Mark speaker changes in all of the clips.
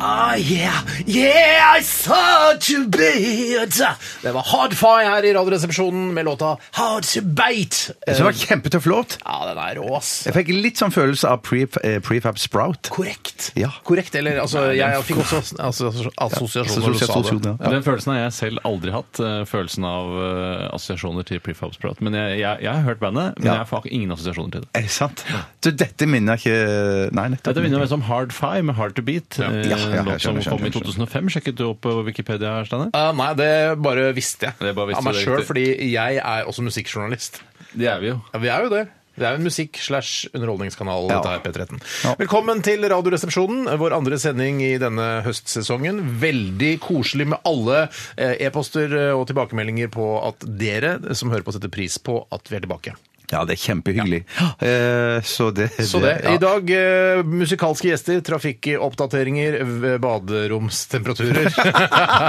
Speaker 1: Ah, yeah, yeah, I thought you beat Det var Hardfire her i Radioresepsjonen med låta Hard to Bite.
Speaker 2: Så det var kjempetøff låt.
Speaker 1: Ja, den er rå, ass.
Speaker 2: Jeg fikk litt sånn følelse av pre, eh, prefab sprout.
Speaker 1: Korrekt.
Speaker 2: Ja.
Speaker 1: Korrekt, eller altså, jeg fikk også altså, altså, assosiasjoner når du sa
Speaker 2: Assosiasjon,
Speaker 1: det.
Speaker 2: ja.
Speaker 3: Den følelsen har jeg selv aldri hatt, eh, følelsen av eh, assosiasjoner til prefabsprat. Men jeg, jeg, jeg har hørt bandet, men
Speaker 2: Ja.
Speaker 3: jeg får ingen assosiasjoner til det.
Speaker 2: Er det sant? Så dette minner ikke Nei, nettopp.
Speaker 3: Dette minner meg som Hard Five med Hard to Beat. Ja.
Speaker 2: Ja, ja, jeg
Speaker 3: låt som
Speaker 2: skjønner,
Speaker 3: kom
Speaker 2: skjønner,
Speaker 3: i 2005. Sjekket du opp på Wikipedia, her, Steiner?
Speaker 1: Ah, nei, det bare visste jeg.
Speaker 3: Det bare visste
Speaker 1: Av meg
Speaker 3: du, det er
Speaker 1: sjøl,
Speaker 3: riktig.
Speaker 1: fordi jeg er også musikkjournalist.
Speaker 3: Det er vi jo.
Speaker 1: Ja, vi er jo det. Det er jo en musikk-slash-underholdningskanal,
Speaker 2: Ja.
Speaker 1: dette her, P13.
Speaker 2: Ja.
Speaker 1: Velkommen til Radioresepsjonen, vår andre sending i denne høstsesongen. Veldig koselig med alle eh, e-poster eh, og tilbakemeldinger på at dere eh, som hører på, setter pris på at vi er tilbake.
Speaker 2: Ja, det er kjempehyggelig. Eh, Så det
Speaker 1: Så det.
Speaker 2: ja.
Speaker 1: I dag eh, musikalske gjester, trafikkoppdateringer, v- baderomstemperaturer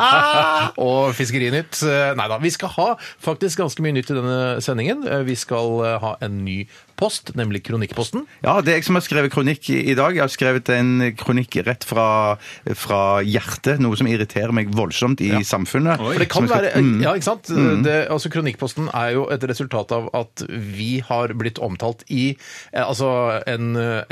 Speaker 1: og Fiskerinytt. Eh, Nei da. Vi skal ha faktisk ganske mye nytt i denne sendingen. Eh, Vi skal eh, ha en ny post, nemlig Kronikkposten.
Speaker 2: Ja, det er jeg som har skrevet kronikk i i dag. Jeg har skrevet en kronikk rett fra, fra hjertet, noe som irriterer meg voldsomt i samfunnet.
Speaker 1: For det kan
Speaker 2: Som jeg
Speaker 1: være,
Speaker 2: skal- Mm.
Speaker 1: ja, ikke sant? Det, altså, Kronikkposten er jo et resultat av at vi har blitt omtalt i eh, altså, en eh,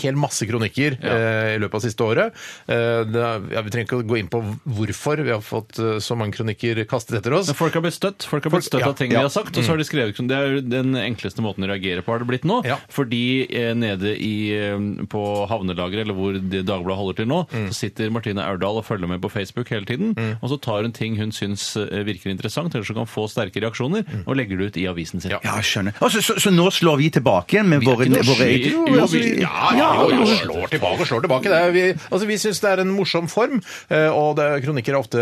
Speaker 1: hel masse kronikker eh, i løpet av siste året. Eh, det, er- ja, vi trenger ikke å gå inn på hvorfor vi har fått eh, så mange kronikker kastet etter oss.
Speaker 3: Men folk har blitt støtt Folk har blitt
Speaker 1: Folk-
Speaker 3: støtt
Speaker 1: ja,
Speaker 3: av ting
Speaker 1: ja. Mm.
Speaker 3: de har sagt, og så har de skrevet Det er jo den enkleste måten å reagere på, har det blitt nå.
Speaker 1: Ja.
Speaker 3: Fordi eh, nede i, eh, på havnelageret, eller hvor det Dagbladet holder til nå,
Speaker 1: Mm.
Speaker 3: så sitter Martine Aurdal og følger med på Facebook hele tiden, og så tar hun ting hun syns eh, virker interessant, eller som kan få sterke reaksjoner, og legger det ut i avisen sin.
Speaker 1: Mm. Ja.
Speaker 2: Ja, skjønner. Og så, så, så nå slår vi tilbake igjen med våre,
Speaker 3: ikke noe
Speaker 2: våre
Speaker 3: sky-
Speaker 2: egne
Speaker 3: Jo,
Speaker 2: altså,
Speaker 3: vi-
Speaker 1: Ja, ja, ja, slår tilbake og slår tilbake. Det er, vi altså, vi syns det er en morsom form, eh, og det, kronikker er ofte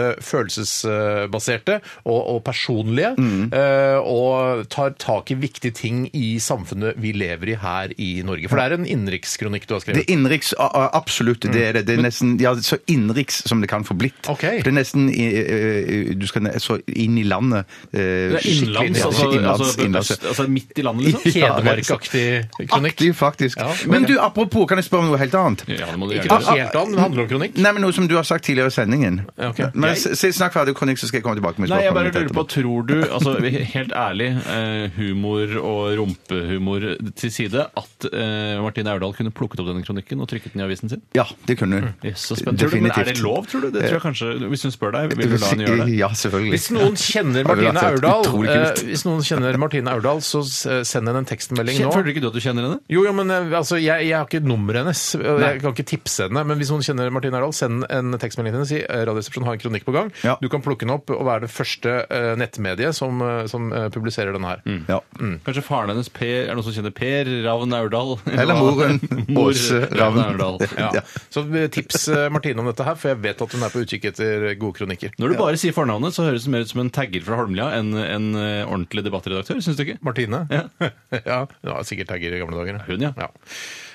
Speaker 1: følelsesbaserte og, og personlige,
Speaker 2: Mm.
Speaker 1: eh, og tar tak i viktige ting i samfunnet vi lever i her i Norge. For det er en innenrikskronikk du har
Speaker 2: Det
Speaker 1: skrevet.
Speaker 2: er innenriks, a- a- absolutt. Det er det.
Speaker 3: Mm.
Speaker 2: Det er nesten ja, så innenriks som det kan få blitt.
Speaker 1: Ok.
Speaker 2: Det er nesten i, eh, Du skal ne- så inn i landet. eh,
Speaker 3: Det er innlands, altså, altså, øst- altså midt i landet, liksom.
Speaker 2: Ja,
Speaker 1: Hedmarkaktig kronikk.
Speaker 2: Aktiv, faktisk.
Speaker 1: Ja.
Speaker 2: Men du, apropos, kan jeg spørre om noe helt annet?
Speaker 3: Ja, det må du
Speaker 1: Ikke
Speaker 3: gjøre.
Speaker 1: noe helt annet, men det handler om kronikk.
Speaker 2: Nei, men Noe som du har sagt tidligere i sendingen.
Speaker 1: Ja, ok.
Speaker 2: Men s- s- Snakk ferdig, Kronikk, så skal jeg komme tilbake med
Speaker 3: Nei, jeg bare
Speaker 2: spørsmålet
Speaker 3: lurer
Speaker 2: mitt
Speaker 3: på,
Speaker 2: etterpå.
Speaker 3: tror du, altså helt ærlig, eh, humor og rumpehumor til side, at eh, Martine Aurdal kunne plukket opp denne kronikken og trykket den i avisen sin?
Speaker 2: Ja, det kunne hun.
Speaker 3: Mm, Yes, så spennende. Tror du- Men er det lov, tror du? Det tror jeg kanskje, Hvis hun spør deg, vil du la henne gjøre det?
Speaker 2: Ja, selvfølgelig.
Speaker 1: Hvis noen kjenner
Speaker 2: Det ville
Speaker 1: Martine
Speaker 2: vært helt
Speaker 1: Aurdal,
Speaker 2: utrolig
Speaker 1: eh,
Speaker 2: kult.
Speaker 1: hvis noen kjenner Martine Aurdal, så s- send henne en tekstmelding nå.
Speaker 3: Føler ikke du at du kjenner henne?
Speaker 1: Jo, jo, men eh, altså, jeg, jeg har ikke nummeret hennes. og Jeg kan ikke tipse henne. Men hvis noen kjenner Martine Erdal, send en tekstmelding til henne. Si eh, Radioresepsjonen har en kronikk på gang.
Speaker 2: Ja.
Speaker 1: Du kan plukke den opp og være det første eh, nettmediet som, eh, som eh, publiserer denne her.
Speaker 2: Ja.
Speaker 3: Kanskje faren hennes Per, er det noen som kjenner Per Ravn Aurdal?
Speaker 2: Eller moren
Speaker 3: Mor
Speaker 2: Åse
Speaker 3: Ravn
Speaker 2: Ravn.
Speaker 3: Aurdal.
Speaker 1: Ja.
Speaker 2: Ja.
Speaker 1: Så eh, tips eh, Martine om dette her, for jeg vet at hun er på utkikk etter gode kronikker.
Speaker 3: Når du bare sier fornavnet, så høres det mer ut som en tagger fra Holmlia enn en eh, ordentlig debattredaktør, syns du ikke?
Speaker 1: Martine?
Speaker 3: Ja.
Speaker 1: ja. Hun var sikkert tagger i gamle dager.
Speaker 3: Hun, ja.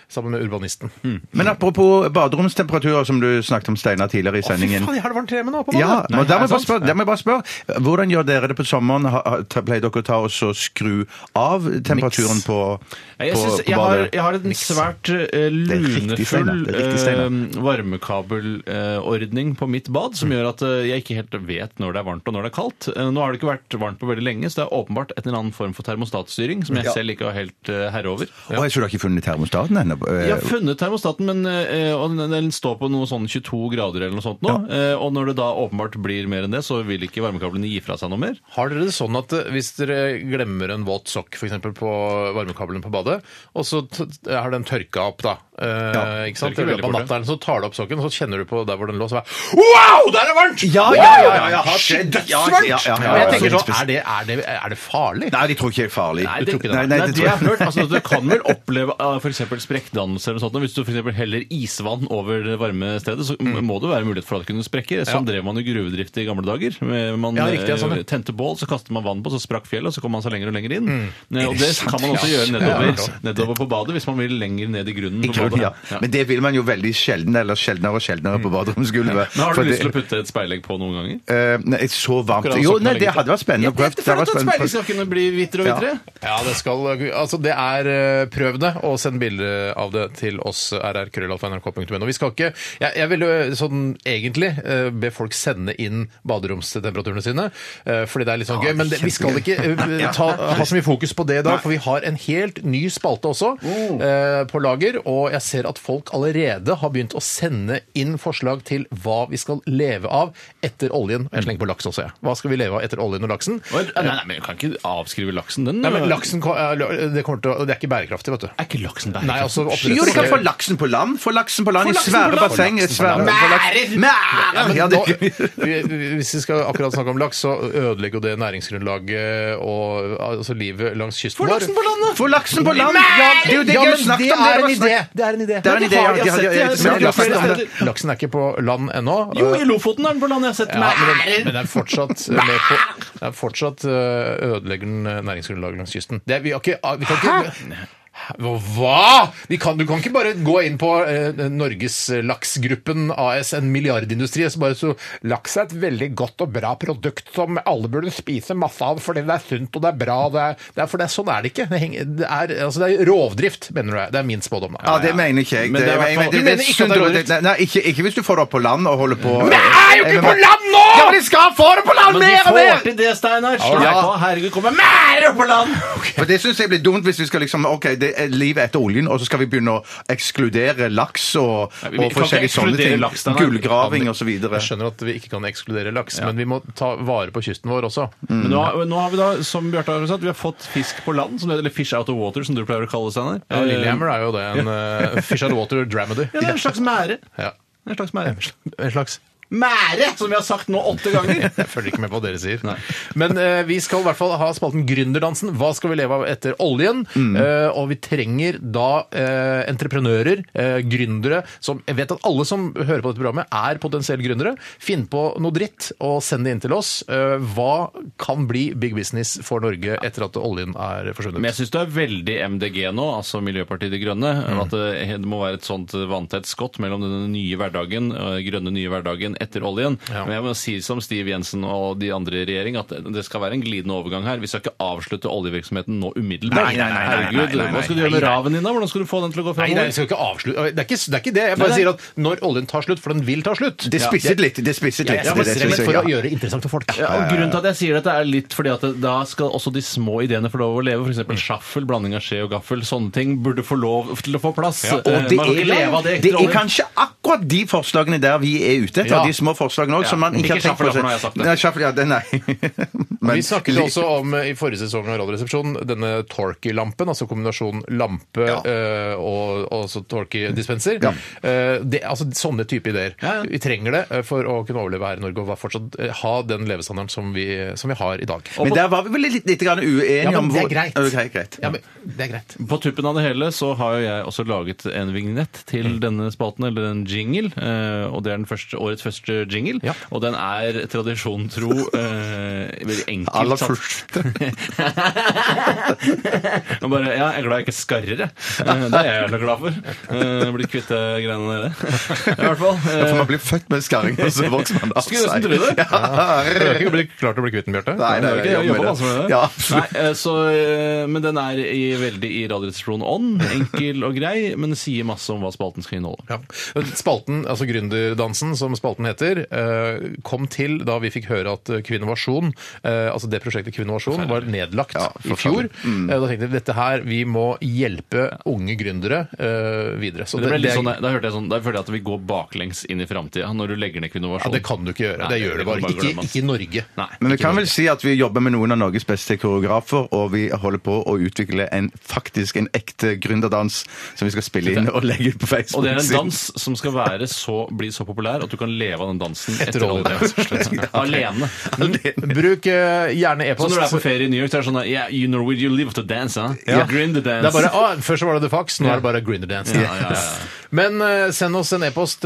Speaker 1: Sammen med urbanisten.
Speaker 2: Men apropos baderomstemperaturer, som du snakket om, Steinar, tidligere i
Speaker 1: Å, fy
Speaker 2: sendingen.
Speaker 1: faen, jeg har det varmt hjemme nå! på
Speaker 2: Ja,
Speaker 1: badet.
Speaker 2: men der må jeg bare
Speaker 3: sant?
Speaker 2: spørre, der må jeg bare spørre Hvordan gjør dere det på sommeren? Ha- ha- ta- Pleier dere å ta og så skru av temperaturen på,
Speaker 3: Jeg,
Speaker 2: på,
Speaker 3: synes,
Speaker 2: på
Speaker 3: jeg, har,
Speaker 2: badet?
Speaker 3: jeg har en svært eh,
Speaker 2: er riktig, Steinar.
Speaker 3: lunefull
Speaker 2: Det
Speaker 3: eh,
Speaker 2: er riktig, Steinar.
Speaker 3: varmekabelordning på mitt bad, som gjør at eh, jeg ikke helt vet når det er varmt og når det er kaldt. Eh, nå har det ikke vært varmt på veldig lenge, så det er åpenbart et eller annet form for termostatstyring som jeg selv ikke har helt eh, herre over.
Speaker 2: Å, jeg tror du har ikke funnet termostaten ennå. eh,
Speaker 3: Jeg har funnet termostaten, men eh, og den, den står på noe sånn 22 grader eller noe sånt nå. Eh, og når det da åpenbart blir mer enn det, så vil ikke varmekablene gi fra seg noe mer.
Speaker 1: Har dere det sånn at eh, hvis dere glemmer en våt sokk for eksempel, på varmekabelen på badet, og så t har den tørka opp da, eh, ikke sant? I
Speaker 3: tørker
Speaker 1: løpet av
Speaker 3: veldig fort,
Speaker 1: natta, så tar du opp sokken, og så kjenner du på der hvor den lå, så bare Wow, der er det varmt!
Speaker 2: Ja, ja, ja, ja, ja, har skjedd. Ja, ja, ja, ja, ja.
Speaker 1: Og jeg tenker sånn, er det, er det, er det farlig?
Speaker 2: Nei, de tror ikke det er farlig.
Speaker 3: Nei,
Speaker 2: Jeg
Speaker 3: det,
Speaker 2: tror ikke
Speaker 3: nei,
Speaker 2: Nei,
Speaker 3: det er
Speaker 2: det
Speaker 3: det jeg har
Speaker 2: tror
Speaker 3: hørt. Altså, du kan vel oppleve eh, for eksempel sprekkdannelser eller noe sånt. og Hvis du for eksempel heller isvann over det varme stedet, så må det være mulighet for at det kunne sprekke. Sånn drev man jo gruvedrift i gamle dager. Man
Speaker 1: Ja, riktig, ja, sånn, ja.
Speaker 3: eh, tente bål, så kastet man vann på, så sprakk fjellet, og så kom man seg lenger og lenger inn. Eh, Og det
Speaker 2: sant?
Speaker 3: kan man også
Speaker 2: Ja.
Speaker 3: gjøre
Speaker 2: Ja,
Speaker 3: nedover,
Speaker 2: ja.
Speaker 3: nedover på badet hvis man vil lenger ned i grunnen.
Speaker 2: I
Speaker 3: på
Speaker 2: baderomsgulvet. Ja. Men det vil man jo veldig sjelden, eller sjeldnere og sjeldnere på baderomsgulvet.
Speaker 3: Men Mm. har du
Speaker 2: Fordi-
Speaker 3: lyst til å putte et speilegg på noen ganger?
Speaker 2: Eh, nei, så varmt
Speaker 3: Akkurat
Speaker 2: Jo,
Speaker 3: som
Speaker 2: nei, det
Speaker 3: Margrethe.
Speaker 2: hadde vært spennende. å prøve. Det hadde vært spennende.
Speaker 3: skal kunne bli hvitere og hvitere.
Speaker 1: Ja, det skal Altså, det er eh, Prøv det, og send bilde eh, av det til oss eh, rrkrøllalfa.nrk.no. Vi skal ikke Jeg, jeg vil jo eh, sånn egentlig eh, be folk sende inn baderomstemperaturene sine, eh, fordi det er litt sånn gøy. Men det, vi skal ikke eh, ta, ha så mye fokus på det i dag, for vi har en helt ny spalte også eh, på lager, og jeg ser at folk allerede har begynt å sende inn forslag til hva vi skal leve av etter oljen. Jeg slenger på laks også, jeg. Hva skal vi leve av etter oljen og laksen?
Speaker 3: Nei, nei, men jeg kan ikke avskrive laksen. Den eh,
Speaker 1: Nei, men laksen ko- er- det, kommer til, å- det er ikke bærekraftig, vet du.
Speaker 3: er ikke laksen
Speaker 1: Nei, altså
Speaker 2: Jo, du kan få laksen på land. Få laksen på land i
Speaker 3: laksen
Speaker 2: svære
Speaker 3: på land.
Speaker 2: basseng. i Svære,
Speaker 1: Mære!
Speaker 2: få laks- Mære! Ja,
Speaker 1: Ja,
Speaker 2: det,
Speaker 1: nå, vi- vi- hvis vi skal akkurat snakke om laks, så ødelegger jo det næringsgrunnlaget og altså, livet langs kysten vår.
Speaker 2: få laksen på land! Ja, det er jo det
Speaker 1: Ja,
Speaker 2: jeg har
Speaker 1: men
Speaker 2: snakket
Speaker 1: det
Speaker 2: om.
Speaker 1: er
Speaker 2: Det var
Speaker 1: en idé!
Speaker 2: snakk-
Speaker 1: Det er en idé.
Speaker 2: Det er en idé. ja,
Speaker 3: jeg
Speaker 2: ja,
Speaker 3: sett,
Speaker 2: ja, ja,
Speaker 3: jeg
Speaker 2: ja,
Speaker 3: har
Speaker 2: ja,
Speaker 3: sett
Speaker 2: laksen-
Speaker 3: det.
Speaker 1: Laksen er ikke på land ennå.
Speaker 3: Jo, i Lofoten er den på land. Jeg har sett den.
Speaker 1: Ja, men den, men den er fortsatt, eh, med på, den er fortsatt øh, ødelegger den øh, næringsgrunnlaget langs kysten. Det, er- vi, har ikke, ah, vi kan ikke Hva? Hva? Vi kan, du kan ikke bare gå inn på eh, Norges Laksgruppen AS, en milliardindustri. Så bare så, laks er et veldig godt og bra produkt som alle burde spise masse av fordi det er sunt og det er bra. Det er, det er, for det er, sånn er det ikke. Det, henger, det, er, altså, det er rovdrift, mener du. Det er min spådom. da.
Speaker 2: Ja, det mener ikke jeg.
Speaker 3: Men det er i hvert
Speaker 2: det-
Speaker 3: fall-
Speaker 1: Du
Speaker 2: det er
Speaker 1: mener ikke at det er
Speaker 2: synd-
Speaker 1: rovdrift?
Speaker 2: Nei, nei, ikke, ikke hvis du får det opp på land og holder på Eh,
Speaker 1: Men jeg er jo ikke på land nå!
Speaker 2: Ja, men de skal få det på land
Speaker 3: Men
Speaker 2: mer
Speaker 3: du
Speaker 2: og mer!
Speaker 3: får til det, Steinar. Slå
Speaker 2: Ja.
Speaker 3: deg på. Herregud, kommer mer på land!
Speaker 2: For Det syns jeg blir dumt hvis vi skal liksom Ok, det er livet etter oljen, og så skal vi begynne å ekskludere laks og,
Speaker 3: Nei,
Speaker 2: og
Speaker 3: vi- vi kan ikke
Speaker 2: forskjellige sånne
Speaker 3: ekskludere
Speaker 2: ting.
Speaker 3: laks, den er-
Speaker 2: Gullgraving osv.
Speaker 1: Jeg skjønner at vi ikke kan ekskludere laks, men vi må ta vare på kysten vår også.
Speaker 3: Men nå, har- nå har vi da, som Bjarte har sagt, vi har fått fisk på land, som det, eller fish out of water, som du pleier å kalle det, Steinar.
Speaker 1: Ja, Lillehammer er jo det. En eh, Fish and Water dramedy.
Speaker 3: Ja, det er en slags mære.
Speaker 1: Ja.
Speaker 3: En slags mære.
Speaker 1: En slags
Speaker 3: Mære, som vi har sagt nå åtte ganger.
Speaker 1: Jeg følger ikke med på hva dere sier. Men eh, vi skal i hvert fall ha spalten Gründerdansen. Hva skal vi leve av etter oljen? Eh, og vi trenger da eh, entreprenører, eh, gründere, som Jeg vet at alle som hører på dette programmet, er potensielle gründere. Finn på noe dritt og send det inn til oss. Eh, hva kan bli big business for Norge etter at oljen er forsvunnet?
Speaker 3: Men jeg syns det er veldig MDG nå, altså Miljøpartiet De Grønne. At det det må være et sånt vanntett skott mellom den nye hverdagen, eh, grønne nye hverdagen etter oljen.
Speaker 1: Ja.
Speaker 3: Men jeg må si som Stiv Jensen og de andre i regjering, at det skal være en glidende overgang her. Vi skal ikke avslutte oljevirksomheten nå umiddelbart.
Speaker 2: Nei, nei, nei, nei, nei,
Speaker 3: Herregud,
Speaker 2: nei, nei, nei.
Speaker 3: hva skal du gjøre med raven din da? Hvordan skal du få den til å gå
Speaker 1: Nei, nei,
Speaker 3: framover?
Speaker 1: jeg skal ikke avslutte. Det er ikke det. Er ikke det. Jeg bare
Speaker 3: Nei, nei.
Speaker 1: sier at når oljen tar slutt, for den vil ta slutt
Speaker 2: Det spisset litt. Det spisset litt.
Speaker 1: Jeg
Speaker 2: det- det
Speaker 1: bestemmer
Speaker 2: synes jeg,
Speaker 1: for å
Speaker 2: ja.
Speaker 1: gjøre interessant for folk.
Speaker 3: Ja, og Grunnen til at jeg sier dette er litt fordi at det- da skal også de små ideene få lov å leve. F.eks. sjaffel, blanding av skje og gaffel. Sånne ting burde få lov til å få plass. Eh,
Speaker 2: Og det
Speaker 3: man kan ikke leve av
Speaker 2: er,
Speaker 3: det,
Speaker 2: det
Speaker 3: Trollheim.
Speaker 2: er kanskje akkurat de forslagene der vi er ute etter.
Speaker 1: Ja.
Speaker 2: De små forslagene også, som man ikke har
Speaker 3: Ikke
Speaker 2: tenkt på.
Speaker 3: sjaffel, da, for nå har jeg sagt det.
Speaker 2: Nei, sjaffel, ja, det, nei. Men-
Speaker 1: Vi snakket også om eh, i forrige sesong av Radioresepsjonen denne Torky-lampen, altså kombinasjonen lampe eh, og, og så Torky-dispenser. Eh, det- altså Sånne type ideer.
Speaker 3: Ja, ja.
Speaker 1: Vi trenger det eh, for å kunne overleve her i Norge og være fortsatt eh, ha den levestandarden som vi, som vi har i dag.
Speaker 2: Men der var vi vel litt, litt grann uenige
Speaker 1: Ja, men
Speaker 2: om
Speaker 1: det er
Speaker 2: hvor-
Speaker 1: greit.
Speaker 2: Ok, greit.
Speaker 1: Ja, men det er greit.
Speaker 3: På tuppen av det hele så har jo jeg også laget en vignett til
Speaker 2: Mm.
Speaker 3: denne spalten, eller en jingle. eh, og det er den første, årets første jingle.
Speaker 1: Ja.
Speaker 3: Og den er tradisjonen tro eh, veldig enkelt
Speaker 2: Aller
Speaker 3: satt- Jeg bare, ja, jeg er glad jeg ikke er skarrer, jeg. Eh, det er jeg jævla glad for. Uh, blir kvitt de greiene dere. I hvert fall. eh,
Speaker 2: Ja, for man blir født med skarring, og så vokser man av
Speaker 3: Skulle nesten tro det.
Speaker 1: Du har ikke blitt klart å bli kvitt den, Bjarte?
Speaker 2: Nei, nei,
Speaker 3: Eh, Det er ikke det, jeg
Speaker 2: jobber
Speaker 3: jobber
Speaker 2: med
Speaker 3: masse med det.
Speaker 2: Ja,
Speaker 3: altså. Nei,
Speaker 2: absolutt.
Speaker 3: eh, så, eh, men den er i, veldig i Radioresepsjonen ånd. Enkel og grei, men sier masse om hva spalten skal inneholde.
Speaker 1: Ja. Spalten, altså Gründerdansen, som spalten heter, eh, kom til da vi fikk høre at eh, Kvinnovasjon, eh, altså det prosjektet Kvinnovasjon, var nedlagt
Speaker 2: Ja,
Speaker 1: i fjor.
Speaker 3: Mm.
Speaker 1: Eh, Da tenkte vi dette her, vi må hjelpe unge gründere eh, videre. Så
Speaker 3: Det ble
Speaker 1: det-
Speaker 3: litt
Speaker 1: det-
Speaker 3: sånn, da hørte jeg sånn, da føler jeg at vi går baklengs inn i framtida når du legger ned
Speaker 1: ja,
Speaker 3: Kvinnovasjon.
Speaker 1: det kan du ikke gjøre.
Speaker 3: Nei,
Speaker 1: det gjør
Speaker 3: det
Speaker 1: det
Speaker 3: kan
Speaker 1: bare.
Speaker 3: man bare glemme,
Speaker 1: Ikke,
Speaker 3: ass.
Speaker 1: ikke i Norge.
Speaker 3: Nei.
Speaker 2: Men vi kan vel si at vi jobber med noen av Norges beste koreografer, og vi holder på å utvikle en faktisk en ekte gründerdans som vi skal spille inn og legge ut på Facebook.
Speaker 3: Og det er en dans som skal være så, bli så populær at du kan leve av den dansen
Speaker 1: Etter
Speaker 3: etter olje.
Speaker 1: olje, rett og slett.
Speaker 3: Alene.
Speaker 1: Bruk eh, eh, gjerne
Speaker 3: Så
Speaker 1: e-post.
Speaker 3: når du er på ferie i New York, så er det sånn yeah, you know where you live to dance, huh?
Speaker 1: Ja.
Speaker 3: You grin to dance.
Speaker 1: Det er bare, ah, Først så var det The Fox, nå er det bare Grinderdance.
Speaker 3: Ja, ja, ja, ja.
Speaker 1: Men eh, send oss en e-post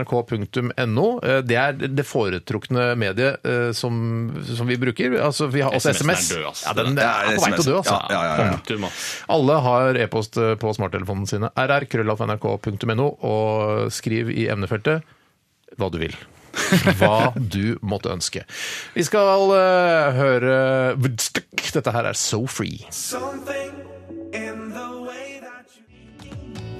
Speaker 1: rrkrøllalfa.nrk.no. Eh, det er det foretrukne mediet eh, som, som vi bruker. Altså, vi har også
Speaker 3: SMS-en
Speaker 1: SMS.
Speaker 3: er død, altså.
Speaker 1: Ja, den er, på vei til å dø, altså.
Speaker 2: Ja, ja, ja, ja.
Speaker 3: Punktum, ass.
Speaker 1: Alle har e-post eh, på smarttelefonene sine. rrkrøllalfa.nrk.no, og skriv i emnefeltet hva du vil. Hva du måtte ønske. Vi skal eh, høre Dette her er So Free.
Speaker 4: Something in the way that you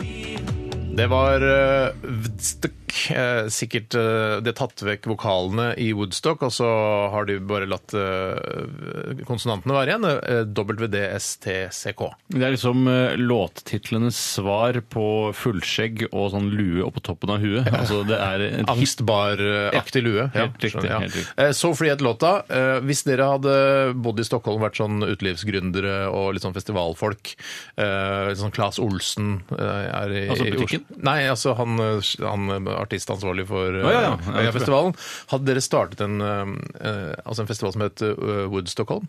Speaker 1: Det var eh, Woodstock. Eh, sikkert eh, de har tatt vekk vokalene i Woodstock, og så har de bare latt eh, konsonantene være igjen. eh, WDSTCK.
Speaker 3: Det er liksom eh, låttitlenes svar på fullskjegg og sånn lue oppå toppen av huet. Altså, det er en hit.
Speaker 1: Angstbaraktig lue.
Speaker 3: helt riktig,
Speaker 1: skjønner,
Speaker 3: helt riktig.
Speaker 1: Eh, So Free het låta. Eh, Hvis dere hadde bodd i Stockholm, vært sånn utelivsgründere og litt sånn festivalfolk eh, litt Sånn Claes Olsen eh, er i
Speaker 3: Altså
Speaker 1: i
Speaker 3: butikken?
Speaker 1: Oslo. Nei, altså han, eh, han eh, artistansvarlig for eh,
Speaker 3: Å, ja, ja. Ja,
Speaker 1: Øyafestivalen. Hadde dere startet en, eh, eh, altså en festival som het eh, Wood Stockholm?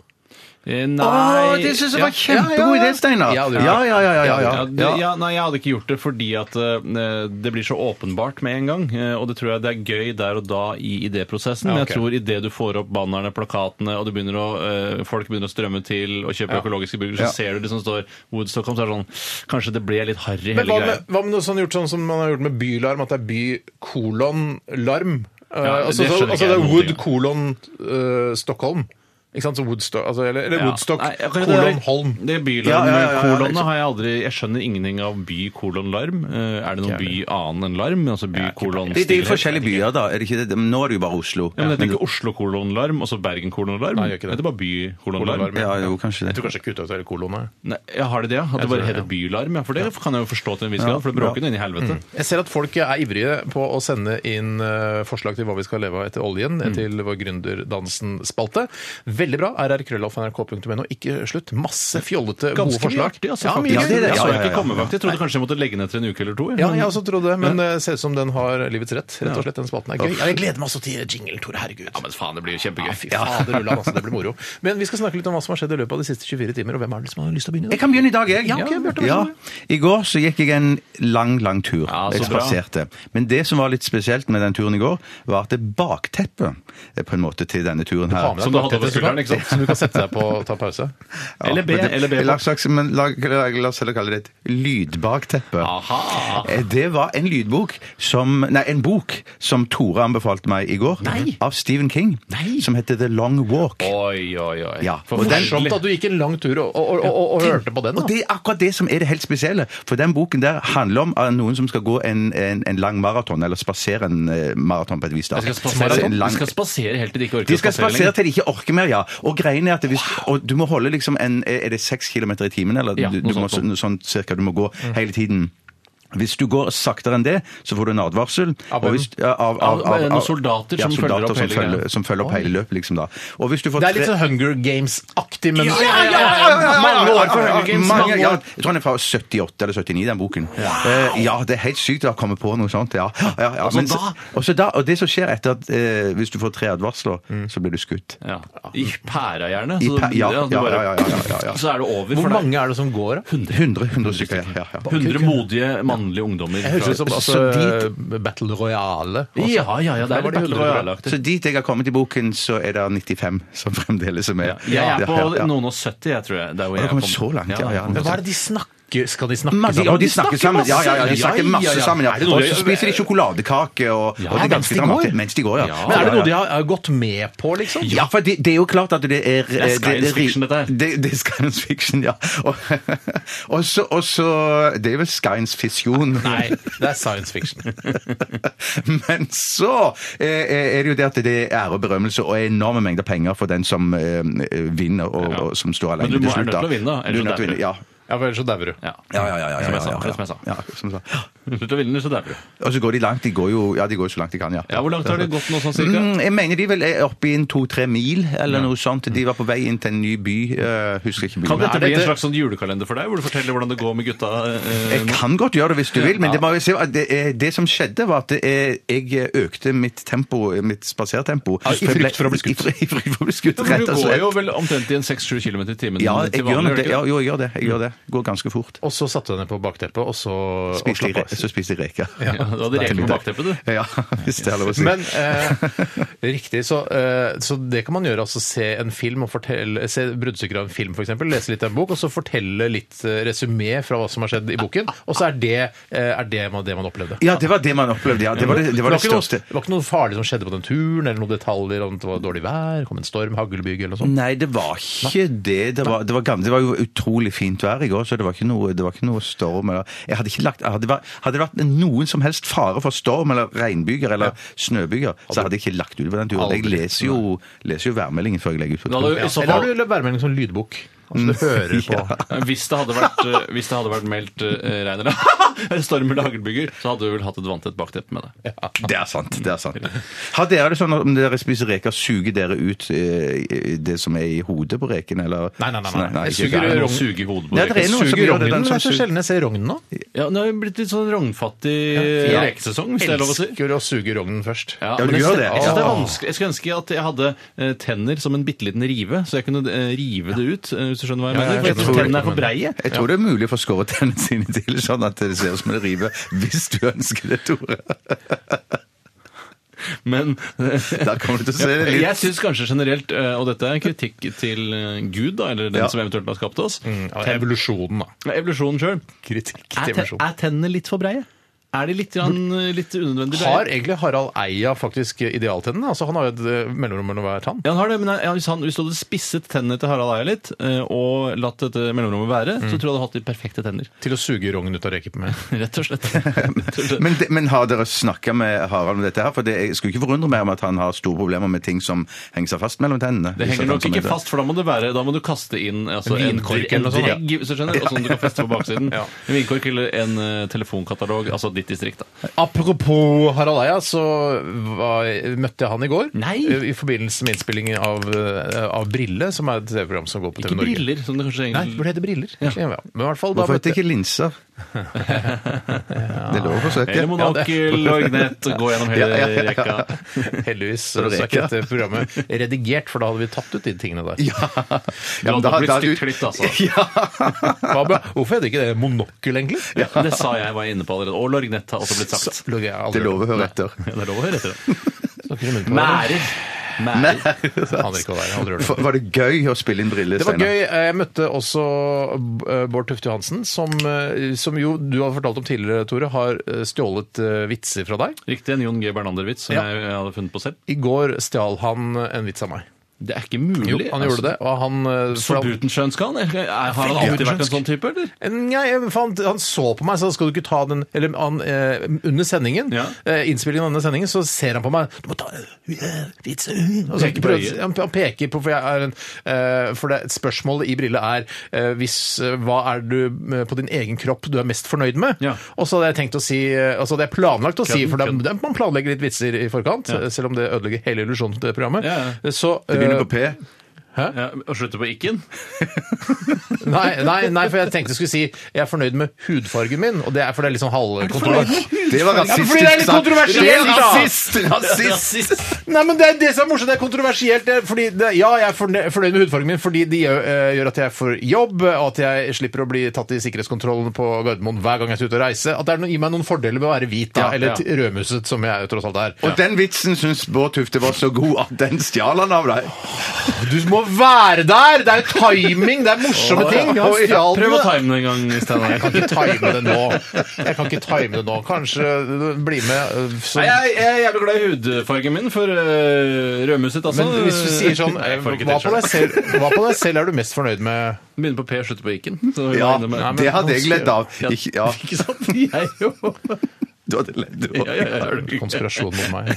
Speaker 3: Eh, Nei
Speaker 2: Å, det synes jeg var
Speaker 3: Ja.
Speaker 2: kjempegod idé, Steinar!
Speaker 1: Ja,
Speaker 2: Ja,
Speaker 1: det-
Speaker 2: ja, ja. ja, ja,
Speaker 3: Ja, det,
Speaker 2: ja.
Speaker 3: ja, nei, jeg hadde ikke gjort det fordi at eh, det blir så åpenbart med en gang. eh, og det tror jeg det er gøy der og da i idéprosessen.
Speaker 1: ok.
Speaker 3: Men jeg tror idet du får opp bannerne, plakatene, og det begynner å, eh, folk begynner å strømme til og kjøpe økologiske burgere, så
Speaker 2: Ja.
Speaker 3: ser du de som står Woodstock, så er det sånn Kanskje det ble litt harry,
Speaker 1: Men
Speaker 3: hele
Speaker 1: hva
Speaker 3: greia.
Speaker 1: med, hva med noe sånn gjort sånn som man har gjort med bylarm, at det er by kolon larm? Eh,
Speaker 3: Ja, det
Speaker 1: altså, så,
Speaker 3: skjønner ikke
Speaker 1: altså
Speaker 3: jeg
Speaker 1: det er
Speaker 3: noen
Speaker 1: Wood
Speaker 3: ting av.
Speaker 1: kolon eh, Stockholm. Ikke sant? Så Woodstock, altså, eller eller
Speaker 3: Ja.
Speaker 1: Woodstock
Speaker 3: Nei, jeg kan ikke-
Speaker 1: kolon Holm.
Speaker 3: Det bylarm
Speaker 2: Ja, ja, ja, ja,
Speaker 3: kolonne
Speaker 2: liksom.
Speaker 3: har jeg aldri Jeg skjønner ingenting av by kolon larm. Eh, er det noen by annen enn larm? Altså by kolon
Speaker 2: Det, det er jo
Speaker 3: stillhet?
Speaker 2: forskjellige byer, da. Er det ikke det? Nå er det jo bare Oslo.
Speaker 3: Ja, men det heter ikke Oslo kolon larm og så Bergen kolon larm.
Speaker 1: Nei, det gjør ikke det.
Speaker 3: Det heter bare by kolon larm.
Speaker 1: Kolonlarm,
Speaker 2: Ja, jo, kanskje
Speaker 1: Jeg
Speaker 2: det.
Speaker 1: tror kanskje jeg kutta ut hele kolonet.
Speaker 3: Nei, ja, har det det, ja? At det
Speaker 1: tror det,
Speaker 3: bare heter
Speaker 1: ja.
Speaker 3: bylarm? Ja, for det kan jeg jo forstå til en viss grad, for det bråker jo inn i helvete.
Speaker 1: Jeg ser at folk er ivrige på å sende inn eh, forslag til hva vi skal leve av etter oljen, eh, til vår Gründerdansen-spalte. Veldig bra. rrkrøllalfa.nrk.no. Ikke slutt. Masse fjollete, gode
Speaker 3: Ganske
Speaker 1: forslag.
Speaker 3: mye artig, altså.
Speaker 1: Ja, mye
Speaker 3: faktisk.
Speaker 2: Ja, det er det.
Speaker 3: Jeg så
Speaker 2: Ja,
Speaker 3: jeg
Speaker 2: ja,
Speaker 3: ikke
Speaker 2: ja,
Speaker 3: komme bak. Jeg trodde kanskje jeg måtte legge ned til en uke eller to. jeg.
Speaker 1: Ja, altså.
Speaker 3: Men-
Speaker 1: jeg også trodde det, men det ser ut som den har livets rett. Rett og slett, den spalten er gøy. Ja, Jeg gleder meg også til jinglen, Tore. Herregud.
Speaker 3: Ja, men faen, det blir jo kjempegøy.
Speaker 1: Ah, Fy fader, Ulland, altså, det blir moro. Men vi skal snakke litt om hva som har skjedd i løpet av de siste 24 timer, og hvem er det som har lyst til å begynne i
Speaker 2: Jeg
Speaker 1: dag?
Speaker 2: kan begynne i dag, jeg.
Speaker 1: Ja, ok, Bjarte, vær så
Speaker 2: Ja.
Speaker 1: god.
Speaker 2: I går så gikk jeg en lang, lang tur.
Speaker 3: Ja, så
Speaker 2: jeg
Speaker 3: bra.
Speaker 2: spaserte. Men det som var litt spesielt med den turen i går, var at det bakteppet eh, på en måte til denne turen her
Speaker 1: Ta med deg
Speaker 3: Som du hadde
Speaker 1: bakteppet,
Speaker 3: over skulderen, ikke sant?
Speaker 1: Som du kan sette deg på og ta pause.
Speaker 2: Ja,
Speaker 3: LB,
Speaker 2: men det-
Speaker 3: LB.
Speaker 2: La oss slags- men la- la- la oss heller kalle det et lydbakteppe.
Speaker 3: Aha!
Speaker 2: Eh, Det var en lydbok som Nei, en bok som Tore anbefalte meg i går. Av Stephen King. Som heter The Long Walk.
Speaker 3: Oi, oi, oi.
Speaker 2: Ja,
Speaker 3: For
Speaker 2: og den-
Speaker 1: Morsomt at du gikk en lang tur og, og, og, og, og hørte på den. da.
Speaker 2: Og det er akkurat det som er det helt spesielle. For den boken der handler om eh, noen som skal gå en, en, en lang maraton, eller spasere en eh, maraton på et vis. da.
Speaker 3: Jeg skal
Speaker 2: Altså,
Speaker 3: spasere,
Speaker 2: en lang-
Speaker 3: de skal spasere helt til de ikke orker
Speaker 2: De skal
Speaker 3: å spasere lenger.
Speaker 2: spasere til de ikke orker mer, ja. Og greien er at hvis, og du må holde liksom en, Er det seks kilometer i timen, eller
Speaker 3: Ja,
Speaker 2: du,
Speaker 3: noe Mm.
Speaker 2: du må,
Speaker 3: sånt.
Speaker 2: sånn, sånn cirka du må gå hele tiden? Hvis du går saktere enn det, så får du en advarsel.
Speaker 1: Av
Speaker 2: og
Speaker 1: hvem?
Speaker 2: hvis- ja, av- av-
Speaker 3: Av- eh,
Speaker 2: av-
Speaker 3: noen soldater som følger opp hele
Speaker 2: som følger,
Speaker 3: greia.
Speaker 2: som følger opp hele løpet, liksom. da. Og hvis du får
Speaker 1: Det er litt
Speaker 2: tre-
Speaker 1: sånn Hunger Games-aktig, men
Speaker 2: mange år for Hunger Games.
Speaker 1: Mange
Speaker 2: Mange, ja,
Speaker 1: år.
Speaker 2: jeg tror han er fra 78 eller 79, den boken. Eh, ja, det er helt sykt å komme på noe sånt. Ja. Ja, ja,
Speaker 3: Og så
Speaker 2: men-
Speaker 3: da?
Speaker 2: og så da? Og det som skjer etter at eh, hvis du får tre advarsler, så blir du skutt.
Speaker 3: Ja. I pæra gjerne.
Speaker 2: I
Speaker 3: Så,
Speaker 2: pæ- ja,
Speaker 3: ja, du
Speaker 2: ja,
Speaker 3: bare-
Speaker 2: ja, ja, ja, ja.
Speaker 3: så er det over.
Speaker 1: Hvor
Speaker 3: for deg.
Speaker 1: mange er det som går, da?
Speaker 2: 100, 100 stykker. Ja, ja.
Speaker 3: 100 modige mannlige ungdommer.
Speaker 1: Jeg høres ut som altså,
Speaker 2: Så
Speaker 1: Battle Royale. også.
Speaker 3: Ja, ja, ja. Det
Speaker 1: Der
Speaker 3: er
Speaker 1: var
Speaker 3: litt
Speaker 1: de
Speaker 3: Battle
Speaker 1: 100
Speaker 3: Royale-aktig.
Speaker 2: Så dit jeg har kommet i boken, så er det 95 som fremdeles er med.
Speaker 3: Jeg er på
Speaker 2: Ja, ja, ja.
Speaker 3: noen og 70, jeg tror jeg. Der hvor
Speaker 2: Har du
Speaker 3: jeg
Speaker 2: kommet
Speaker 3: kom.
Speaker 2: så langt? Ja, ja.
Speaker 1: Men hva er det de snakker Skal de snakke
Speaker 2: Men de,
Speaker 1: sammen?
Speaker 2: og de snakker sammen. Ja, ja, ja, de snakker
Speaker 1: Ja, ja,
Speaker 2: masse
Speaker 1: ja.
Speaker 2: sammen. Ja.
Speaker 1: Er det noe
Speaker 2: Og
Speaker 1: de-
Speaker 2: så spiser de sjokoladekake og, og det er
Speaker 1: mens de
Speaker 2: ganske
Speaker 1: går?
Speaker 2: dramatisk. Mens de går, ja.
Speaker 1: Men er det
Speaker 2: Ja, ja,
Speaker 1: noe
Speaker 2: ja.
Speaker 1: de har har gått med på, liksom?
Speaker 2: Ja, for det, det er jo klart at det er eh, Det
Speaker 3: science fiction, dette her.
Speaker 2: Det, det er science fiction, ja. Og, og, så, og så Det er vel science
Speaker 3: Ah,
Speaker 2: fiction.
Speaker 1: Nei, det er science fiction.
Speaker 2: Men så eh, er det jo det at det er ære og berømmelse og enorme mengder penger for den som eh, vinner, og,
Speaker 3: Ja.
Speaker 2: og som står
Speaker 3: Men du
Speaker 2: alene
Speaker 3: må-
Speaker 2: til
Speaker 3: er
Speaker 2: slutt.
Speaker 3: nødt til å vinne, da,
Speaker 2: Du
Speaker 3: ellers
Speaker 2: er nødt til å
Speaker 3: dør du.
Speaker 2: vinne, ja.
Speaker 1: Ja, for ellers så dauer du.
Speaker 3: Ja.
Speaker 2: Ja, ja, ja. ja, ja, ja, ja.
Speaker 3: Som jeg sa, som jeg sa.
Speaker 2: Ja, som jeg sa.
Speaker 3: Slutt å ville den, så dauer du.
Speaker 2: Og så går de langt. De går jo ja, de går jo så langt de kan, ja.
Speaker 3: Ja, hvor langt har det gått nå, sånn cirka?
Speaker 2: Mm, jeg mener de vel er oppe i en to-tre mil, eller noe sånt. De var på vei inn til en ny by. eh, husker ikke byen.
Speaker 3: Kan dette
Speaker 2: Er det-
Speaker 3: bli en slags sånn julekalender for deg, hvor du forteller hvordan det går med gutta? Eh,
Speaker 2: Jeg kan godt gjøre det hvis du vil, men det, må jeg si, at det, er- det som skjedde, var at det er, jeg økte mitt tempo, mitt spasertempo.
Speaker 1: Ja, i
Speaker 2: jeg
Speaker 1: frykt for å bli skutt.
Speaker 2: I frykt i frykt for å bli skutt,
Speaker 3: for
Speaker 2: rett
Speaker 3: du
Speaker 2: og
Speaker 3: går jo
Speaker 2: slett.
Speaker 3: vel omtrent i en 6-7 km i timen
Speaker 2: Ja,
Speaker 3: til
Speaker 2: jeg gjør nok
Speaker 3: vanlig, gjør
Speaker 2: det.
Speaker 3: du ikke
Speaker 2: Ja, jo, jeg gjør det. Jeg gjør det. Går ganske fort.
Speaker 1: Og så satte du henne på bakteppet, og så og
Speaker 2: Spiste de,
Speaker 1: slapp
Speaker 2: re-
Speaker 1: av.
Speaker 2: så spiste de reker.
Speaker 3: Ja, du hadde reker på bakteppet, du.
Speaker 2: Ja, hvis det er lov å si.
Speaker 1: Men eh, riktig, så, eh, så det kan man gjøre. altså Se en film og fortelle, se bruddstykker av en film, f.eks. Lese litt av en bok, og så fortelle litt eh, resumé fra hva som har skjedd i boken. Og så er det, eh, er det man, det man opplevde.
Speaker 2: ja, det var det man opplevde. Ja, det var det, det, var det
Speaker 1: ikke noe,
Speaker 2: største.
Speaker 1: det var ikke noe farlig som skjedde på den turen, eller noen detaljer om det var dårlig vær, kom en storm, haglbyge eller noe sånt.
Speaker 2: Nei, det var ikke det. Det var, det var, gans- det var jo utrolig fint vær i går, så det var ikke noe, det var ikke noe storm. Eller, jeg hadde ikke lagt, hadde, det vært- hadde det vært noen som helst fare for storm eller regnbyger eller snøbyger, så hadde jeg ikke lagt ut på den turen. Jeg
Speaker 3: Aldri.
Speaker 2: leser jo, leser jo værmeldingen før jeg legger ut på
Speaker 3: Men hadde
Speaker 2: turen.
Speaker 3: du- i så
Speaker 1: Eller har
Speaker 3: fall-
Speaker 1: du lagt værmelding som lydbok? Altså du hører på
Speaker 3: Hvis det hadde vært, eh, hvis det hadde vært meldt eh, regn eller storm eller haglbyger, så hadde du vel hatt et vanntett bakteppe med deg.
Speaker 2: Det er sant. det er sant. Har dere det sånn at om dere spiser reker, suger dere ut eh, det som er i hodet på reken, eller
Speaker 1: Nei, nei, nei, nei. Jeg
Speaker 2: ikke-
Speaker 1: suger-
Speaker 3: Det er noe
Speaker 1: rogn-
Speaker 3: suge i hodet på
Speaker 2: Nei, det
Speaker 3: reker.
Speaker 2: er noen som
Speaker 1: Suger
Speaker 2: gjør det,
Speaker 1: rognen?
Speaker 2: den
Speaker 1: Det
Speaker 2: som
Speaker 1: er så
Speaker 2: suger-
Speaker 1: sjelden jeg ser rognen nå.
Speaker 3: Ja, nå har vi blitt litt sånn rognfattig
Speaker 1: Ja.
Speaker 3: rekesesong, hvis det er lov å si.
Speaker 1: Elsker å suge rognen først.
Speaker 3: Ja,
Speaker 2: Ja,
Speaker 3: men
Speaker 2: du
Speaker 3: jeg,
Speaker 2: gjør
Speaker 3: synes-
Speaker 2: det.
Speaker 3: Jeg, synes det er
Speaker 2: Ja.
Speaker 3: vanskelig. jeg skulle ønske at jeg hadde eh, tenner som en bitte liten rive, så jeg kunne eh, rive det ut. eh, hvis du skjønner hva jeg
Speaker 1: Ja, ja,
Speaker 3: mener.
Speaker 1: jeg
Speaker 3: For
Speaker 1: skjønner
Speaker 3: jeg synes
Speaker 1: hva du
Speaker 3: tennene er for
Speaker 1: mener.
Speaker 3: breie.
Speaker 2: Jeg tror det er mulig å få skåret tennene sine til sånn at det ser ut som en rive, hvis du ønsker det, Tore.
Speaker 3: Men eh,
Speaker 2: Der kommer du til å se det
Speaker 3: jeg
Speaker 2: litt.
Speaker 3: syns kanskje generelt, eh, og dette er en kritikk til eh, Gud, da, eller den
Speaker 2: Ja.
Speaker 3: som eventuelt har skapt oss,
Speaker 1: Mm, Ja, Evolusjonen, da.
Speaker 3: evolusjonen sjøl,
Speaker 1: Kritikk
Speaker 3: er,
Speaker 1: til
Speaker 3: ten,
Speaker 1: evolusjonen.
Speaker 3: er tennene litt for breie? Er de litt, grann, eh, litt unødvendig breie?
Speaker 1: Har egentlig Harald Eia faktisk idealtennene? Altså, han har jo et eh, mellomrom mellom hver tann.
Speaker 3: Ja, han har det, men eh, ja, hvis, han, hvis du hadde spisset tennene til Harald Eia litt, eh, og latt dette mellomrommet være,
Speaker 2: Mm.
Speaker 3: så tror jeg du hadde hatt de perfekte tenner.
Speaker 1: Til å suge rognen ut av reket med.
Speaker 3: Rett og slett. Rett og slett.
Speaker 2: Men, det- men har dere snakka med Harald om dette her? For det, Jeg skulle ikke forundre meg om at han har store problemer med ting som henger seg fast mellom tennene.
Speaker 3: Det
Speaker 2: Hvis at
Speaker 3: henger
Speaker 2: han
Speaker 3: nok
Speaker 2: som
Speaker 3: ikke
Speaker 2: heter-
Speaker 3: fast, for da må, det være, da må du kaste inn altså, en,
Speaker 1: Vinkork
Speaker 3: kork,
Speaker 1: eller
Speaker 3: en
Speaker 1: noe sånt, ja.
Speaker 3: dregg, hvis du skjønner, og sånn du kan feste på baksiden. En vinkork eller en eh, telefonkatalog, altså ditt distrikt. da.
Speaker 1: Apropos Harald Eia, så var, møtte jeg han i går. Eh,
Speaker 3: Nei!
Speaker 1: I forbindelse med innspillingen av, eh, av Brille, som er et TV-program som går på TV
Speaker 3: Ikke
Speaker 1: Norge.
Speaker 3: briller, som det kanskje
Speaker 1: Nei,
Speaker 3: egentlig
Speaker 1: burde hete Briller. Ja. Men i hvert fall, da
Speaker 2: Hvorfor heter
Speaker 1: møtte
Speaker 2: det ikke linser? Det er lov å
Speaker 3: Eller
Speaker 2: forsøke.
Speaker 3: monokkel og gnett, gå gjennom
Speaker 2: Ja,
Speaker 3: hele
Speaker 2: ja, ja, ja.
Speaker 3: rekka.
Speaker 1: Heldigvis så
Speaker 2: det
Speaker 1: er
Speaker 2: reker,
Speaker 1: ikke
Speaker 2: ja.
Speaker 1: dette programmet redigert, for da hadde vi tatt ut de tingene der.
Speaker 2: Ja.
Speaker 3: Du
Speaker 2: men
Speaker 3: hadde
Speaker 2: da-
Speaker 3: blitt
Speaker 2: da-
Speaker 3: stygt klitt, altså.
Speaker 1: Hva bra. Hvorfor heter det ikke det monokkel, egentlig?
Speaker 3: Det sa jeg var inne på allerede. Og lorgnett har også blitt sagt.
Speaker 1: Så- jeg har aldri
Speaker 2: Det er lov å
Speaker 1: hørt om.
Speaker 2: høre etter.
Speaker 3: Ja, det er lov å høre etter det.
Speaker 1: Snakker i munnen på hverandre.
Speaker 3: Mærer. Mærer.
Speaker 1: Aner ikke hva det er. Aldri hørt om.
Speaker 2: For- Var det gøy å spille inn briller,
Speaker 1: Det var
Speaker 2: Steinar?
Speaker 1: gøy. Jeg møtte også eh, Bård Tufte Johansen, som, eh, som jo du har fortalt om tidligere, Tore, har eh, stjålet eh, vitser fra deg.
Speaker 3: Riktig en Jon G. Bernander-vits som
Speaker 1: Ja.
Speaker 3: jeg hadde funnet på selv.
Speaker 1: I går stjal han en vits av meg.
Speaker 3: Det er ikke mulig.
Speaker 1: Jo, han gjorde det. Og han, eh, for
Speaker 3: Så
Speaker 1: han,
Speaker 3: butenskjønsk han? Er- er- Har han alltid vært en sånn type, eller?
Speaker 1: Nei, for han, han så på meg, så skal du ikke ta den Eller han, eh, under sendingen,
Speaker 3: Ja.
Speaker 1: eh, innspillingen av denne sendingen, så ser han på meg Du må ta eh, vits eh», og så
Speaker 3: Peker på
Speaker 1: prøver-
Speaker 3: øyet.
Speaker 1: han, han peker på For, jeg er en, eh, for det, spørsmålet i brille er eh, hvis, eh, Hva er du eh, på din egen kropp du er mest fornøyd med?
Speaker 3: Ja.
Speaker 1: Og så hadde jeg tenkt å si eh, Altså hadde jeg planlagt å si,
Speaker 3: Kødden,
Speaker 1: for det,
Speaker 3: kødden.
Speaker 1: det, man planlegger litt vitser i forkant, eh, selv om det ødelegger hele illusjonen til det programmet.
Speaker 3: Ja, ja.
Speaker 1: Så,
Speaker 2: Det
Speaker 1: eh,
Speaker 2: begynner på P.
Speaker 3: Ja, og slutter på ikken?
Speaker 1: Nei, nei, nei, for jeg tenkte jeg skulle si jeg er fornøyd med hudfargen min, og det er for det er litt sånn halvkontrollert.
Speaker 2: Det var rasistisk.
Speaker 1: fordi det er litt
Speaker 2: sagt.
Speaker 1: kontroversielt,
Speaker 2: Det er
Speaker 1: da.
Speaker 2: Rasist! Rasist!
Speaker 1: Nei, men det er det som er morsomt, det er kontroversielt. Det er fordi det, ja, jeg er fornøyd, fornøyd med hudfargen min fordi de gjør, eh, gjør at jeg får jobb, og at jeg slipper å bli tatt i sikkerhetskontrollen på Gardermoen hver gang jeg skal ut og reise. At det er noe, gir meg noen fordeler med å være hvit, da,
Speaker 3: Ja,
Speaker 1: eller
Speaker 3: ja.
Speaker 1: t- rødmuset, som jeg tross alt er.
Speaker 2: Og den vitsen syns Bård Tufte var så god at den stjal han av deg.
Speaker 1: Du må være der! Det er jo timing, det er morsomme ting! Han
Speaker 2: Oi, ja,
Speaker 1: stjal
Speaker 3: Prøv å
Speaker 1: det.
Speaker 3: time den en gang, Steinar.
Speaker 1: Jeg kan ikke time det nå. Jeg kan ikke time det nå. Kanskje du blir med eh, som-
Speaker 3: Nei, jeg, jeg er jævlig glad i hudfargen min, for uh, rødmusset, altså.
Speaker 1: Men hvis du sier sånn eh,
Speaker 3: Jeg får ikke
Speaker 1: hva på,
Speaker 3: til
Speaker 1: deg
Speaker 3: selv.
Speaker 1: selv, hva på deg selv er du mest fornøyd med?
Speaker 3: Begynner på P og slutter på ikken. Så vi
Speaker 2: Ja,
Speaker 3: var inne med-
Speaker 2: det hadde jeg ledd av.
Speaker 3: Ja,
Speaker 2: Ikke, ja,
Speaker 3: Ikke sant? Jeg jo.
Speaker 2: du hadde ledd
Speaker 3: Ja, ja,
Speaker 2: av.
Speaker 3: ja, ja.
Speaker 1: Konspirasjon mot meg.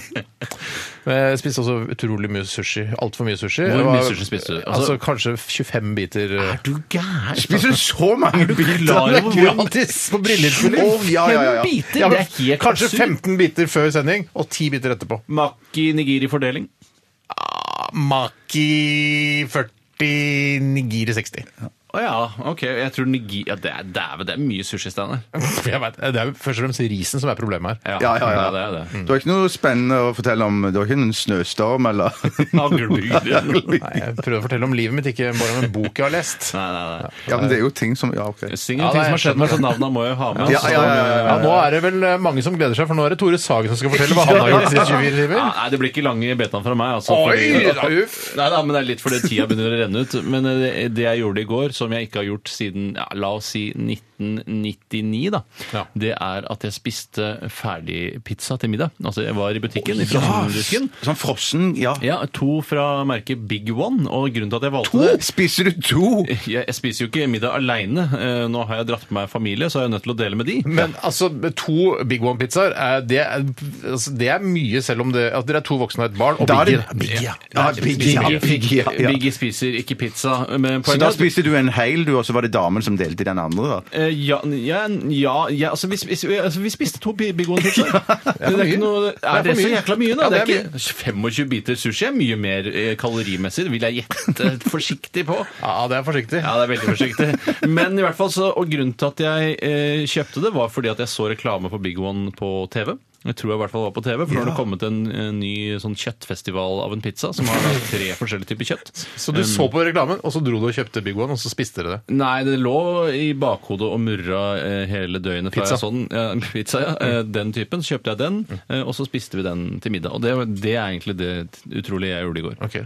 Speaker 1: Men Jeg spiste også utrolig mye sushi. Altfor mye sushi.
Speaker 3: Hvor
Speaker 1: Jeg
Speaker 3: mye sushi spiste du?
Speaker 1: Altså,
Speaker 3: Altså-
Speaker 1: kanskje 25 biter. eh,
Speaker 3: Er du gæren?
Speaker 2: Spiser du så mange
Speaker 3: klar
Speaker 2: biter?
Speaker 3: over hvor-
Speaker 1: Gratis på Brillespiller!
Speaker 2: Å, ja, ja, ja, ja.
Speaker 3: Fem biter?
Speaker 1: Ja, men
Speaker 3: det er helt
Speaker 1: kanskje
Speaker 3: absurd.
Speaker 1: 15 biter før sending, og 10 biter etterpå.
Speaker 3: Maki nigiri-fordeling.
Speaker 1: Maki 40, nigiri 60.
Speaker 3: Å ja, ok. Jeg tror nigiri ja, det, er, dæven, det er mye sushi, Steinar.
Speaker 1: Jeg vet, det er jo først og fremst risen som er problemet her.
Speaker 2: Ja, ja, ja.
Speaker 3: Det er det.
Speaker 2: Det var ikke noe spennende å fortelle om. Det var ikke en snøstorm eller
Speaker 3: Haglbyger.
Speaker 1: Nei, jeg prøvde å fortelle om livet mitt, ikke bare om en bok jeg har lest.
Speaker 3: Nei, nei, nei.
Speaker 2: Ja, men det er jo ting som Ja, OK.
Speaker 3: Syng
Speaker 1: Ja,
Speaker 3: en ting
Speaker 1: nei,
Speaker 3: som har skjedd meg,
Speaker 1: jeg
Speaker 3: så navna må jeg ha med.
Speaker 2: Ja,
Speaker 3: altså.
Speaker 2: ja, ja, ja, ja.
Speaker 1: Ja, Nå er det vel eh, mange som gleder seg, for nå er det Tore Sagen som skal fortelle hva han har gjort de siste 24 timer.
Speaker 3: Ja, nei, det blir ikke lange betaen fra meg. Altså,
Speaker 1: Oi, da,
Speaker 3: fordi,
Speaker 1: uff.
Speaker 3: nei, da, men Det er litt fordi tida begynner å renne ut. Men eh, det- det jeg gjorde i går, som jeg ikke har gjort siden ja, la oss si 1999, da,
Speaker 1: Ja.
Speaker 3: det er at jeg spiste ferdig pizza til middag. Altså, Jeg var i butikken. i Frognerløkken.
Speaker 2: Sånn frossen Ja.
Speaker 3: Ja, to fra merket Big One, og grunnen til at jeg valgte
Speaker 2: To?
Speaker 3: det
Speaker 2: Spiser du to?
Speaker 3: jeg, jeg spiser jo ikke middag aleine. Nå har jeg dratt med meg familie, så er jeg nødt til å dele med de.
Speaker 1: Men altså, to Big One-pizzaer, er- det, er- altså, det er mye selv om det at dere er to voksne og et barn, og
Speaker 2: Da er
Speaker 1: Biggie.
Speaker 2: det-
Speaker 1: Biggie, ja.
Speaker 2: Ja, Biggie, ja, Biggie, ja, ja.
Speaker 3: Biggie spiser ikke pizza. Men
Speaker 2: Så
Speaker 3: poenget
Speaker 2: da
Speaker 3: er at-
Speaker 2: spiste du en hel, du, og så var det damen som delte den andre? da.
Speaker 3: Eh, ja, ja, ja, ja altså, vi, spis, altså, vi spiste to Big One pizzaer. Det er ikke noe Er
Speaker 1: Det er
Speaker 3: det
Speaker 1: for
Speaker 3: så
Speaker 1: mye.
Speaker 3: jækla mye, da?
Speaker 1: Ja,
Speaker 3: det er
Speaker 1: det er
Speaker 3: ikke 25 biter sushi er mye mer eh, kalorimessig, det vil jeg gjette forsiktig på.
Speaker 1: Ja, det er forsiktig.
Speaker 3: Ja, det er veldig forsiktig. Men i hvert fall så, og grunnen til at jeg eh, kjøpte det, var fordi at jeg så reklame på Big One på TV. Jeg tror jeg i hvert fall var på TV, for nå har det kommet en, eh, ny sånn kjøttfestival av en pizza som har da tre forskjellige typer kjøtt.
Speaker 1: Så du
Speaker 2: Mm.
Speaker 1: så på reklamen, og så dro du og kjøpte Big One, og så spiste dere det.
Speaker 3: Nei, det lå i bakhodet og murra eh, hele døgnet. fra
Speaker 1: Pizza. Mm.
Speaker 3: jeg så den. Ja, pizza, ja. Eh, Den typen. Så kjøpte jeg den, eh, og så spiste vi den til middag. Og det, var- det er egentlig det utrolige jeg gjorde i går.
Speaker 1: Okay.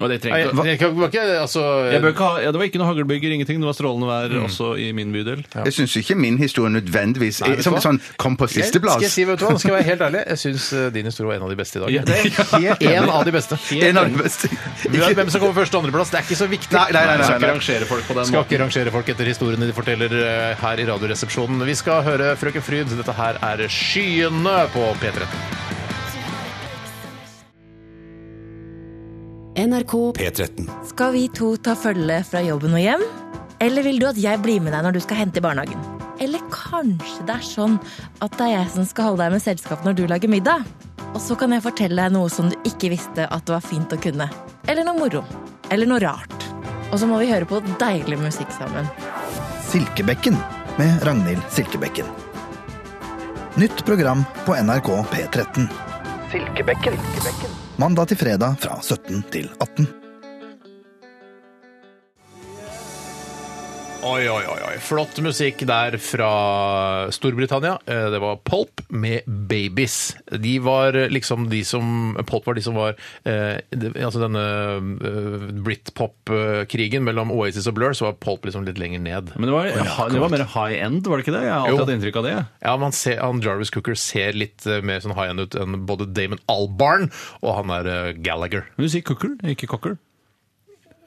Speaker 3: Og det
Speaker 1: Nei,
Speaker 3: trengte
Speaker 1: jeg, jeg, kan- var ikke, altså,
Speaker 3: jeg bør ikke ha, ja, Det var ikke noe haglbyger, ingenting. Det var strålende vær
Speaker 1: Mm.
Speaker 3: også i min bydel.
Speaker 2: Jeg syns ikke min historie nødvendigvis
Speaker 1: Nei, vet du
Speaker 2: som,
Speaker 1: hva?
Speaker 2: sånn, kom på
Speaker 1: jeg, skal jeg
Speaker 2: sisteplass.
Speaker 1: si, vet du hva? Skal jeg være helt ærlig? Jeg syns eh, din historie var en av de beste i dag.
Speaker 3: Ja, det er
Speaker 2: Helt
Speaker 1: En
Speaker 2: enig.
Speaker 1: av de beste.
Speaker 2: En av de beste.
Speaker 1: Hvem hvem som kommer først og andreplass, det er ikke så viktig.
Speaker 2: Nei, nei, nei,
Speaker 3: Jeg
Speaker 2: nei,
Speaker 3: skal ikke
Speaker 2: nei.
Speaker 3: rangere folk på den
Speaker 1: Skal
Speaker 3: måten.
Speaker 1: ikke rangere folk etter historiene de forteller eh, her i Radioresepsjonen. Vi skal høre Frøken Fryd. Dette her er Skyene på P13.
Speaker 5: NRK
Speaker 6: P13.
Speaker 7: Skal vi to ta følge fra jobben og hjem? Eller vil du at jeg blir med deg når du skal hente i barnehagen? Eller kanskje det er sånn at det er jeg som skal holde deg med selskap når du lager middag? Og så kan jeg fortelle deg noe som du ikke visste at det var fint å kunne. Eller noe moro. Eller noe rart. Og så må vi høre på deilig musikk sammen.
Speaker 8: Silkebekken med Ragnhild Silkebekken. Nytt program på NRK P13. Silkebekken. Mandag til fredag fra 17 til 18.
Speaker 1: Oi, oi, oi, oi. Flott musikk der fra Storbritannia. Eh, Det var Polp med Babies. De var liksom de som Polp var de som var eh, det- Altså denne eh, Britpop-krigen mellom Oasis og Blur, så var Polp liksom litt lenger ned.
Speaker 3: Men det var, det var mer high end, var det ikke det? Jeg har
Speaker 1: Jo.
Speaker 3: alltid hatt inntrykk av det.
Speaker 1: Ja, man ser, han Jarvis Cooker ser litt eh, mer sånn high-end ut enn både Damon Albarn og han der eh, Gallagher.
Speaker 3: Men du sier kukkel, ikke kokkel.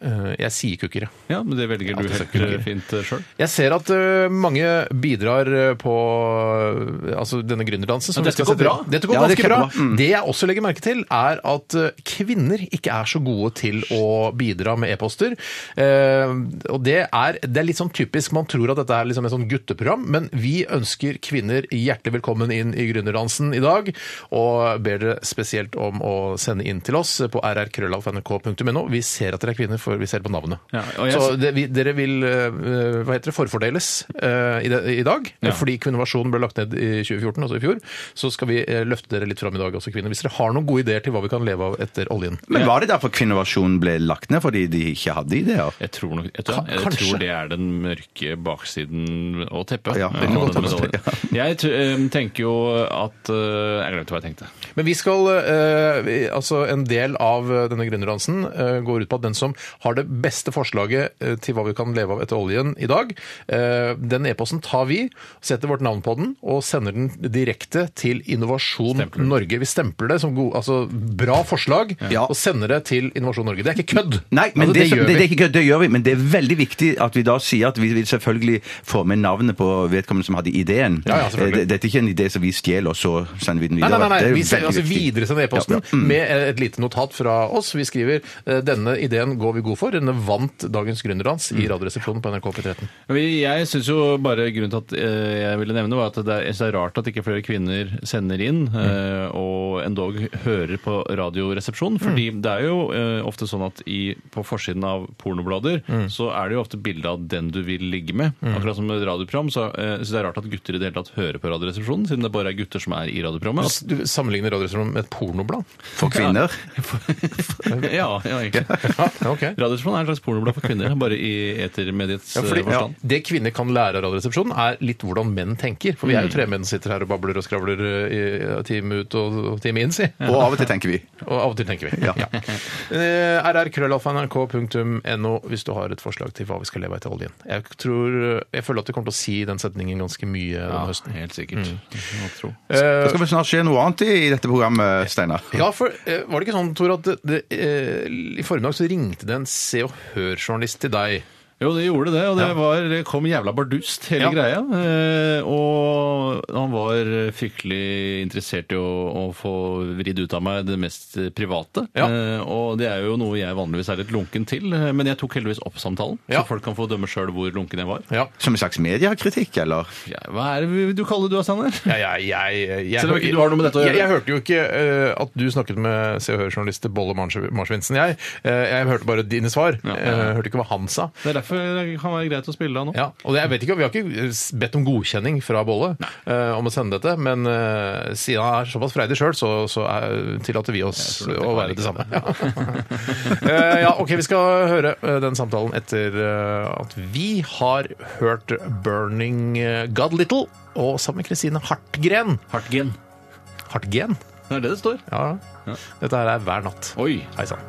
Speaker 1: Eh, Jeg sier Cooker, ja.
Speaker 3: Ja, men det velger du
Speaker 1: det er
Speaker 3: helt
Speaker 1: kukkel.
Speaker 3: eh, fint sjøl.
Speaker 1: Jeg ser at ø, mange bidrar ø, på ø, altså denne gründerdansen. som
Speaker 3: Ja,
Speaker 1: vi
Speaker 3: dette
Speaker 1: skal
Speaker 3: går
Speaker 1: sette-
Speaker 3: bra.
Speaker 1: Dette går
Speaker 2: Ja, det
Speaker 1: ganske
Speaker 2: er
Speaker 1: bra.
Speaker 2: kjempebra. Mm.
Speaker 1: Det jeg også legger merke til, er at ø, kvinner ikke er så gode til å bidra med e-poster. Eh, og det er, det er litt sånn typisk. Man tror at dette er liksom et sånn gutteprogram, men vi ønsker kvinner hjertelig velkommen inn i gründerdansen i dag, og ber dere spesielt om å sende inn til oss på rrkrøllalfa.nrk.no. Vi ser at dere er kvinner, for vi ser på navnet.
Speaker 3: Ja, og jeg-
Speaker 1: så det, vi, dere vil eh, hva heter det, forfordeles eh, i, det, i dag.
Speaker 3: Ja.
Speaker 1: Fordi kvinnovasjonen ble lagt ned i 2014, altså i fjor. Så skal vi eh, løfte dere litt fram i dag, også kvinner. Hvis dere har noen gode ideer til hva vi kan leve av etter oljen.
Speaker 2: Men var det derfor Kvinnovasjonen ble lagt ned? Fordi de ikke hadde ideer?
Speaker 3: Jeg tror, nok, jeg, tror,
Speaker 1: Ka-
Speaker 3: jeg
Speaker 1: kanskje.
Speaker 3: tror det er den mørke baksiden og teppet.
Speaker 2: Ja, det kan godt
Speaker 3: og den
Speaker 2: hende,
Speaker 3: medaljen. Jeg t- eh, tenker jo at eh, Jeg glemte hva jeg tenkte.
Speaker 1: Men vi skal eh, vi- Altså, en del av eh, denne gründerdansen eh, går ut på at den som har det beste forslaget eh, til hva vi kan leve av etter oljen i dag. Eh, Den e-posten tar vi, setter vårt navn på den og sender den direkte til Innovasjon Norge. Vi stempler det som god, altså, bra forslag og sender det til Innovasjon Norge. Det er ikke kødd!
Speaker 2: Nei, men
Speaker 1: altså,
Speaker 2: det, som-
Speaker 1: gjør
Speaker 2: det,
Speaker 1: vi.
Speaker 2: det, er ikke kødd, det gjør vi, men det er veldig viktig at vi da sier at vi vil selvfølgelig få med navnet på vedkommende som hadde ideen.
Speaker 1: Ja, ja, selvfølgelig.
Speaker 2: Eh, det- Dette er ikke en idé som vi stjeler, og så sender vi den
Speaker 1: Nei,
Speaker 2: videre.
Speaker 1: nei, nei, nei.
Speaker 2: Det er jo
Speaker 1: vi sender
Speaker 2: veldig
Speaker 1: altså
Speaker 2: viktig.
Speaker 1: videre sender e-posten
Speaker 2: Ja, ja. Mm.
Speaker 1: med et lite notat fra oss. Vi skriver eh, denne ideen går vi god for. Denne vant dagens gründerdans i
Speaker 2: Mm.
Speaker 1: Radioresepsjonen på NRK P13.
Speaker 3: Men Jeg synes jo bare grunnen til at eh, jeg ville nevne, var at det er, jeg synes det er rart at ikke flere kvinner sender inn eh, og endog hører på Radioresepsjonen. Fordi det er jo eh, ofte sånn at i, på forsiden av pornoblader så er det jo ofte bilde av den du vil ligge med. Akkurat som et radioprogram. Så, eh, så det er rart at gutter i det hele tatt hører på Radioresepsjonen, siden det bare er gutter som er i radioprogrammet. At-
Speaker 1: altså, Du sammenligner Radioresepsjonen med et pornoblad?
Speaker 2: For kvinner.
Speaker 3: ja, ja, egentlig.
Speaker 1: Ja, ok.
Speaker 3: Radioresepsjonen er en slags pornoblad for kvinner, bare i etermediets
Speaker 1: Ja,
Speaker 3: eh,
Speaker 1: fordi, ja,
Speaker 3: forstand.
Speaker 1: det kvinner kan lære av Radioresepsjonen, er litt hvordan menn tenker. For vi er jo tre menn som sitter her og babler og skravler eh, i ja, time ut og og time inn, si.
Speaker 2: Og av og til tenker vi.
Speaker 1: Og av og til tenker vi. Ja. Eh, rrkrøllalfa.nrk.no hvis du har et forslag til hva vi skal leve av etter oljen. Jeg, tror, eh, jeg føler at vi kommer til å si den setningen ganske mye denne høsten.
Speaker 3: helt sikkert.
Speaker 1: Mm.
Speaker 3: Må tro.
Speaker 2: Det skal vel snart skje noe annet i i dette programmet, Steinar.
Speaker 1: Ja, for eh, var det ikke sånn, Tor, at det, det, eh, i formiddag så ringte det en Se og Hør-journalist til deg?
Speaker 3: Jo, det gjorde det, og det, var, det kom jævla bardust, hele
Speaker 1: Ja.
Speaker 3: greia. Eh, og han var fryktelig interessert i å, å få vridd ut av meg det mest private.
Speaker 1: Ja.
Speaker 3: Eh, og det er jo noe jeg vanligvis er litt lunken til, eh, men jeg tok heldigvis opp samtalen,
Speaker 1: Ja.
Speaker 3: så folk kan få dømme sjøl hvor lunken jeg var.
Speaker 1: Ja.
Speaker 2: Som en slags mediekritikk, eller?
Speaker 3: Ja, hva er det du kaller det du, Steinar?
Speaker 1: Ja, ja, jeg, jeg, jeg,
Speaker 3: Selv om ikke du har noe med dette å gjøre.
Speaker 1: Jeg, jeg hørte jo ikke eh, at du snakket med Se og Hør-journalist Bolle Mars- Marsvinsen, jeg. Eh, jeg hørte bare dine svar.
Speaker 3: Ja.
Speaker 1: Eh, hørte ikke hva han sa.
Speaker 3: Det er derfor det kan være greit å spille av nå.
Speaker 1: Ja, og jeg vet ikke, Vi har ikke bedt om godkjenning fra Bolle eh, om å sende dette, men eh, siden han er såpass freidig sjøl, så, så er- tillater vi oss
Speaker 3: Jeg tror nok
Speaker 1: å
Speaker 3: jeg
Speaker 1: være det
Speaker 3: klarer
Speaker 1: samme. Eh, ja, OK, vi skal høre eh, den samtalen etter eh, at vi har hørt 'Burning eh, God Little' og sammen med Kristine Hartgren.
Speaker 3: Hartgen.
Speaker 1: Hartgen?
Speaker 3: Det er det det står.
Speaker 1: Ja. Dette her er hver natt.
Speaker 3: Oi.
Speaker 1: Hei sann.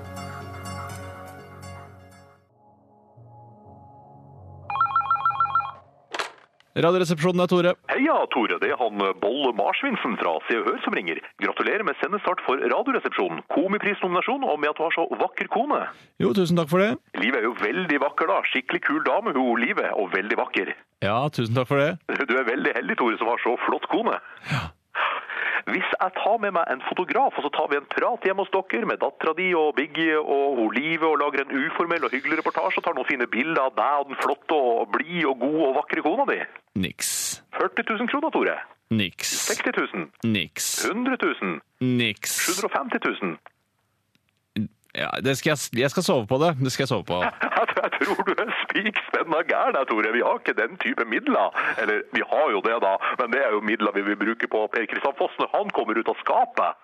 Speaker 3: Radioresepsjonen er Tore.
Speaker 5: Heia, Tore. Det er han Bolle Marsvinsen fra Se og Hør som ringer. Gratulerer med sendestart for Radioresepsjonen, Komiprisnominasjon og med at du har så vakker kone.
Speaker 3: Jo, tusen takk for det.
Speaker 5: Liv er jo veldig vakker, da. Skikkelig kul dame, hun Live. Og veldig vakker.
Speaker 3: Ja, tusen takk for det.
Speaker 5: Du er veldig heldig, Tore, som har så flott kone. Hvis jeg tar med meg en fotograf, og så tar vi en prat hjemme hos dere med dattera di og Biggie og hun Live, og lager en uformell og hyggelig reportasje og tar noen fine bilder av deg og den flotte og blide og gode og vakre kona di
Speaker 3: Niks.
Speaker 5: 40 000 kroner, Tore.
Speaker 3: Niks.
Speaker 5: 60 000.
Speaker 3: Niks.
Speaker 5: 100 000.
Speaker 3: Niks.
Speaker 5: 750 000.
Speaker 3: Ja, det skal jeg, jeg skal sove på det. Det skal jeg sove på.
Speaker 5: Jeg tror- jeg tror du er spikspenna gæren, jeg, Tore. Vi har ikke den type midler. Eller, vi har jo det, da, men det er jo midler vi vil bruke på Per Kristian Foss når han kommer ut av skapet.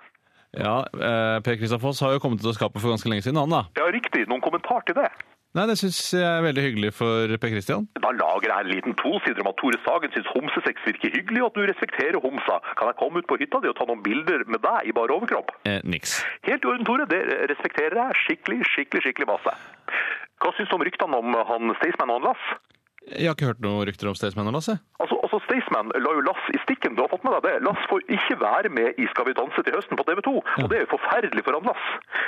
Speaker 3: Ja, eh, Per Kristian Foss har jo kommet ut av skapet for ganske lenge siden, han da.
Speaker 5: Ja, riktig. Noen kommentar til det?
Speaker 3: Nei, det syns jeg er veldig hyggelig for Per Kristian.
Speaker 5: Da lager jeg en liten tosider om at Tore Sagen syns homsesex virker hyggelig, og at du respekterer homsa. Kan jeg komme ut på hytta di og ta noen bilder med deg i bar overkropp?
Speaker 3: Eh, niks.
Speaker 5: Helt i orden, Tore. Det respekterer jeg skikkelig, skikkelig, skikkelig masse. Hva syns du om ryktene om han Staysman og han Lass?
Speaker 3: Jeg har ikke hørt noen rykter om Staysman og Lasse.
Speaker 5: Altså, altså Staysman la jo Lass i stikken, du har fått med deg det. Lass får ikke være med i Skal vi danse til høsten på TV 2, og det er jo forferdelig for han Lass.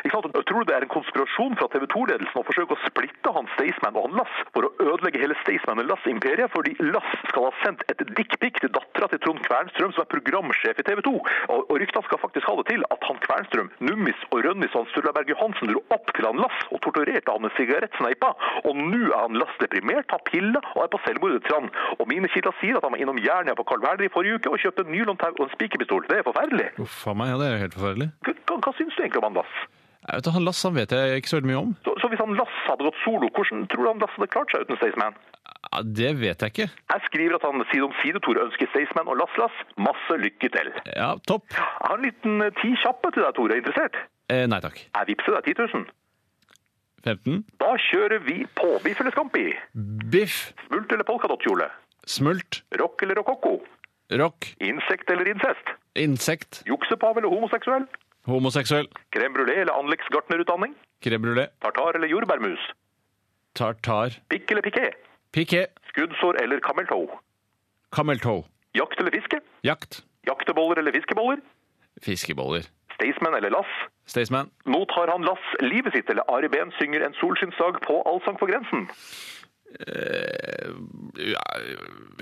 Speaker 5: Ikke sant? Tror du det er en konspirasjon fra TV 2-ledelsen å forsøke å splitte han Staysman og han Lass for å ødelegge hele Staysman og Lass-imperiet, fordi Lass skal ha sendt et dickpic til dattera til Trond Kvernstrøm, som er programsjef i TV 2, og, og ryktene skal faktisk ha det til at han Kvernstrøm, Nummis og Rønnis og han Sturlaberg Johansen dro opp til han Lass og torturerte han med sigarettsneipa, og nå er han Lass deprimert, tar piller og er på selvmordet til han. Og mine kilder sier at han var innom Jernia på Carl Werner i forrige uke og kjøpte nylontau og en spikerpistol. Det er forferdelig.
Speaker 3: Uff a meg, ja, det er jo helt forferdelig.
Speaker 5: Hva, hva- hva syns du egentlig om han Lass?
Speaker 3: Jeg vet, du, han Lasse han vet jeg ikke så veldig mye om.
Speaker 5: Så, så hvis han Lass hadde gått solo, hvordan tror du han Lass hadde klart seg uten Staysman?
Speaker 3: Ja, det vet jeg ikke.
Speaker 5: Jeg skriver at han side om side, Tore, ønsker Staysman og Lass-Lass masse lykke til.
Speaker 3: Ja, topp.
Speaker 5: Jeg har en liten eh, ti kjappe til deg, Tore. Er du Interessert?
Speaker 3: Eh, nei takk.
Speaker 5: Jeg vippser deg 10 000.
Speaker 3: 15.
Speaker 5: Da kjører vi på. Biff eller skampi?
Speaker 3: Biff.
Speaker 5: Smult eller polkadottkjole?
Speaker 3: Smult.
Speaker 5: Rock eller rokokko?
Speaker 3: Rock.
Speaker 5: Insekt eller incest?
Speaker 3: Insekt.
Speaker 5: Juksepav eller homoseksuell?
Speaker 3: Homoseksuell.
Speaker 5: Crème brulé eller anleggsgartnerutdanning?
Speaker 3: Krebrulé.
Speaker 5: Tartar eller jordbærmus?
Speaker 3: tartar,
Speaker 5: Pikk eller piké?
Speaker 3: piké,
Speaker 5: Skuddsår eller kameltå?
Speaker 3: kameltå,
Speaker 5: Jakt eller fiske?
Speaker 3: jakt,
Speaker 5: Jakteboller eller fiskeboller?
Speaker 3: fiskeboller,
Speaker 5: Staysman eller lass?
Speaker 3: Staysman,
Speaker 5: Nå tar han lass livet sitt, eller Ari Behn synger en solskinnsdag på Allsang på grensen.
Speaker 3: eh, ja,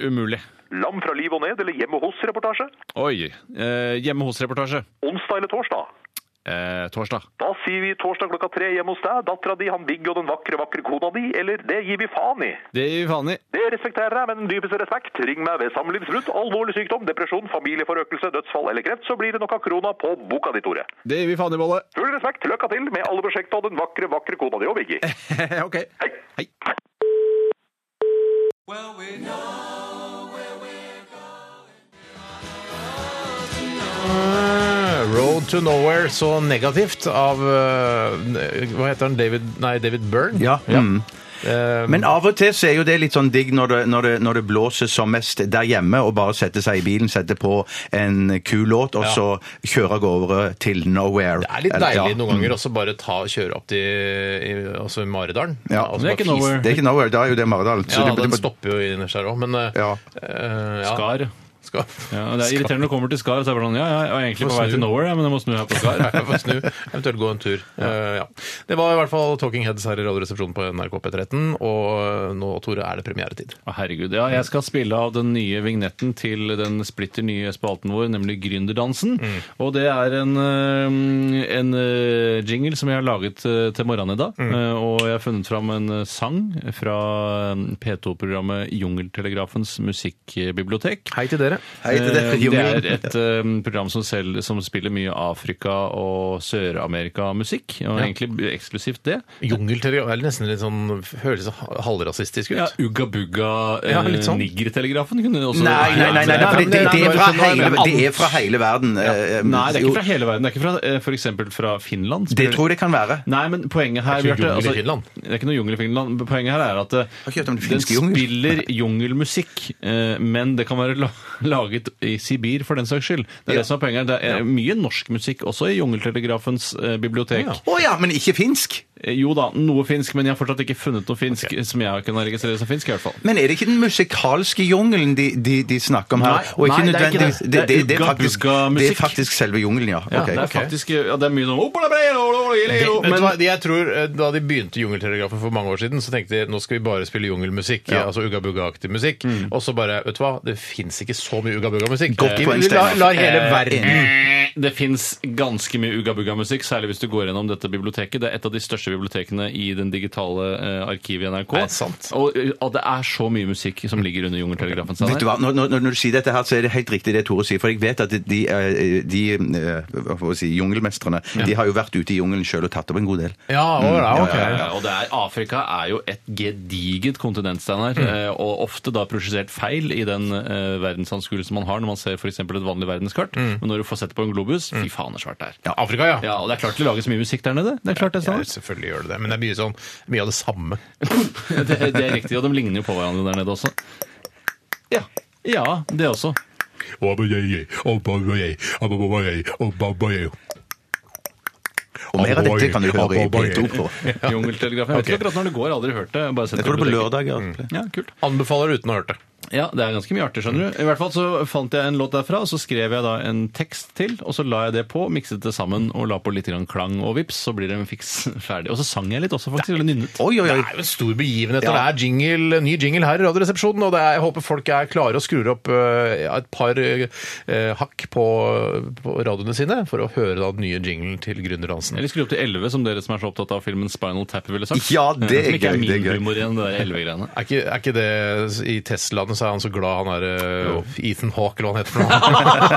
Speaker 3: umulig.
Speaker 5: Lam fra liv og ned, eller hjemme hos-reportasje.
Speaker 3: Oi, eh, hjemme hos-reportasje,
Speaker 5: Onsdag eller torsdag.
Speaker 3: eh, torsdag.
Speaker 5: Da sier vi torsdag klokka tre hjemme hos deg, dattera di, han Big og den vakre, vakre kona di, eller det gir vi faen i.
Speaker 3: Det gir vi faen i.
Speaker 5: Det respekterer jeg, men dypeste respekt. Ring meg ved samlivsbrudd, alvorlig sykdom, depresjon, familieforøkelse, dødsfall eller kreft, så blir det nok av krona på boka di, Tore.
Speaker 3: Det gir vi faen i, Bolle.
Speaker 5: Full respekt, lykke til med alle prosjekter og den vakre, vakre kona di og Biggie.
Speaker 3: Eh, ok.
Speaker 5: Hei!
Speaker 3: Hei.
Speaker 4: Well, we know where we're
Speaker 1: Road to Nowhere, så negativt av eh, Hva heter han? David, nei, David Byrne?
Speaker 2: Ja. Mm.
Speaker 1: Eh,
Speaker 2: Men av og til så er jo det litt sånn digg når det, når det, når det blåser som mest der hjemme, og bare sette seg i bilen, sette på en kul låt, og
Speaker 1: Ja.
Speaker 2: så kjøre av gårde til nowhere.
Speaker 1: det er litt
Speaker 2: Eller-
Speaker 1: deilig
Speaker 2: ja. Mm.
Speaker 1: noen ganger også bare ta, kjøre opp til i, altså i Maridalen.
Speaker 2: Ja.
Speaker 1: og så
Speaker 3: Men det
Speaker 1: bare
Speaker 3: er ikke
Speaker 1: fise-
Speaker 3: nowhere.
Speaker 2: Det er ikke nowhere, da er jo det Maridal. så
Speaker 1: Ja,
Speaker 2: det-
Speaker 1: den
Speaker 2: det-
Speaker 1: stopper jo innerst her òg, men eh,
Speaker 2: Ja.
Speaker 1: eh, ja.
Speaker 3: Skar.
Speaker 1: Skar.
Speaker 3: Ja, og det er irriterende når du kommer til Skar, så er det bare sånn, ja, ja, jeg var egentlig
Speaker 1: Må
Speaker 3: på vei
Speaker 1: snu.
Speaker 3: til nowhere, ja, men jeg må snu her på Skar.
Speaker 1: Jeg får snu, eventuelt gå en tur. Eh, ja. Det var i hvert fall Talking Heads her i Radioresepsjonen på NRK P13, og eh, nå, Tore, er det premieretid.
Speaker 3: Å, herregud. Ja, jeg skal spille av den nye vignetten til den splitter nye spalten vår, nemlig Gründerdansen. Og det er en, eh, en eh, jingle som jeg har laget eh, til morgenen i dag. Eh, Og jeg har funnet fram en eh, sang fra eh, P2-programmet Jungeltelegrafens musikkbibliotek.
Speaker 1: Hei til dere.
Speaker 2: Hei til dere,
Speaker 3: Eh, Det
Speaker 2: Jungel.
Speaker 3: er et eh, program som, selv, som spiller mye Afrika- og Sør-Amerika-musikk, og egentlig eksklusivt det.
Speaker 1: Jungelterrier er nesten litt sånn Høres halvrasistisk ut.
Speaker 3: Ja, Ugga Bugga eh,
Speaker 1: Ja, litt sånn.
Speaker 3: Niggertelegrafen kunne også
Speaker 2: Nei, nei, nei, nei,
Speaker 1: Ja,
Speaker 2: nei, for det,
Speaker 1: men
Speaker 2: det,
Speaker 1: det-
Speaker 2: det, er,
Speaker 3: sånn
Speaker 2: fra
Speaker 1: det er-
Speaker 2: hele, det er fra hele verden. eh,
Speaker 3: Nei, det er
Speaker 2: jo,
Speaker 3: ikke fra hele verden. Det er ikke fra eh, for eksempel fra Finland.
Speaker 2: Det tror jeg det kan være.
Speaker 3: Nei, men poenget her
Speaker 1: Det er ikke
Speaker 3: Bjarte,
Speaker 1: jungel
Speaker 3: altså-
Speaker 1: i Finland.
Speaker 3: Det er ikke noe jungel i Finland. men Poenget her er at eh,
Speaker 2: Har ikke hørt om det
Speaker 3: den
Speaker 2: finske jungel.
Speaker 3: spiller jungelmusikk, eh, men det kan være la- laget i Sibir for den saks skyld. Det er det som er poenget her. Det er eh, mye norsk musikk også i Jungeltelegrafens eh, bibliotek.
Speaker 2: Å ja, men ikke finsk!
Speaker 3: Eh, Jo da, noe finsk, men jeg har fortsatt ikke funnet noe finsk som jeg kan registrere som finsk, i hvert fall.
Speaker 2: Men er det ikke den musikalske jungelen de, de, de snakker om her?
Speaker 3: Nei,
Speaker 2: Og ikke
Speaker 3: nei, det er ikke
Speaker 2: nødvendigvis-
Speaker 3: det.
Speaker 2: det, det, det, er
Speaker 3: Ugga
Speaker 2: faktisk,
Speaker 3: bugga
Speaker 2: det er
Speaker 3: musikk.
Speaker 2: faktisk selve jungelen, ja.
Speaker 3: Ja,
Speaker 2: Ok.
Speaker 3: det er faktisk ja, det er mye sånn «Opala brei, lo, lo, lo, lo»,
Speaker 1: Men,
Speaker 3: men-
Speaker 1: jeg tror eh, Da de begynte Jungeltelegrafen for mange år siden, så tenkte de nå skal vi bare spille jungelmusikk. Ja. Altså uggabugga-aktig musikk. Og så bare Vet du hva, det fins ikke så mye uggabugga-musikk.
Speaker 2: Godt
Speaker 1: Vi-
Speaker 2: poeng,
Speaker 1: Vi lar,
Speaker 2: Steinar.
Speaker 1: lar hele
Speaker 3: Eh,
Speaker 1: verden
Speaker 3: Det fins ganske mye ugga-bugga-musikk, særlig hvis du går gjennom dette biblioteket. Det er et av de største bibliotekene i den digitale eh, arkivet i NRK.
Speaker 1: Er det sant?
Speaker 3: Og, eh, at det er så mye musikk som ligger under Jungeltelegrafen. Steinar.
Speaker 2: eh, Vet du hva, når, når, når du sier dette her, så er det helt riktig det Tore sier. For jeg vet at de, eh, de eh, hva får jeg si, jungelmestrene de har jo vært ute i jungelen sjøl og tatt opp en god del.
Speaker 1: Ja, å, ja, ok.
Speaker 3: Ja, ja, og det er, Afrika er jo et gedigent kontinent, Steinar, eh, og ofte da prosjektert feil i den eh, verdensanskuelsen man har når man ser f.eks. et vanlig verdenskart. Men når du får sett det på en globus, fy faen, det er svært der.
Speaker 1: Ja, Afrika, ja.
Speaker 3: Ja, og det er klart det lages mye musikk der nede. Mm. Det er klart det,
Speaker 1: Ja,
Speaker 3: Steinar.
Speaker 1: selvfølgelig gjør det det. Men det er mye, sånn, mye av det samme.
Speaker 3: det, det er riktig, og de ligner jo på hverandre der nede også. Ja, ja det også.
Speaker 2: Og mer av dette kan du høre i P2 på.
Speaker 3: Jungeltelegrafen. Jeg vet ikke akkurat når det går, jeg har aldri hørt det. Jeg har Bare sett
Speaker 2: Jeg tror det er på
Speaker 3: biblioteket.
Speaker 2: lørdager.
Speaker 3: Ja, kult.
Speaker 1: Anbefaler uten å ha hørt det.
Speaker 3: Ja, det er ganske mye artig, skjønner du. I hvert fall så fant jeg en låt derfra, og så skrev jeg da en tekst til, og så la jeg det på, mikset det sammen og la på litt grann klang og vips, så blir det en fiks ferdig. Og så sang jeg litt også, faktisk. Eller nynnet.
Speaker 2: Oi, oi,
Speaker 1: Det
Speaker 2: oi.
Speaker 1: er jo en stor begivenhet. og Det er jingle, ny jingle her i Radioresepsjonen, og det er, jeg håper folk er klare og skrur opp eh, et par eh, eh, hakk på, på radioene sine for å høre da, den nye jinglen til Gründerdansen.
Speaker 3: Eller skru opp til 11, som dere som er så opptatt av filmen Spinal Tap ville sagt.
Speaker 2: Ja, det er
Speaker 3: Som
Speaker 2: gøy,
Speaker 3: ikke er
Speaker 2: det er
Speaker 3: min
Speaker 2: gøy.
Speaker 3: humor igjen, det der 11-greiene.
Speaker 1: Er ikke, er ikke det I Teslaene så er han så glad han er eh, Ethan Hawke, eller hva han heter for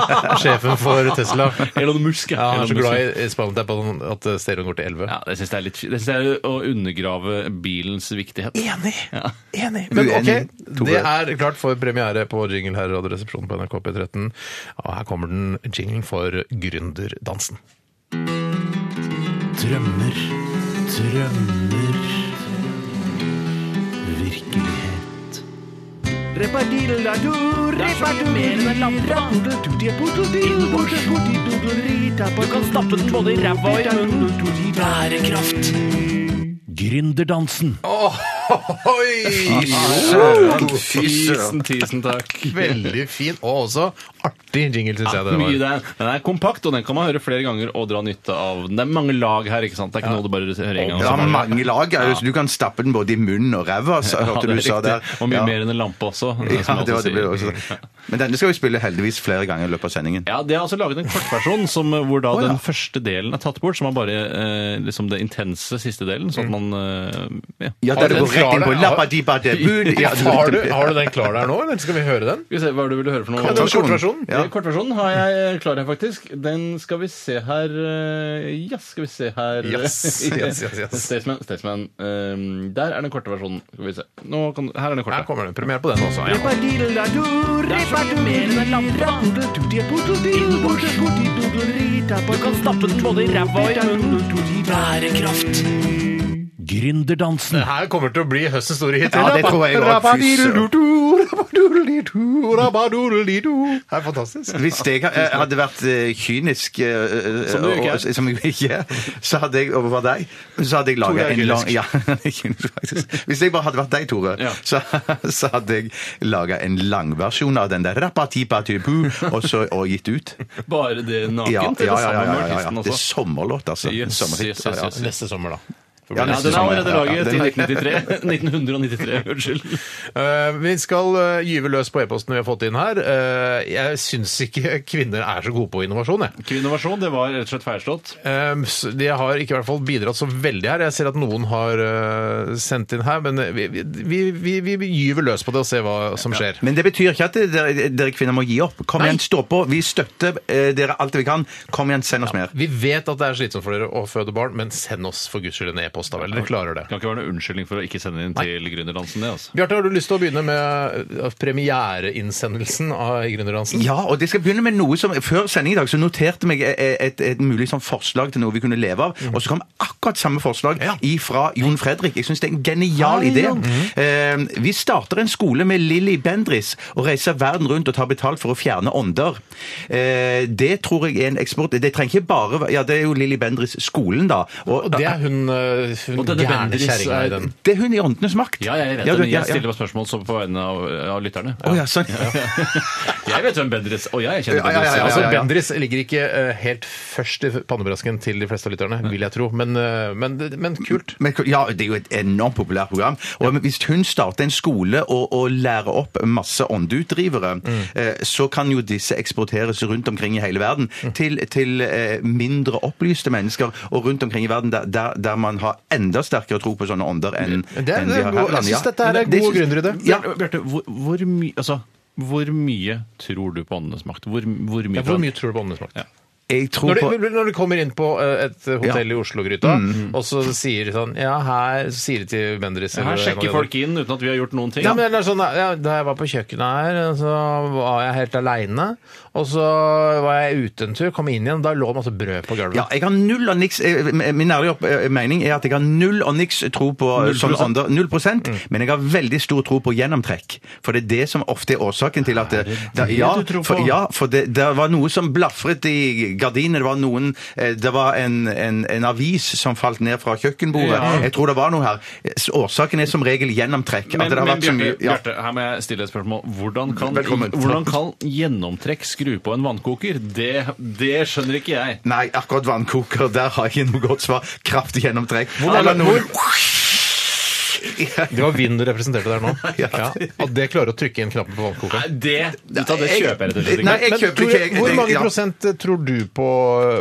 Speaker 1: noe. Sjefen for Tesla.
Speaker 3: Elon Musk, ja.
Speaker 1: Ja, han er så
Speaker 3: Elon Musk,
Speaker 1: glad
Speaker 3: ja.
Speaker 1: i- i Spinal Tap at han- at stereoen går til 11.
Speaker 3: Ja, det syns jeg er litt Det synes jeg er å undergrave bilens viktighet.
Speaker 1: Enig!
Speaker 3: Ja.
Speaker 1: Enig. Men ok,
Speaker 2: Uenig, Tore.
Speaker 1: det er klart for premiere på jingle her i Radioresepsjonen på NRK P13. Og her kommer den jinglen for gründerdansen.
Speaker 9: Drømmer, drømmer Virkelighet Du kan stappe den både i ræva og i munnen Bærekraft Gründerdansen
Speaker 1: Åh, Oi!
Speaker 2: Fy søren!
Speaker 3: Tusen, tusen takk.
Speaker 1: Veldig fin, og også artig jingle, syns jeg det
Speaker 3: Mye
Speaker 1: var.
Speaker 3: der. Den er kompakt, og den kan man høre flere ganger og dra nytte av. den. Det er mange lag her, ikke sant? Det er ikke noe du bare hører en gang. og
Speaker 2: Ja,
Speaker 3: så
Speaker 2: men
Speaker 3: bare-
Speaker 2: mange lag. er jo- så Du kan stappe den både i munnen og ræva, så
Speaker 3: Ja,
Speaker 2: hørte
Speaker 3: det
Speaker 2: du
Speaker 3: er
Speaker 2: sa
Speaker 3: riktig.
Speaker 2: der.
Speaker 3: Og mye
Speaker 2: Ja.
Speaker 3: mer enn en lampe også. som jeg
Speaker 2: Ja, det
Speaker 3: alltid
Speaker 2: var det ble
Speaker 3: sier.
Speaker 2: også. Men denne skal vi spille heldigvis flere ganger i løpet av sendingen.
Speaker 3: Ja, De har altså laget en kortversjon som, eh, hvor da
Speaker 2: Å, ja.
Speaker 3: den første delen er tatt bort, som er bare eh, liksom det intense siste delen.
Speaker 2: Mm.
Speaker 3: Sånn at man eh, ja.
Speaker 2: Ja, der du
Speaker 1: den
Speaker 2: går rett inn på
Speaker 1: klare-
Speaker 2: labba-dibba-debul. Ja,
Speaker 1: Har du, har du den klar der nå, eller skal vi høre den?
Speaker 3: Skal vi se, Hva er det du ville høre for noe?
Speaker 1: Ja, den kortversjonen.
Speaker 2: Ja.
Speaker 3: Eh, Kortversjonen har jeg eh, klar her, faktisk. Den skal vi se her eh, Ja, skal vi se her
Speaker 1: Yes, yes, yes, yes.
Speaker 3: Staysman, Staysman. eh, der er den korte versjonen. Skal vi se. Nå kan, her er den
Speaker 1: Her
Speaker 3: korte.
Speaker 1: kommer den. Premiere på den også. Ja.
Speaker 9: Bærekraft. Gründerdansen.
Speaker 1: Det her kommer til å bli høstens store hit.
Speaker 2: Ja, det tror jeg også.
Speaker 1: Rabadiridu, rabaduridu, rabaduridu. Det er fantastisk.
Speaker 2: Hvis jeg eh, hadde vært eh, kynisk eh, eh,
Speaker 3: Som du
Speaker 2: og-
Speaker 3: ikke er.
Speaker 2: og- Som jeg ikke er. Så hadde jeg overfor deg Så hadde jeg laget
Speaker 1: Tore er
Speaker 2: en lang
Speaker 1: kynisk.
Speaker 2: ja, kynisk faktisk. Hvis jeg bare hadde vært deg, Tore,
Speaker 3: Ja.
Speaker 2: så, så hadde jeg laga en langversjon av den der rappatipatipu og, så- og gitt ut.
Speaker 3: Bare det nakent?
Speaker 2: Ja,
Speaker 3: eller
Speaker 2: ja, ja,
Speaker 3: sammen
Speaker 2: ja,
Speaker 3: med
Speaker 2: ja, ja,
Speaker 3: artisten
Speaker 2: ja. Det er
Speaker 3: også?
Speaker 2: sommerlåt, altså. En
Speaker 3: Yes,
Speaker 2: sommerhit,
Speaker 3: yes,
Speaker 2: ja,
Speaker 3: yes,
Speaker 2: ja.
Speaker 3: yes.
Speaker 1: Neste sommer, da.
Speaker 2: Ja,
Speaker 3: Ja,
Speaker 2: neste
Speaker 3: den er
Speaker 2: sommer,
Speaker 3: allerede
Speaker 2: ja, ja,
Speaker 3: laget
Speaker 2: den-
Speaker 3: i 1993. 1993, unnskyld.
Speaker 1: Eh, vi skal eh, gyve løs på e-posten vi har fått inn her. Eh, jeg syns ikke kvinner er så gode på innovasjon, jeg.
Speaker 3: Kvinnovasjon, det var rett og slett feilslått.
Speaker 1: Eh, s- de har ikke i hvert fall bidratt så veldig her. Jeg ser at noen har eh, sendt inn her, men vi, vi, vi, vi, vi gyver løs på det og ser hva som skjer.
Speaker 2: Men det betyr ikke at dere, dere kvinner må gi opp. Kom igjen, stå på. Vi støtter eh, dere alt vi kan. Kom igjen, send oss mer.
Speaker 1: Vi vet at det er slitsomt for dere å føde barn, men send oss for guds skyld en e-post, da vel. Dere klarer det.
Speaker 3: Det kan ikke være noen unnskyldning for å ikke sende inn til Gründerdansen, det, altså.
Speaker 1: Bjarte, har du lyst til å begynne med eh, premiereinnsendelsen av Gründerdansen?
Speaker 2: Ja, og det skal begynne med noe som Før sending i dag så noterte jeg meg et, et, et mulig sånn forslag til noe vi kunne leve av,
Speaker 3: Mhm.
Speaker 2: og så kom akkurat samme forslag
Speaker 1: Ja.
Speaker 2: ifra Jon Fredrik. Jeg syns det er en genial idé.
Speaker 3: Mhm.
Speaker 2: Eh, vi starter en skole med Lilly Bendris og reiser verden rundt og tar betalt for å fjerne ånder. Eh, det tror jeg er en eksport Det trenger ikke bare være- Ja, det er jo Lilly Bendris-skolen, da.
Speaker 1: Og det er hun, eh, hun
Speaker 3: Og denne
Speaker 1: gærne
Speaker 3: Bendris
Speaker 1: kjerringa i
Speaker 3: er-
Speaker 1: den.
Speaker 2: Det er hun i Åndenes makt.
Speaker 3: Ja, jeg vet
Speaker 2: Ja,
Speaker 3: det,
Speaker 2: du-
Speaker 3: men
Speaker 2: ja,
Speaker 3: jeg
Speaker 2: ja.
Speaker 3: stiller bare spørsmål så på vegne av, av lytterne.
Speaker 2: Å ja, sånn.
Speaker 3: Jeg vet hvem Bendriss Og jeg kjenner
Speaker 2: Ja, ja, ja,
Speaker 3: Bendriss.
Speaker 2: ja,
Speaker 1: Altså,
Speaker 2: ja, ja.
Speaker 1: Bendris ligger ikke eh, helt først i pannebrasken til de fleste av lytterne, vil jeg tro. Men, eh, men, men kult.
Speaker 2: Men, ja, det er jo et enormt populært program. Og hvis hun starter en skole og, og lærer opp masse
Speaker 1: Mm.
Speaker 2: åndeutdrivere, eh, så kan jo disse eksporteres rundt omkring i hele verden
Speaker 1: Mm.
Speaker 2: til, til eh, mindre opplyste mennesker, og rundt omkring i verden der, der, der man har enda sterkere tro på sånne ånder enn
Speaker 1: Det er-
Speaker 2: enn
Speaker 1: det er
Speaker 2: de har
Speaker 1: god-
Speaker 2: her i
Speaker 1: jeg
Speaker 2: landet, ja.
Speaker 1: synes dette er
Speaker 2: Men
Speaker 1: gode
Speaker 2: synes-
Speaker 1: grunner i det.
Speaker 2: Ja,
Speaker 3: Bjarte, Bjarte, hvor, hvor mye Altså, hvor mye tror du på åndenes makt? Hvor, hvor mye?
Speaker 1: Ja, hvor mye tror du på åndenes makt?
Speaker 2: jeg tror
Speaker 1: Når
Speaker 2: på
Speaker 1: du, når du kommer inn på Mm. eh, et hotell i Oslo-gryta, og så sier de sånn Ja, her så sier de til Bendris
Speaker 3: Her
Speaker 1: eller en av de
Speaker 3: sjekker
Speaker 1: andre.
Speaker 3: folk inn uten at vi har gjort noen ting.
Speaker 1: Ja, men det er sånn, ja, Da jeg var på kjøkkenet her, så var jeg helt aleine. Og så var jeg ute en tur, kom inn igjen, da lå det masse brød på gulvet.
Speaker 2: Ja, jeg har null og niks eh, Min ærlige opp- eh, mening er at jeg har null og niks tro på eh, sånne ånder. Null prosent.
Speaker 3: Mm.
Speaker 2: Men jeg har veldig stor tro på gjennomtrekk. For det er det som ofte er årsaken til at eh, da- ja,
Speaker 3: du tror
Speaker 2: for,
Speaker 3: på?
Speaker 2: ja, for det, det var noe som blafret i gardinene. Det var noen eh, Det var en, en, en avis som falt ned fra kjøkkenbordet.
Speaker 3: Ja.
Speaker 2: Jeg tror det var noe her. S- Årsaken er som regel gjennomtrekk. at
Speaker 3: Men,
Speaker 2: det har
Speaker 3: men
Speaker 2: vært så
Speaker 3: Bjarte,
Speaker 2: mye ja.
Speaker 3: Bjarte, her må jeg stille et spørsmål. Hvordan kan,
Speaker 2: Velkommen.
Speaker 3: hvordan kan gjennomtrekk skru på en vannkoker? Det, det skjønner ikke jeg.
Speaker 2: Nei, akkurat vannkoker, der har jeg ikke noe godt svar. Kraftig gjennomtrekk.
Speaker 1: Eller
Speaker 2: Eller noe-
Speaker 1: Det var vind du representerte der nå. Ja. At det klarer å trykke inn knappen på
Speaker 3: Nei,
Speaker 1: vannkokeren.
Speaker 3: det, vet du hva, det kjøper jeg rett og slett
Speaker 2: Nei,
Speaker 3: ikke.
Speaker 2: jeg
Speaker 1: Men
Speaker 2: kjøper
Speaker 1: Tore,
Speaker 2: ikke jeg-
Speaker 1: hvor
Speaker 2: jeg-
Speaker 1: mange
Speaker 2: ja.
Speaker 1: prosent eh, tror du på,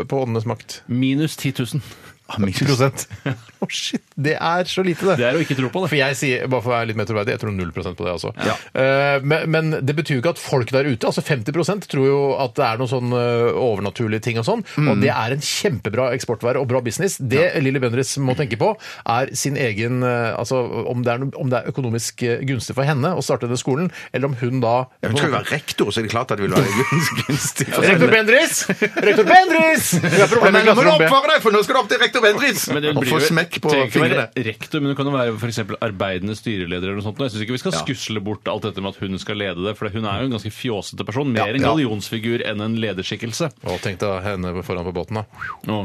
Speaker 1: på åndenes makt?
Speaker 3: Minus 10 000.
Speaker 2: Ah, min-
Speaker 1: Prosent. Å, shit. Det er så lite, det.
Speaker 3: Det er å ikke tro på
Speaker 1: For
Speaker 3: det.
Speaker 1: jeg sier, bare for å være litt mer troverdig, jeg tror 0 på det også.
Speaker 2: Ja.
Speaker 1: Eh, men, men det betyr jo ikke at folk der ute, altså 50 tror jo at det er noen sånn eh, overnaturlige ting og sånn,
Speaker 2: Mm.
Speaker 1: og det er en kjempebra eksportvare og bra business. Det Lilly Bendriss må tenke på, er sin egen eh, Altså om det er, noe- om det er økonomisk eh, gunstig for henne å starte denne skolen, eller om hun da
Speaker 2: Ja, Hun skal jo være rektor, så er det klart at det vil være gunstig. for
Speaker 1: Rektor
Speaker 2: henne.
Speaker 1: Bendriss! Rektor Bendriss! Vi har
Speaker 2: Men
Speaker 1: problemer i
Speaker 2: nå må du
Speaker 1: klasserommet.
Speaker 2: oppføre deg, for nå skal du opp til rektor Bendriss!
Speaker 3: Men det
Speaker 2: Og
Speaker 3: blir
Speaker 2: få
Speaker 3: jo-
Speaker 2: smekk på
Speaker 3: trenger ikke være
Speaker 2: fingrene.
Speaker 3: Rektor, men du kan jo være for eksempel arbeidende styreleder eller noe sånt. Jeg syns ikke vi skal skusle bort alt dette med at hun skal lede det, for hun er jo en ganske fjåsete person. Mer en
Speaker 2: ja.
Speaker 3: gallionsfigur enn en lederskikkelse.
Speaker 1: Å, tenk deg henne foran på båten, da.
Speaker 3: Nå.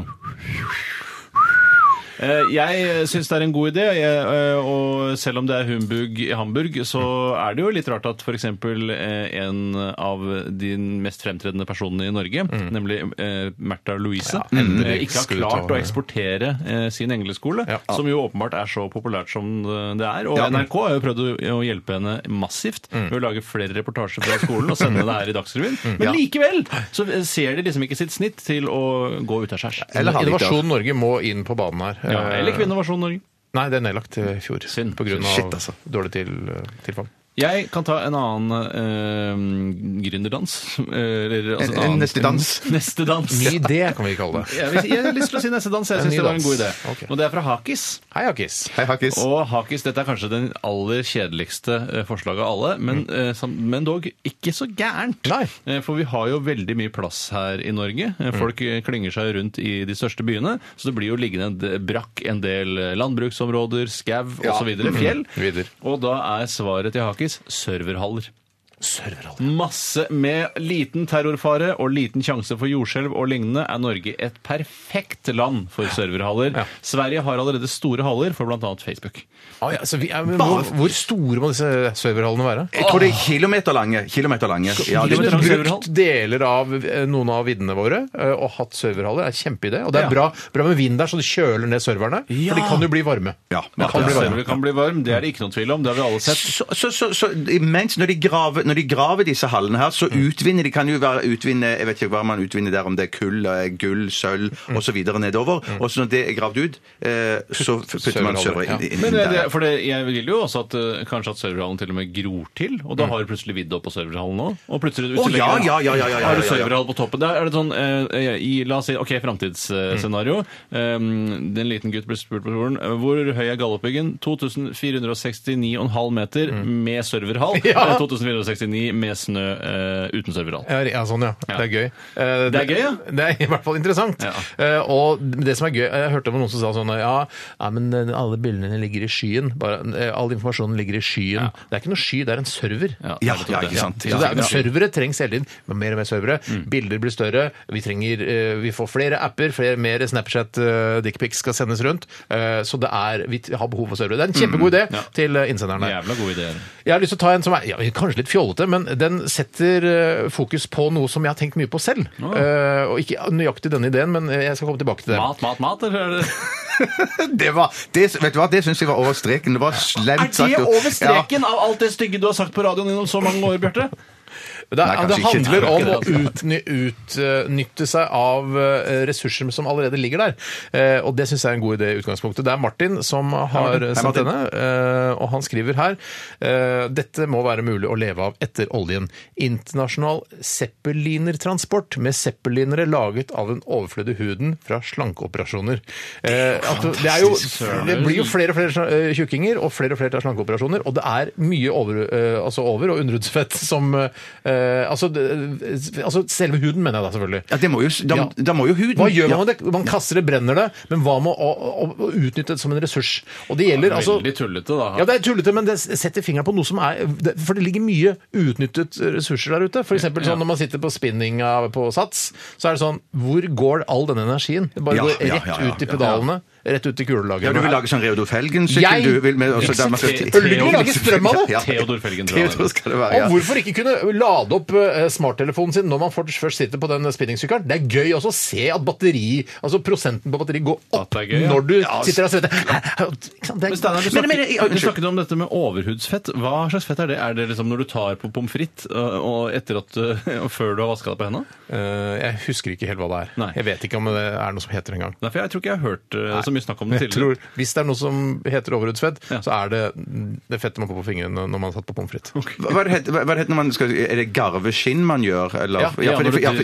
Speaker 3: Eh, Jeg syns det er en god idé, jeg, eh, og selv om det er humbug i Hamburg, så er det jo litt rart at f.eks. en av de mest fremtredende personene i Norge,
Speaker 2: Mm.
Speaker 3: nemlig eh, Märtha Louise, eh, ikke har
Speaker 1: skulle
Speaker 3: klart
Speaker 1: ta-
Speaker 3: å eksportere eh, sin engleskole,
Speaker 1: Ja.
Speaker 3: som jo åpenbart er så populært som det er. Og
Speaker 1: Ja. Mm.
Speaker 3: NRK har jo prøvd å- å hjelpe henne massivt ved å lage flere reportasjer fra skolen og sende det her i Dagsrevyen. Men likevel så ser de liksom ikke sitt snitt til å gå ut av skjærs.
Speaker 1: Eller
Speaker 2: har de ikke-
Speaker 1: Innovasjon Norge må inn på banen her.
Speaker 3: Ja,
Speaker 1: Eh,
Speaker 3: eller Kvinnovasjon Norge.
Speaker 1: Nei, det er nedlagt i fjor.
Speaker 3: Synd.
Speaker 1: På grunn av
Speaker 2: Shit, altså.
Speaker 1: dårlig til, eh, tilfang.
Speaker 3: Jeg kan ta en annen eh, gründerdans. Eller, altså
Speaker 2: En- en
Speaker 3: annen-
Speaker 2: neste dans.
Speaker 3: En Neste dans.
Speaker 1: Ny idé kan vi kalle det.
Speaker 3: Jeg, vil- jeg har lyst til å si neste dans. Jeg
Speaker 1: En ny
Speaker 3: syns det var en
Speaker 1: dans.
Speaker 3: god idé.
Speaker 1: Ok.
Speaker 3: Og det er fra Hakis.
Speaker 1: Hei, Akis.
Speaker 2: Hei, Hakkis.
Speaker 3: Og Hakis, dette er kanskje den aller kjedeligste eh, forslaget av alle, men, eh, sam- men dog ikke så gærent.
Speaker 1: Mm. Nei. Mm.
Speaker 3: Eh, For vi har jo veldig mye plass her i Norge. Eh, Folk eh, klynger seg rundt i de største byene, så det blir jo liggende en d- brakk en del eh, landbruksområder, skau og osv. Fjell.
Speaker 1: Mm. Videre.
Speaker 3: Og da er svaret til Hakis serverhaller.
Speaker 1: Serverhaller.
Speaker 3: Masse med liten terrorfare og liten sjanse for jordskjelv og lignende er Norge et perfekt land for serverhaller.
Speaker 1: Ja.
Speaker 3: Sverige har allerede store haller for bl.a. Facebook.
Speaker 1: Ah, ja, så vi, ja, men hvor, hvor store må disse serverhallene være?
Speaker 2: Jeg tror det er kilometer lange. Kilometer lange. Ja,
Speaker 1: Vi
Speaker 2: det
Speaker 1: kunne
Speaker 2: er
Speaker 3: Kilometer lang
Speaker 1: brukt
Speaker 3: serverhall.
Speaker 1: deler av eh, noen av viddene våre eh, og hatt serverhaller. Det er en kjempeidé. Og det
Speaker 3: Ja.
Speaker 1: er bra, bra med vind der, så det kjøler ned serverne. For de kan jo bli varme.
Speaker 2: Ja.
Speaker 1: De kan bli varme.
Speaker 3: server kan bli varm, det er det ikke noen tvil om. Det har vi alle sett.
Speaker 2: så, så, så, så imens, når de, graver, når de graver disse hallene her, så utvinner de kan jo være, utvinne, jeg vet ikke hva man utvinner der, om det er kull, eh, gull, sølv osv. nedover. Og så når det er gravd ut, eh, så putter
Speaker 1: Sølvhaller,
Speaker 2: man server inn,
Speaker 1: ja.
Speaker 2: inn, inn
Speaker 3: Men det, det,
Speaker 2: der.
Speaker 3: for det, jeg vil jo også at eh, kanskje at serverhallen til og med gror til, og da har du plutselig vidde opp på serverhallen òg. Og plutselig
Speaker 2: Mm.
Speaker 3: hvis
Speaker 2: Å,
Speaker 3: du
Speaker 2: ja,
Speaker 3: legger-
Speaker 2: ja, ja, ja, ja, ja,
Speaker 3: Har du
Speaker 2: ja, ja.
Speaker 3: serverhall på toppen? Da er det sånn, eh, i, La oss si OK,
Speaker 2: Mm.
Speaker 3: framtidsscenario. Um, en liten gutt blir spurt på skolen eh, hvor høy er Gallupbyggen? 2469,5 meter
Speaker 2: Mm.
Speaker 3: med serverhall.
Speaker 1: Ja.
Speaker 3: Eh, 2469 med snø eh, uten serverhall.
Speaker 1: Ja, ja, sånn, ja. Det er gøy. Eh,
Speaker 3: Det er gøy, ja.
Speaker 1: Det er i hvert fall interessant.
Speaker 3: Ja.
Speaker 1: Eh, og det som er gøy, jeg hørte om noen som sa sånn Ja, nei, men eh, alle bildene ligger i skyen. Bare, eh, all informasjonen ligger i skyen. Det er ikke noe sky, det er en server.
Speaker 2: Ja,
Speaker 3: det er
Speaker 2: ja,
Speaker 3: det.
Speaker 2: ikke sant.
Speaker 1: Så det
Speaker 2: Ja,
Speaker 1: er, men Servere trengs hele tiden. Men Mer og mer servere.
Speaker 3: Mm.
Speaker 1: Bilder blir større. Vi, trenger, eh, vi får flere apper, flere, mer Snapchat-dickpics skal sendes rundt. Eh, Så det er, vi t- har behov for servere. Det er en kjempegod idé
Speaker 3: Mm. Ja.
Speaker 1: til eh, innsenderne.
Speaker 3: Jævla gode ideer.
Speaker 1: Jeg har lyst til å ta en som er ja, kanskje litt fjollete, men den setter eh, fokus på noe som jeg har tenkt mye på selv. Eh, og ikke nøyaktig denne ideen, men eh, jeg skal komme tilbake til det.
Speaker 3: Mat, mat, mat, eller er det
Speaker 2: Det var, det, vet du hva, det syns jeg var over streken. Det var slemt sagt. og-
Speaker 3: av alt det stygge du har sagt på radioen gjennom så mange år, Bjarte?
Speaker 1: Det, er,
Speaker 2: Nei,
Speaker 1: det
Speaker 2: kanskje ikke.
Speaker 1: handler
Speaker 2: Nei,
Speaker 1: om å
Speaker 2: det er
Speaker 1: utny- utnytte seg av eh, ressurser som allerede ligger der. Eh, Og det syns jeg er en god idé i utgangspunktet. Det er Martin som har
Speaker 2: Hei,
Speaker 1: sendt
Speaker 2: Martin.
Speaker 1: denne, eh, og han skriver her eh, dette må være mulig å leve av etter oljen. Internasjonal zeppelinertransport med zeppelinere laget av den overflødige huden fra slankeoperasjoner. Eh, at Det, det, er jo, det blir jo flere og flere slan- eh, tjukkinger og flere og flere tar slankeoperasjoner, og det er mye over, eh, altså over og underhudsfett som eh, altså, det, altså selve huden, mener jeg da selvfølgelig.
Speaker 2: Ja, det må jo, da,
Speaker 1: Ja.
Speaker 2: da må jo huden
Speaker 1: Hva gjør man
Speaker 2: ja.
Speaker 1: med det? Man kaster det, brenner det, men hva med å, å, å utnytte det som en ressurs? Og det gjelder altså
Speaker 3: Veldig tullete, da.
Speaker 1: ja, det er tullete, men det setter fingeren på noe som er det- For det ligger mye uutnyttet ressurser der ute. For eksempel sånn når man sitter på spinninga på Sats, så er det sånn Hvor går all denne energien? Det bare
Speaker 2: Ja,
Speaker 1: går rett
Speaker 2: ja, ja, ja,
Speaker 1: ut i
Speaker 2: ja.
Speaker 1: pedalene, rett ut i
Speaker 2: Ja, du vil
Speaker 1: kulelagrene.
Speaker 2: lage sånn Reodor Felgen-sykkel?
Speaker 1: Jeg-
Speaker 2: du vil med, også, der man skal-
Speaker 3: Øl-
Speaker 1: Ølgen lager strøm av det!
Speaker 2: Ja.
Speaker 3: Theodor Felgen. tror jeg det
Speaker 2: Theodor
Speaker 3: er.
Speaker 2: skal det være, ja.
Speaker 1: Og hvorfor ikke kunne lade opp eh, smarttelefonen sin når man fort- først sitter på den spinningsykkelen? Det er gøy også å se at batteri, altså prosenten på batteri går opp
Speaker 3: At det er gøy, ja.
Speaker 1: når du sitter og svetter. Ikke sant? Det
Speaker 3: Men
Speaker 1: er-
Speaker 3: Steinar, du,
Speaker 2: Men- men-
Speaker 3: snakket-
Speaker 2: ja, unnskyld.
Speaker 3: du snakket om dette med overhudsfett. Hva slags fett er det? Er det liksom når du tar på pommes frites øh, og etter at, øh, og før du har vaska deg på henda?
Speaker 1: Eh, Jeg husker ikke helt hva det er.
Speaker 3: Nei.
Speaker 1: Jeg vet ikke om det er noe som heter det engang.
Speaker 3: Nei, for jeg tror ikke jeg har hørt øh, så mye snakk om det
Speaker 1: Jeg
Speaker 3: tidligere.
Speaker 1: tror, hvis det er noe som heter overhudsfett,
Speaker 3: Ja.
Speaker 1: så er det det fettet man får på fingrene når man har satt på pommes frites.
Speaker 2: Hva hva er det het- hva- hva er det het når man skal Er det garveskinn man gjør, eller?
Speaker 1: Ja,
Speaker 3: Ja,
Speaker 2: for-
Speaker 3: når du
Speaker 2: ja, for-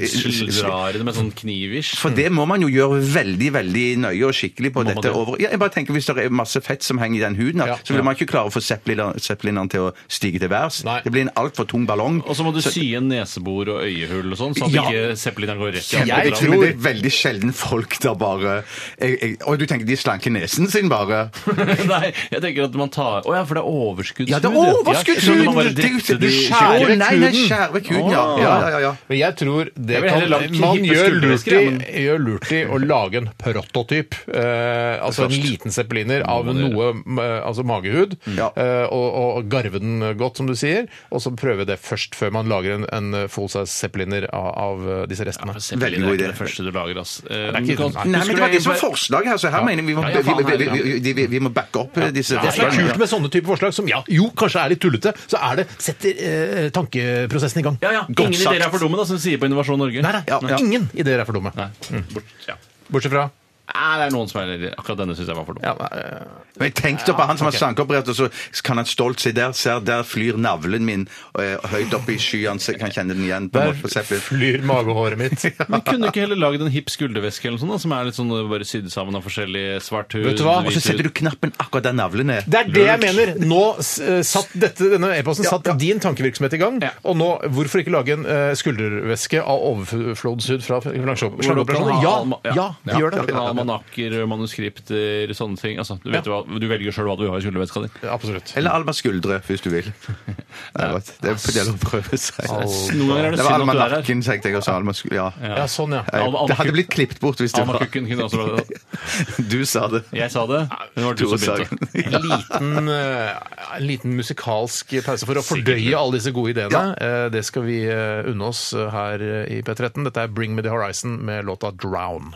Speaker 3: drar i det med sånn knivers.
Speaker 2: For det må man jo gjøre veldig veldig nøye og skikkelig på
Speaker 3: Må man
Speaker 2: dette.
Speaker 3: det?
Speaker 2: Over. Ja, jeg bare tenker Hvis det er masse fett som henger i den huden, da,
Speaker 1: Ja.
Speaker 2: så vil man ikke klare å få zeppelineren zeppelineren til å stige til værs.
Speaker 1: Nei.
Speaker 2: Det blir en altfor tung ballong.
Speaker 3: Og så må du sy en nesebor og øyehull og sånn, så at
Speaker 2: Ja.
Speaker 3: ikke zeppelineren går rett i
Speaker 2: Kjempeviktig,
Speaker 3: andre
Speaker 1: tror-
Speaker 2: Men det er veldig sjelden folk da bare jeg, jeg, Og du tenker de slanker nesen sin bare.
Speaker 3: Nei, jeg tenker at man tar Å ja, for det er overskuddshud.
Speaker 2: Ja, det er
Speaker 3: Ja, jeg trodde man bare
Speaker 2: overskuddshud!
Speaker 3: drepte
Speaker 2: Du
Speaker 3: de
Speaker 2: skjærer
Speaker 3: skikkelig.
Speaker 2: nei, nei, skjærer kuden, ja.
Speaker 3: Åh.
Speaker 2: Ja, ja, ja.
Speaker 1: Men jeg tror det
Speaker 3: Jeg vil
Speaker 1: kan,
Speaker 3: heller lage
Speaker 1: man
Speaker 3: hippe
Speaker 1: gjør lurt, i,
Speaker 3: skulderskrev, men-
Speaker 1: gjør lurt i å lage en prototyp. Eh, altså en liten zeppeliner av noe eh, altså magehud,
Speaker 3: Mm.
Speaker 2: Ja.
Speaker 1: eh, og, og garve den godt, som du sier. Og så prøve det først, før man lager en, en full size zeppeliner av, av eh, disse restene.
Speaker 3: Veldig god idé. Det er ikke det første du lager, ass. Eh,
Speaker 1: er ikke-
Speaker 3: du kan-
Speaker 1: nei,
Speaker 2: Nei,
Speaker 3: husker
Speaker 2: men
Speaker 3: du
Speaker 2: det var det
Speaker 3: jeg-
Speaker 2: som var forslaget her, så her mener jeg vi må,
Speaker 3: Ja, ja, faen,
Speaker 2: vi, vi,
Speaker 3: her,
Speaker 2: vi, vi, vi må backe opp eh, disse
Speaker 1: Det som er
Speaker 2: forslagene.
Speaker 1: kult med sånne type forslag, som ja, jo, kanskje er litt tullete, så er det setter eh, tankeprosessen i gang.
Speaker 3: Ja, ja.
Speaker 2: Godt
Speaker 3: Ingen ideer
Speaker 2: sagt.
Speaker 3: er for dumme, da, som de sier på Innovasjon Norge.
Speaker 1: Nei, nei,
Speaker 2: Ja, ja.
Speaker 1: Ingen ideer er for dumme.
Speaker 3: Nei. Bort. Ja.
Speaker 1: Bortsett fra
Speaker 3: Nei, det er noen som er Akkurat denne syns jeg var for dum.
Speaker 1: ja, eh,
Speaker 2: Men tenk deg på han som har sankeoperert, og så kan han stolt si der, ser, der flyr navlen min eh, høyt oppe i skyene, så jeg kan kjenne den igjen. på en
Speaker 1: Der
Speaker 2: måte på Zeppelin.
Speaker 1: flyr magehåret mitt.
Speaker 3: Men kunne du ikke heller laget en hipp skulderveske eller noe sånt, da, som er litt sånn eh, bare sydd sammen av forskjellig svart hud?
Speaker 1: Vet du hva?
Speaker 2: Og så setter du knappen akkurat der navlen er.
Speaker 1: Det er det jeg mener. Nå s- eh, satt dette, denne e-posten satt din tankevirksomhet i gang.
Speaker 3: Ja.
Speaker 1: Og nå, hvorfor ikke lage en eh, skuldervæske av overflodshud fra slangeoperasjoner?
Speaker 3: Slangeoperasjoner?
Speaker 1: Ja,
Speaker 3: Ja,
Speaker 1: sånn. ja, vi gjør
Speaker 3: Du kan
Speaker 1: det.
Speaker 3: ha Almanakker, manuskripter, sånne ting. Altså, du, vet jo hva, du velger sjøl hva du har i skulderveska di.
Speaker 1: Absolutt.
Speaker 2: Eller Alma skuldre, hvis du vil. Det er, godt. det er på det å prøve seg.
Speaker 3: Noen ganger er det
Speaker 2: Det var
Speaker 3: synd at du er her.
Speaker 2: almanakken, tenkte jeg. og så Alma skuldre, ja.
Speaker 1: Ja, sånn, ja.
Speaker 2: Nei,
Speaker 3: Alma-
Speaker 2: Det hadde blitt klippet bort hvis det var
Speaker 3: Almakukken kunne også vært det.
Speaker 2: Du sa det.
Speaker 3: Jeg sa det. Hun var du som begynte.
Speaker 1: En liten, eh, en liten musikalsk pause for å fordøye alle disse gode ideene. Eh, Det skal vi eh, unne oss eh, her eh, i P13. Dette er Bring Me The Horizon med låta Drown.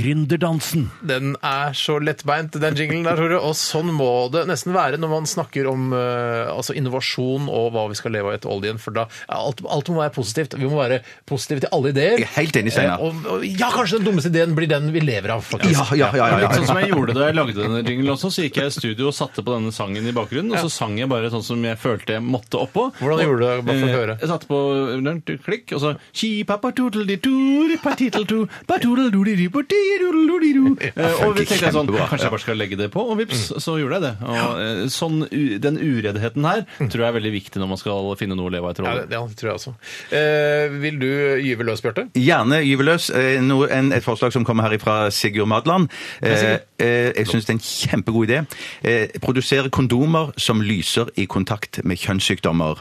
Speaker 9: Gründerdansen.
Speaker 1: Den er så lettbeint, den jinglen der, Tore. Og sånn må det nesten være når man snakker om eh, altså innovasjon og hva vi skal leve av etter oljen. For da ja, alt, alt må være positivt. Vi må være positive til alle ideer.
Speaker 2: Jeg er helt enig, Steinar.
Speaker 1: Eh, og, og, ja, kanskje den dummeste ideen blir den vi lever av, faktisk.
Speaker 2: Ja, ja, ja. ja,
Speaker 3: Litt sånn
Speaker 2: ja.
Speaker 3: som jeg gjorde da jeg lagde denne jinglen også, så gikk jeg i studio og satte på denne sangen i bakgrunnen, og så sang jeg bare sånn som jeg følte jeg måtte oppå.
Speaker 1: Hvordan gjorde du det? Bare for å
Speaker 3: Eh,
Speaker 1: høre.
Speaker 3: Jeg satte på den til klikk, og så «Ki, papa, toodle, di, toodle, pa, title, to, pa, toodle, do, di, di, pa, ti, doodle, do, di, do». Eh, Og vi tenkte jeg sånn,
Speaker 2: Kjempebra.
Speaker 3: kanskje jeg bare skal legge det på, og vips,
Speaker 1: Mm.
Speaker 3: så gjorde jeg det. Og eh, sånn, u- den ureddheten her tror jeg er veldig viktig når man skal finne noe å leve av etter
Speaker 1: Mm. Ja,
Speaker 3: olje.
Speaker 1: det, ja, det tror jeg også. Eh, vil du gyve løs, Bjarte?
Speaker 2: Gjerne gyveløs. Eh, noe- en- Et forslag som kommer her fra Sigurd Madland. Eh, eh, jeg syns det er en kjempegod idé. Eh, produsere kondomer som lyser i kontakt med kjønnssykdommer.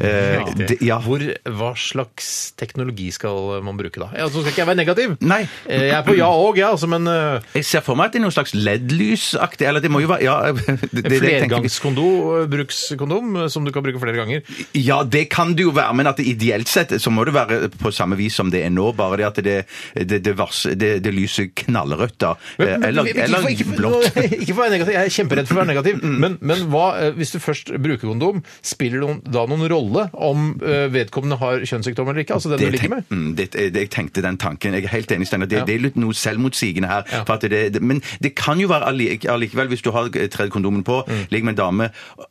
Speaker 2: Eh, det- ja.
Speaker 1: Hvor, hva slags teknologi skal man bruke da? Ja, Altså, skal ikke jeg være negativ?
Speaker 2: Nei.
Speaker 1: Eh, Jeg er på ja og, jeg, altså, men eh,
Speaker 2: Jeg ser for meg at det er noe slags LED-lysaktig Eller det må jo være ja, det, det, det tenker vi.
Speaker 1: flergangskondom, eh, brukskondom, eh, som du kan bruke flere ganger.
Speaker 2: ja, det kan det jo være, men at det ideelt sett så må det være på samme vis som det er nå, bare det at det, det, det, vars, det, det lyser knallrødt, da. Eh, Eller,
Speaker 1: Men- men-
Speaker 2: eller
Speaker 1: ikke for- ikke for-
Speaker 2: blått.
Speaker 1: Ikke for å være negativ, jeg er kjemperedd for å være negativ, men, men hva, eh, hvis du først bruker kondom, spiller det da noen rolle om eh, vedkommende har kjønnssykdom eller ikke? Altså den
Speaker 2: Det
Speaker 1: du ligger med?
Speaker 2: tenk- Mm, det, det, jeg tenkte den tanken. Jeg er helt enig, Steinar. Det, det er litt noe selvmotsigende her. For at det, det, men det kan jo være alli- allikevel, hvis du har tredd kondomen på,
Speaker 1: Mm.
Speaker 2: ligger med en dame,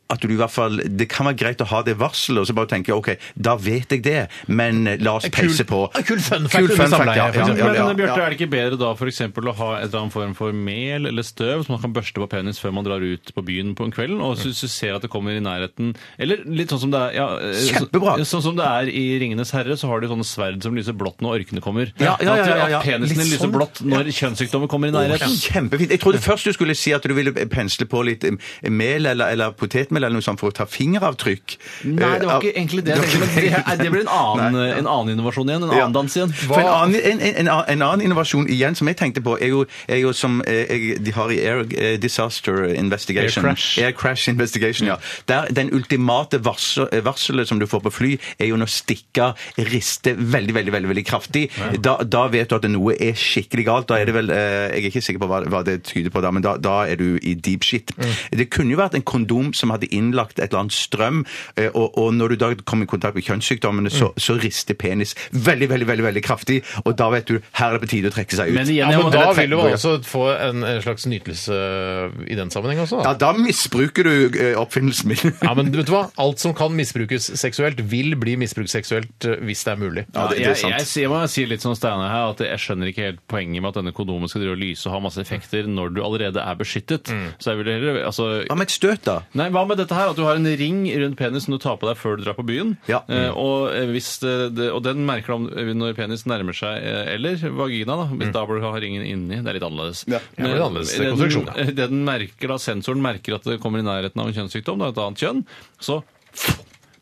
Speaker 2: at du i hvert fall Det kan være greit å ha det varselet, og så bare tenke OK, da vet jeg det, men eh, la oss peise på.
Speaker 1: en kul fun fact under samleie,
Speaker 2: ja,
Speaker 1: for
Speaker 2: ja,
Speaker 1: eksempel.
Speaker 2: ja, ja,
Speaker 3: Men Bjørte,
Speaker 2: ja.
Speaker 3: er det ikke bedre da for eksempel å ha et eller annet form for mel eller støv som man kan børste på penis før man drar ut på byen på en kveld, og så hvis du ser at det kommer i nærheten Eller litt sånn som det er ja, eh, så-
Speaker 2: Kjempebra!
Speaker 3: Sånn som det er i 'Ringenes herre', så har de sånne sverd som lyser blått når orkene kommer.
Speaker 2: Ja, ja, ja, ja, ja.
Speaker 3: At penisen din
Speaker 2: Litt
Speaker 3: lyser
Speaker 2: sånn.
Speaker 3: blått når kjønnssykdommer kommer i nærheten.
Speaker 2: Kjempefint. Jeg trodde først du skulle si at du ville pensle på litt eh, mel eller, eller potetmel eller noe sånt for å ta fingeravtrykk.
Speaker 3: Nei, det var ikke
Speaker 2: Eh,
Speaker 3: egentlig det. jeg tenkte, men Det, er- det blir en annen, eh, en annen innovasjon igjen. En annen
Speaker 2: Ja.
Speaker 3: dans igjen.
Speaker 2: For en annen, en, en, en en annen innovasjon igjen som jeg tenkte på, er jo, er jo som eh, jeg, de har i Air eh, Disaster Investigation.
Speaker 1: Air Crash.
Speaker 2: Crash Investigation, ja. Der den ultimate varsel, eh, varselet som du får på fly, er jo når stikka rister veldig, veldig veldig, veldig kraftig. Da, da vet du at noe er skikkelig galt. Da er det vel eh, Jeg er ikke sikker på hva, hva det tyder på, da, men da, da er du i deep shit. Det kunne jo vært en kondom som hadde innlagt et eller annet strøm, eh, og, og når du da kom i kontakt med kjønnssykdommene, så, så rister penis veldig, veldig, veldig, veldig kraftig, og da vet du her er det på tide å trekke seg ut.
Speaker 3: Men igjen,
Speaker 1: Ja,
Speaker 3: jeg
Speaker 1: men
Speaker 3: må-
Speaker 1: da
Speaker 3: eller
Speaker 1: vil du
Speaker 3: tenk-
Speaker 1: altså få en, en slags nytelse eh, i den sammenheng også.
Speaker 2: Ja,
Speaker 1: Da.
Speaker 2: da misbruker du eh, oppfinnelsen min.
Speaker 1: Ja, men vet du hva? Alt som kan misbrukes seksuelt, vil bli misbrukt seksuelt eh, hvis det er mulig.
Speaker 2: Ja, det- det er
Speaker 3: jeg, jeg,
Speaker 2: sant.
Speaker 3: sier- jeg må si litt sånn Steinar her, at jeg skjønner ikke helt poenget med at denne kondomen skal drive og lyse og ha masse effekter når du allerede er beskyttet.
Speaker 2: Mm.
Speaker 3: Så jeg ville heller altså,
Speaker 2: Hva med et støt, da?
Speaker 3: Nei, Hva med dette her? At du har en ring rundt penisen du tar på deg før du drar på byen.
Speaker 2: Ja.
Speaker 3: Eh, og, eh, hvis det, det, og den merker du om- eh, når penisen nærmer seg eh, Eller vagina, da. Hvis da bør du ha ringen inni. Det er litt annerledes.
Speaker 2: Mm. Ja.
Speaker 1: Ja, det er annerledes konstruksjon, ja.
Speaker 3: den, det den merker, da, Sensoren merker at det kommer i nærheten av en kjønnssykdom, da, et annet kjønn. Så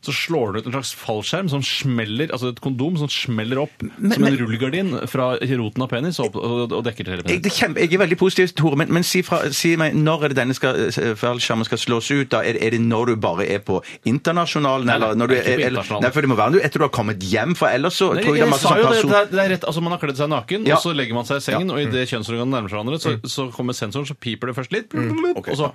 Speaker 3: så slår du ut en slags fallskjerm som smeller, altså et kondom som smeller opp som en rullegardin fra roten av penis og, opp- og, og dekker til
Speaker 2: Jeg,
Speaker 3: hele penisen.
Speaker 2: det er kjempe, jeg er veldig positiv, Tore, men, men si, fra, si meg, når er det denne skal, eh, fallskjermen skal slås ut? da? Er, er det når du bare er på internasjonalen?
Speaker 3: Nei,
Speaker 2: eller når du,
Speaker 3: det er ikke på
Speaker 2: eller-
Speaker 3: internasjonalen.
Speaker 2: Nei, for det må være når du- etter du har kommet hjem, for ellers så
Speaker 3: Nei,
Speaker 2: tror jeg det er
Speaker 3: jeg
Speaker 2: masse
Speaker 3: sa
Speaker 2: sånn
Speaker 3: jo det,
Speaker 2: person...
Speaker 3: det er- det er rett, altså Man har kledd seg naken,
Speaker 2: Ja. Mm.
Speaker 3: og så legger man seg i sengen, og idet kjønnsorganene nærmer seg hverandre, så, så kommer sensoren, så piper det først litt,
Speaker 2: Mm.
Speaker 3: og så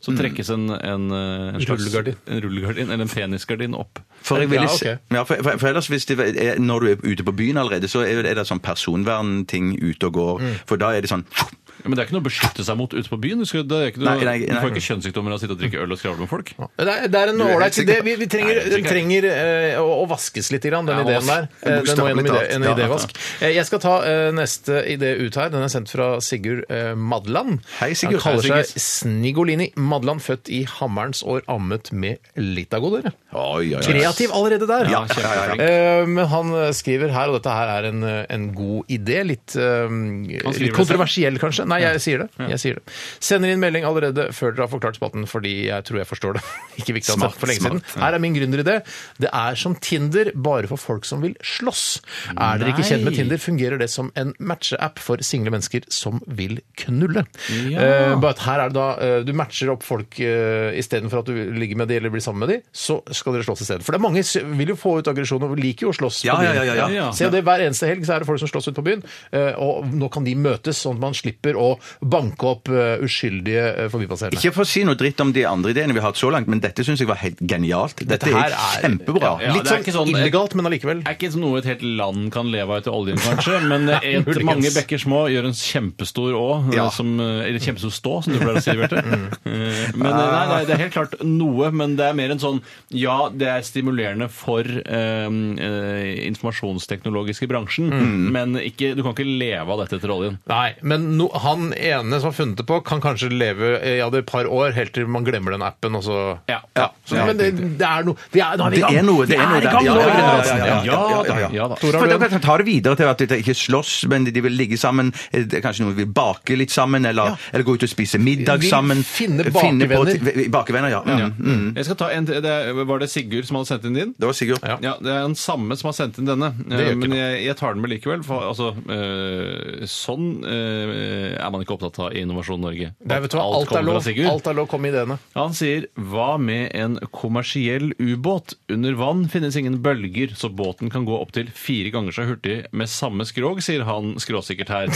Speaker 3: så trekkes en, en, eh, en slags-
Speaker 1: Rullegardin.
Speaker 3: En rullegardin, eller en penisgardin opp.
Speaker 2: For, jeg ville,
Speaker 1: Ja,
Speaker 2: s-
Speaker 1: ok.
Speaker 2: ja, for, for, for ellers, hvis det, er- når du er ute på byen allerede, så er, er det sånn personvernting ute og går.
Speaker 3: Mm.
Speaker 2: For da er det sånn
Speaker 3: Ja, Men det er ikke noe å beskytte seg mot ute på byen. Du, skal, det er ikke noe,
Speaker 2: Nei, nei,
Speaker 3: du får
Speaker 2: nei.
Speaker 3: ikke kjønnssykdommer av å sitte og drikke øl og skravle med folk.
Speaker 1: Det er, det er en
Speaker 2: Du er helt
Speaker 1: ålreit idé.
Speaker 2: sikker på-
Speaker 1: Vi, vi trenger,
Speaker 3: Nei, jeg er
Speaker 1: trenger eh, å, å vaskes litt, grann, den
Speaker 3: Ja,
Speaker 1: ideen der.
Speaker 3: vask.
Speaker 1: Eh, Den må gjennom
Speaker 2: Bokstavelig
Speaker 1: ide,
Speaker 2: talt.
Speaker 1: en
Speaker 2: Ja,
Speaker 1: idévask. Eh, Jeg skal ta eh, neste idé ut her. Den er sendt fra Sigurd eh, Madland.
Speaker 2: Hei, Sigurd.
Speaker 1: Han kaller
Speaker 2: Hei,
Speaker 1: seg Snigolini. Madland født i Hammerens år, ammet med Litago, dere.
Speaker 2: Oi, oi, oi.
Speaker 1: Kreativ allerede der.
Speaker 2: Ja, kjempeflink.
Speaker 1: Eh, Men han skriver her, og dette her er en, eh, en god idé. Litt, eh,
Speaker 3: Han
Speaker 1: litt
Speaker 3: skriver det selv?
Speaker 1: kontroversiell, kanskje. Nei, jeg sier, det. jeg sier det. Sender inn melding allerede før dere har forklart spalten, fordi jeg tror jeg forstår det. Ikke viktig at det er for lenge siden. Her er min gründeridé. Det er som Tinder, bare for folk som vil slåss. Er dere ikke kjent med
Speaker 3: Nei.
Speaker 1: Tinder, fungerer det som en matcheapp for single mennesker som vil knulle. Eh, bare at her er det da eh, Du matcher opp folk uh, istedenfor at du ligger med de eller blir sammen med de, så skal dere slåss i stedet. For det er mange som vil jo få ut aggresjon og liker jo å slåss.
Speaker 2: Ja,
Speaker 1: på
Speaker 2: ja,
Speaker 1: byen.
Speaker 2: ja, ja,
Speaker 3: ja.
Speaker 1: Se det Hver eneste helg så er det folk som slåss ute på byen, eh, og nå kan de møtes, sånn at man slipper å banke opp eh, uskyldige eh, forbipasserende.
Speaker 2: Ikke for å si noe dritt om de andre ideene vi har hatt så langt, men dette syns jeg var helt genialt. Dette
Speaker 1: her
Speaker 2: er
Speaker 1: er-
Speaker 2: kjempebra.
Speaker 3: Ja,
Speaker 1: Litt
Speaker 3: det er
Speaker 1: sånn,
Speaker 3: ikke sånn-
Speaker 1: illegalt, men allikevel.
Speaker 3: Det er ikke noe et helt land kan leve av etter oljen, kanskje, men et,
Speaker 1: muligens.
Speaker 3: mange bekker små gjør en kjempestor å, eh,
Speaker 2: Ja.
Speaker 3: som, eller kjempestor stå, som du pleier å si, Bjarte. Eh, Men eh, nei, nei, det er helt klart noe, men det er mer en sånn Ja, det er stimulerende for eh, eh, informasjonsteknologiske bransjen,
Speaker 2: Mm.
Speaker 3: men ikke, du kan ikke leve av dette etter oljen.
Speaker 1: Nei, men no, han ene som har funnet det på, kan kanskje leve eh, ja, det er et par år helt til man glemmer den appen. og så...
Speaker 3: Ja.
Speaker 1: Så, men det, det er noe vi er, Nå er vi i
Speaker 2: Det
Speaker 1: gang!
Speaker 2: er noe, det er
Speaker 1: vi er
Speaker 2: noe
Speaker 1: i
Speaker 2: der.
Speaker 1: gang
Speaker 2: Ja,
Speaker 1: nå!
Speaker 2: ja, ja,
Speaker 1: ikke
Speaker 2: ja,
Speaker 1: sant?
Speaker 2: ja, ja, ja, ja, ja.
Speaker 3: Ja da.
Speaker 1: Tora,
Speaker 2: For
Speaker 1: har du
Speaker 2: dere kan ta det videre til at de ikke slåss, men de vil ligge sammen. Eh, det er Kanskje noen vil bake litt sammen, eller, eller gå ut og spise middag
Speaker 1: Vil
Speaker 2: sammen.
Speaker 1: finne
Speaker 2: på-
Speaker 1: bakevenner.
Speaker 2: til- bakevenner, ja. Mm, Mm.
Speaker 3: Jeg skal ta en, det, er- var det Sigurd som hadde sendt inn din?
Speaker 2: Det var Sigurd.
Speaker 1: Ja.
Speaker 3: Ja, Det er den samme som har sendt inn denne.
Speaker 1: gjør
Speaker 3: Eh,
Speaker 1: ikke
Speaker 3: Men
Speaker 1: noe.
Speaker 3: jeg, jeg tar den med likevel. For, altså, eh, sånn eh, er man ikke opptatt av i Innovasjon Norge.
Speaker 1: Nei, vet du hva?
Speaker 3: At
Speaker 1: Alt er
Speaker 3: kommer fra
Speaker 1: lov.
Speaker 3: Sigurd.
Speaker 1: Alt er lov, kom med ideene.
Speaker 3: Han sier hva med en kommersiell ubåt? Under vann finnes ingen bølger, så båten kan gå opptil fire ganger så hurtig med samme skrog, sier han skråsikkert her.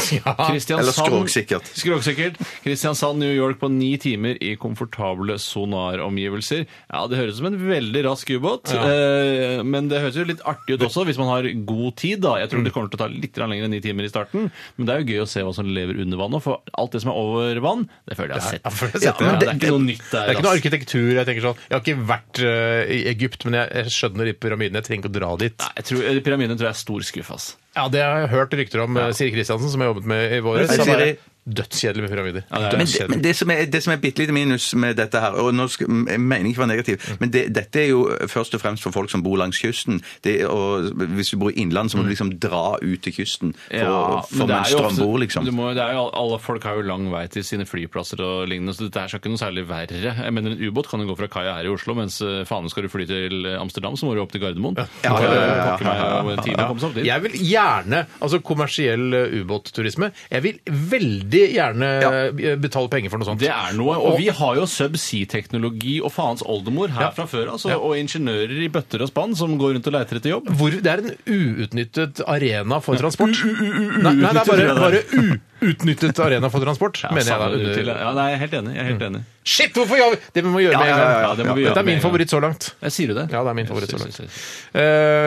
Speaker 3: Kristiansand-
Speaker 2: Eller skråsikkert.
Speaker 3: Skråsikkert. Kristiansand, New York på ni timer i komfortable sonaromgivelser. Ja, det høres ut som en veldig rask ubåt, eh, men det høres jo litt artig ut også hvis man har god tid, da. Jeg tror det kommer til å ta litt grann lenger enn ni timer i starten, men det er jo gøy å se hva som lever under vann nå, for alt det som er over vann, det føler jeg har sett.
Speaker 1: Ja, for det
Speaker 3: Ja,
Speaker 1: setter jeg.
Speaker 3: men det er ikke noe nytt der.
Speaker 1: Det er ikke noe
Speaker 3: ass.
Speaker 1: arkitektur. Jeg tenker sånn, jeg har ikke vært eh, i Egypt, men jeg, jeg skjønner de pyramidene. Jeg trenger ikke å dra dit.
Speaker 3: Nei, jeg tror, eh, Pyramiden tror jeg er stor skuff, ass.
Speaker 1: Ja, Det har jeg hørt rykter om eh, Siri Kristiansen, som jeg jobbet med i vår.
Speaker 2: Hei,
Speaker 1: Han er
Speaker 2: Siri.
Speaker 1: Dødskjedelig med pyramider.
Speaker 3: det er
Speaker 2: Men, det- men det som er, det som er bitte lite minus med dette her, og nå skal, jeg mener ikke å være negativ, men det, dette er jo først og fremst for folk som bor langs kysten. Det, er- og hvis du bor i innland, så må du liksom dra ut til kysten for, å- for
Speaker 3: det
Speaker 2: en
Speaker 3: er jo ofte-
Speaker 2: strømbord, liksom.
Speaker 3: du må, det er jo, alle folk har jo lang vei til sine flyplasser og lignende, så dette er ikke noe særlig verre. Jeg mener, En ubåt kan jo gå fra kaia her i Oslo, mens eh, faen skal du fly til eh, Amsterdam, så må du opp til Gardermoen.
Speaker 2: Ja, ja, ja, ja, ja.
Speaker 3: Du kan jo pakke meg eh, og en time å komme seg opp dit.
Speaker 1: Jeg vil gjerne, altså kommersiell eh, ubåtturisme, jeg vil veldig gjerne eh, betale penger for noe sånt.
Speaker 3: Det er noe, og vi har jo subsea-teknologi og faens oldemor her fra før, altså, og ingeniører i bøtter og spann som går rundt og leter etter jobb.
Speaker 1: hvor, det er en uutnyttet arena for transport. Nei, nei, det er bare, bare uutnyttet arena for transport, mener jeg. da.
Speaker 3: Savner du til- Ja, nei, jeg er helt enig. Jeg er helt enig.
Speaker 1: Shit, hvorfor gjør vi det? må vi gjøre med en
Speaker 3: ja, ja,
Speaker 1: gang.
Speaker 3: det må vi gjøre
Speaker 1: Dette er
Speaker 3: med en
Speaker 1: min
Speaker 3: gang.
Speaker 1: favoritt så langt.
Speaker 3: Jeg sier jo det.
Speaker 1: Ja, det er min favoritt så
Speaker 3: Jeg
Speaker 1: langt.
Speaker 3: synes- jeg synes-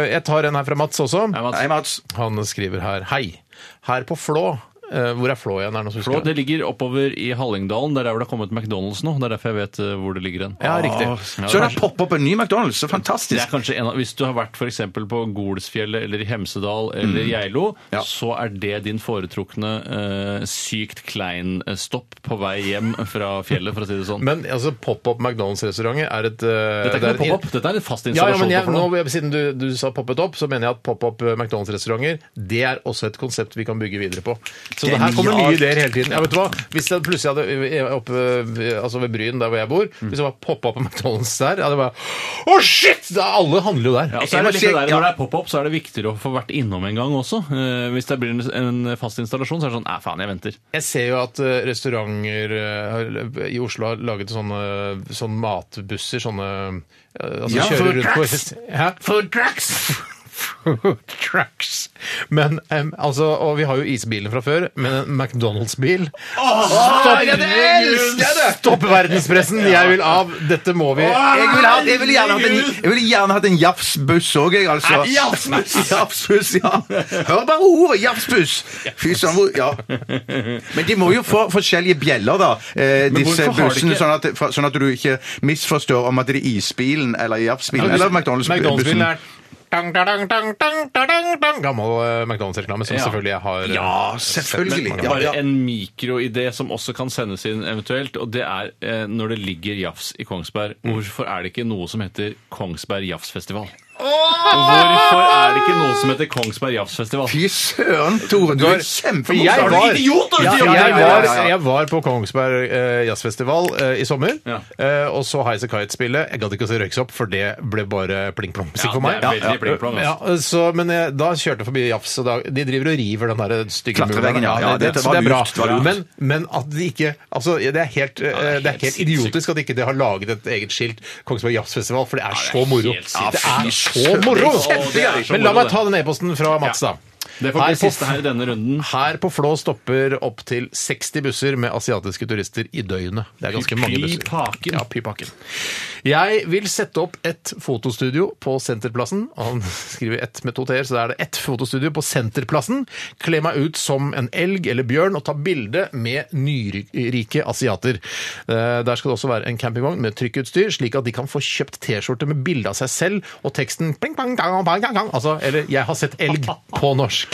Speaker 1: Eh, Jeg tar en her fra Mats også.
Speaker 3: Nei, Mats.
Speaker 2: Hei, Mats.
Speaker 1: Han skriver her Hei. Her på Flå Eh, Hvor er Flå igjen? Er det noen som
Speaker 3: Flå,
Speaker 1: husker
Speaker 3: det
Speaker 1: det?
Speaker 3: ligger oppover i Hallingdalen. Det er der hvor det har kommet McDonald's nå. Det er derfor jeg vet eh, hvor det ligger hen.
Speaker 1: Ja, riktig.
Speaker 2: Så det har poppet opp en ny McDonald's, så fantastisk!
Speaker 3: Det er kanskje en av, Hvis du har vært for eksempel på Golsfjellet eller i Hemsedal eller
Speaker 1: Mm.
Speaker 3: Geilo, så er det din foretrukne eh, sykt klein eh, stopp på vei hjem fra fjellet, for å si det sånn.
Speaker 1: Men altså, pop-up McDonald's-restauranter er et eh,
Speaker 3: Dette er
Speaker 1: det
Speaker 3: ikke
Speaker 1: et-
Speaker 3: noe pop-up, dette er en fast
Speaker 1: Ja, ja,
Speaker 3: installasjon.
Speaker 1: men jeg,
Speaker 3: på
Speaker 1: nå,
Speaker 3: Flå.
Speaker 1: siden du, du sa poppet opp, så mener jeg at pop-up eh, McDonald's-restauranter det er også et konsept vi kan bygge videre på. Så det her kommer nye
Speaker 2: Genialt.
Speaker 1: ideer hele tiden. Ja, vet du hva? Hvis jeg plutselig hadde jeg var oppe eh, altså ved Bryn, der hvor jeg bor,
Speaker 3: Mm.
Speaker 1: hvis det var pop-up McDonald's der, hadde jeg bare Å, shit! Da, alle handler jo der.
Speaker 3: Ja, og så er det litt
Speaker 1: Jeg
Speaker 3: det
Speaker 1: må
Speaker 3: der,
Speaker 1: si-
Speaker 3: Når det er pop-up, så er det viktigere å få vært innom en gang også. Eh, hvis det blir en, en fast installasjon, så er det sånn Æ, faen, jeg venter.
Speaker 1: Jeg ser jo at eh, restauranter eh, har- i Oslo har laget sånne, sånn matbusser, sånne eh, altså,
Speaker 2: Ja,
Speaker 1: kjører
Speaker 2: food
Speaker 1: rundt på-
Speaker 2: trucks.
Speaker 1: Hæ? Food trucks! Food trucks. Men em, altså, og vi har jo isbilen fra før, men en McDonald's-bil Stopp-
Speaker 2: ja, det elsker jeg det!
Speaker 1: Stopp verdenspressen! Jeg vil av! Dette må vi
Speaker 2: Jeg ville, hatt, jeg ville gjerne hatt en, jeg ville gjerne hatt en jafsbuss òg, jeg, altså. Jafsbuss! jafsbuss, ja. Hør bare ordet jafsbuss! Fy søren, hvor Ja. Men de må jo få forskjellige bjeller, da, eh, disse
Speaker 3: hvorfor har de
Speaker 2: bussene,
Speaker 3: ikke-
Speaker 2: sånn at, for- sånn at du ikke misforstår om at det er isbilen eller jafsbilen eller
Speaker 1: McDonald's-bilen
Speaker 2: McDonald's-bussen.
Speaker 1: er Dang, dang, dang, dang, dang, dang, dang. Gammel eh, McDonald's-reklame som
Speaker 3: Ja.
Speaker 1: selvfølgelig jeg har eh,
Speaker 2: Ja,
Speaker 1: sett
Speaker 2: selvfølgelig.
Speaker 1: mange ganger.
Speaker 2: Ja,
Speaker 3: Bare
Speaker 2: ja.
Speaker 3: en mikroidé som også kan sendes inn eventuelt, og det er eh, når det ligger jafs i Kongsberg.
Speaker 1: Mm.
Speaker 3: Hvorfor er det ikke noe som heter Kongsberg Jafsfestival? Hvorfor er det ikke noe som heter Kongsberg Jafsfestival?
Speaker 2: Fy søren, Tore, du er
Speaker 1: Jeg
Speaker 2: kjempemorsom!
Speaker 1: var-
Speaker 3: Idioter!
Speaker 1: Ja,
Speaker 2: Ja, ja,
Speaker 1: jeg,
Speaker 2: ja, ja, ja.
Speaker 1: var, jeg var på Kongsberg eh, jazzfestival eh, i sommer,
Speaker 3: Ja.
Speaker 1: eh, og så Highasakite Kite-spillet. Jeg gadd ikke å se Røyksopp, for det ble bare pling-plong-musikk
Speaker 3: Ja,
Speaker 1: for meg.
Speaker 3: det er veldig pling-plong,
Speaker 1: ja, eh,
Speaker 3: altså.
Speaker 1: så, men jeg, da kjørte jeg forbi Jafs, og da, de driver og river den der stygge
Speaker 2: Klatreveggen,
Speaker 1: muren.
Speaker 2: ja, ja,
Speaker 1: det,
Speaker 2: dette
Speaker 1: så
Speaker 2: var
Speaker 1: det er bra.
Speaker 2: lurt, det var lurt.
Speaker 1: Men, men at de ikke Altså, det er helt, eh,
Speaker 3: det er
Speaker 1: det er helt
Speaker 3: helt
Speaker 1: idiotisk at ikke de har laget et eget skilt Kongsberg Jazzfestival, for det er så moro.
Speaker 3: helt
Speaker 1: Ja,
Speaker 3: sinnssykt.
Speaker 1: Det er så
Speaker 2: søren,
Speaker 1: moro!
Speaker 2: det er kjempegøy.
Speaker 3: Det er så
Speaker 1: Men la
Speaker 3: moro,
Speaker 1: meg ta den e-posten fra Mats, da.
Speaker 3: Det får
Speaker 1: Nei,
Speaker 3: bli
Speaker 1: på
Speaker 3: siste her i denne runden.
Speaker 1: her på Flå stopper opptil 60 busser med asiatiske turister i døgnet. Det er ganske mange busser.
Speaker 3: Pypaken.
Speaker 1: Ja, pypaken. Jeg vil sette opp et fotostudio på Senterplassen. Og Han skriver ett med to t-er, så da er det ett fotostudio på Senterplassen. Kle meg ut som en elg eller bjørn og ta bilde med nyrike asiater. Eh, Der skal det også være en campingvogn med trykkutstyr, slik at de kan få kjøpt T-skjorte med bilde av seg selv og teksten pling, pang, gang, bang, gang, gang. Altså, eller 'Jeg har sett elg' på norsk.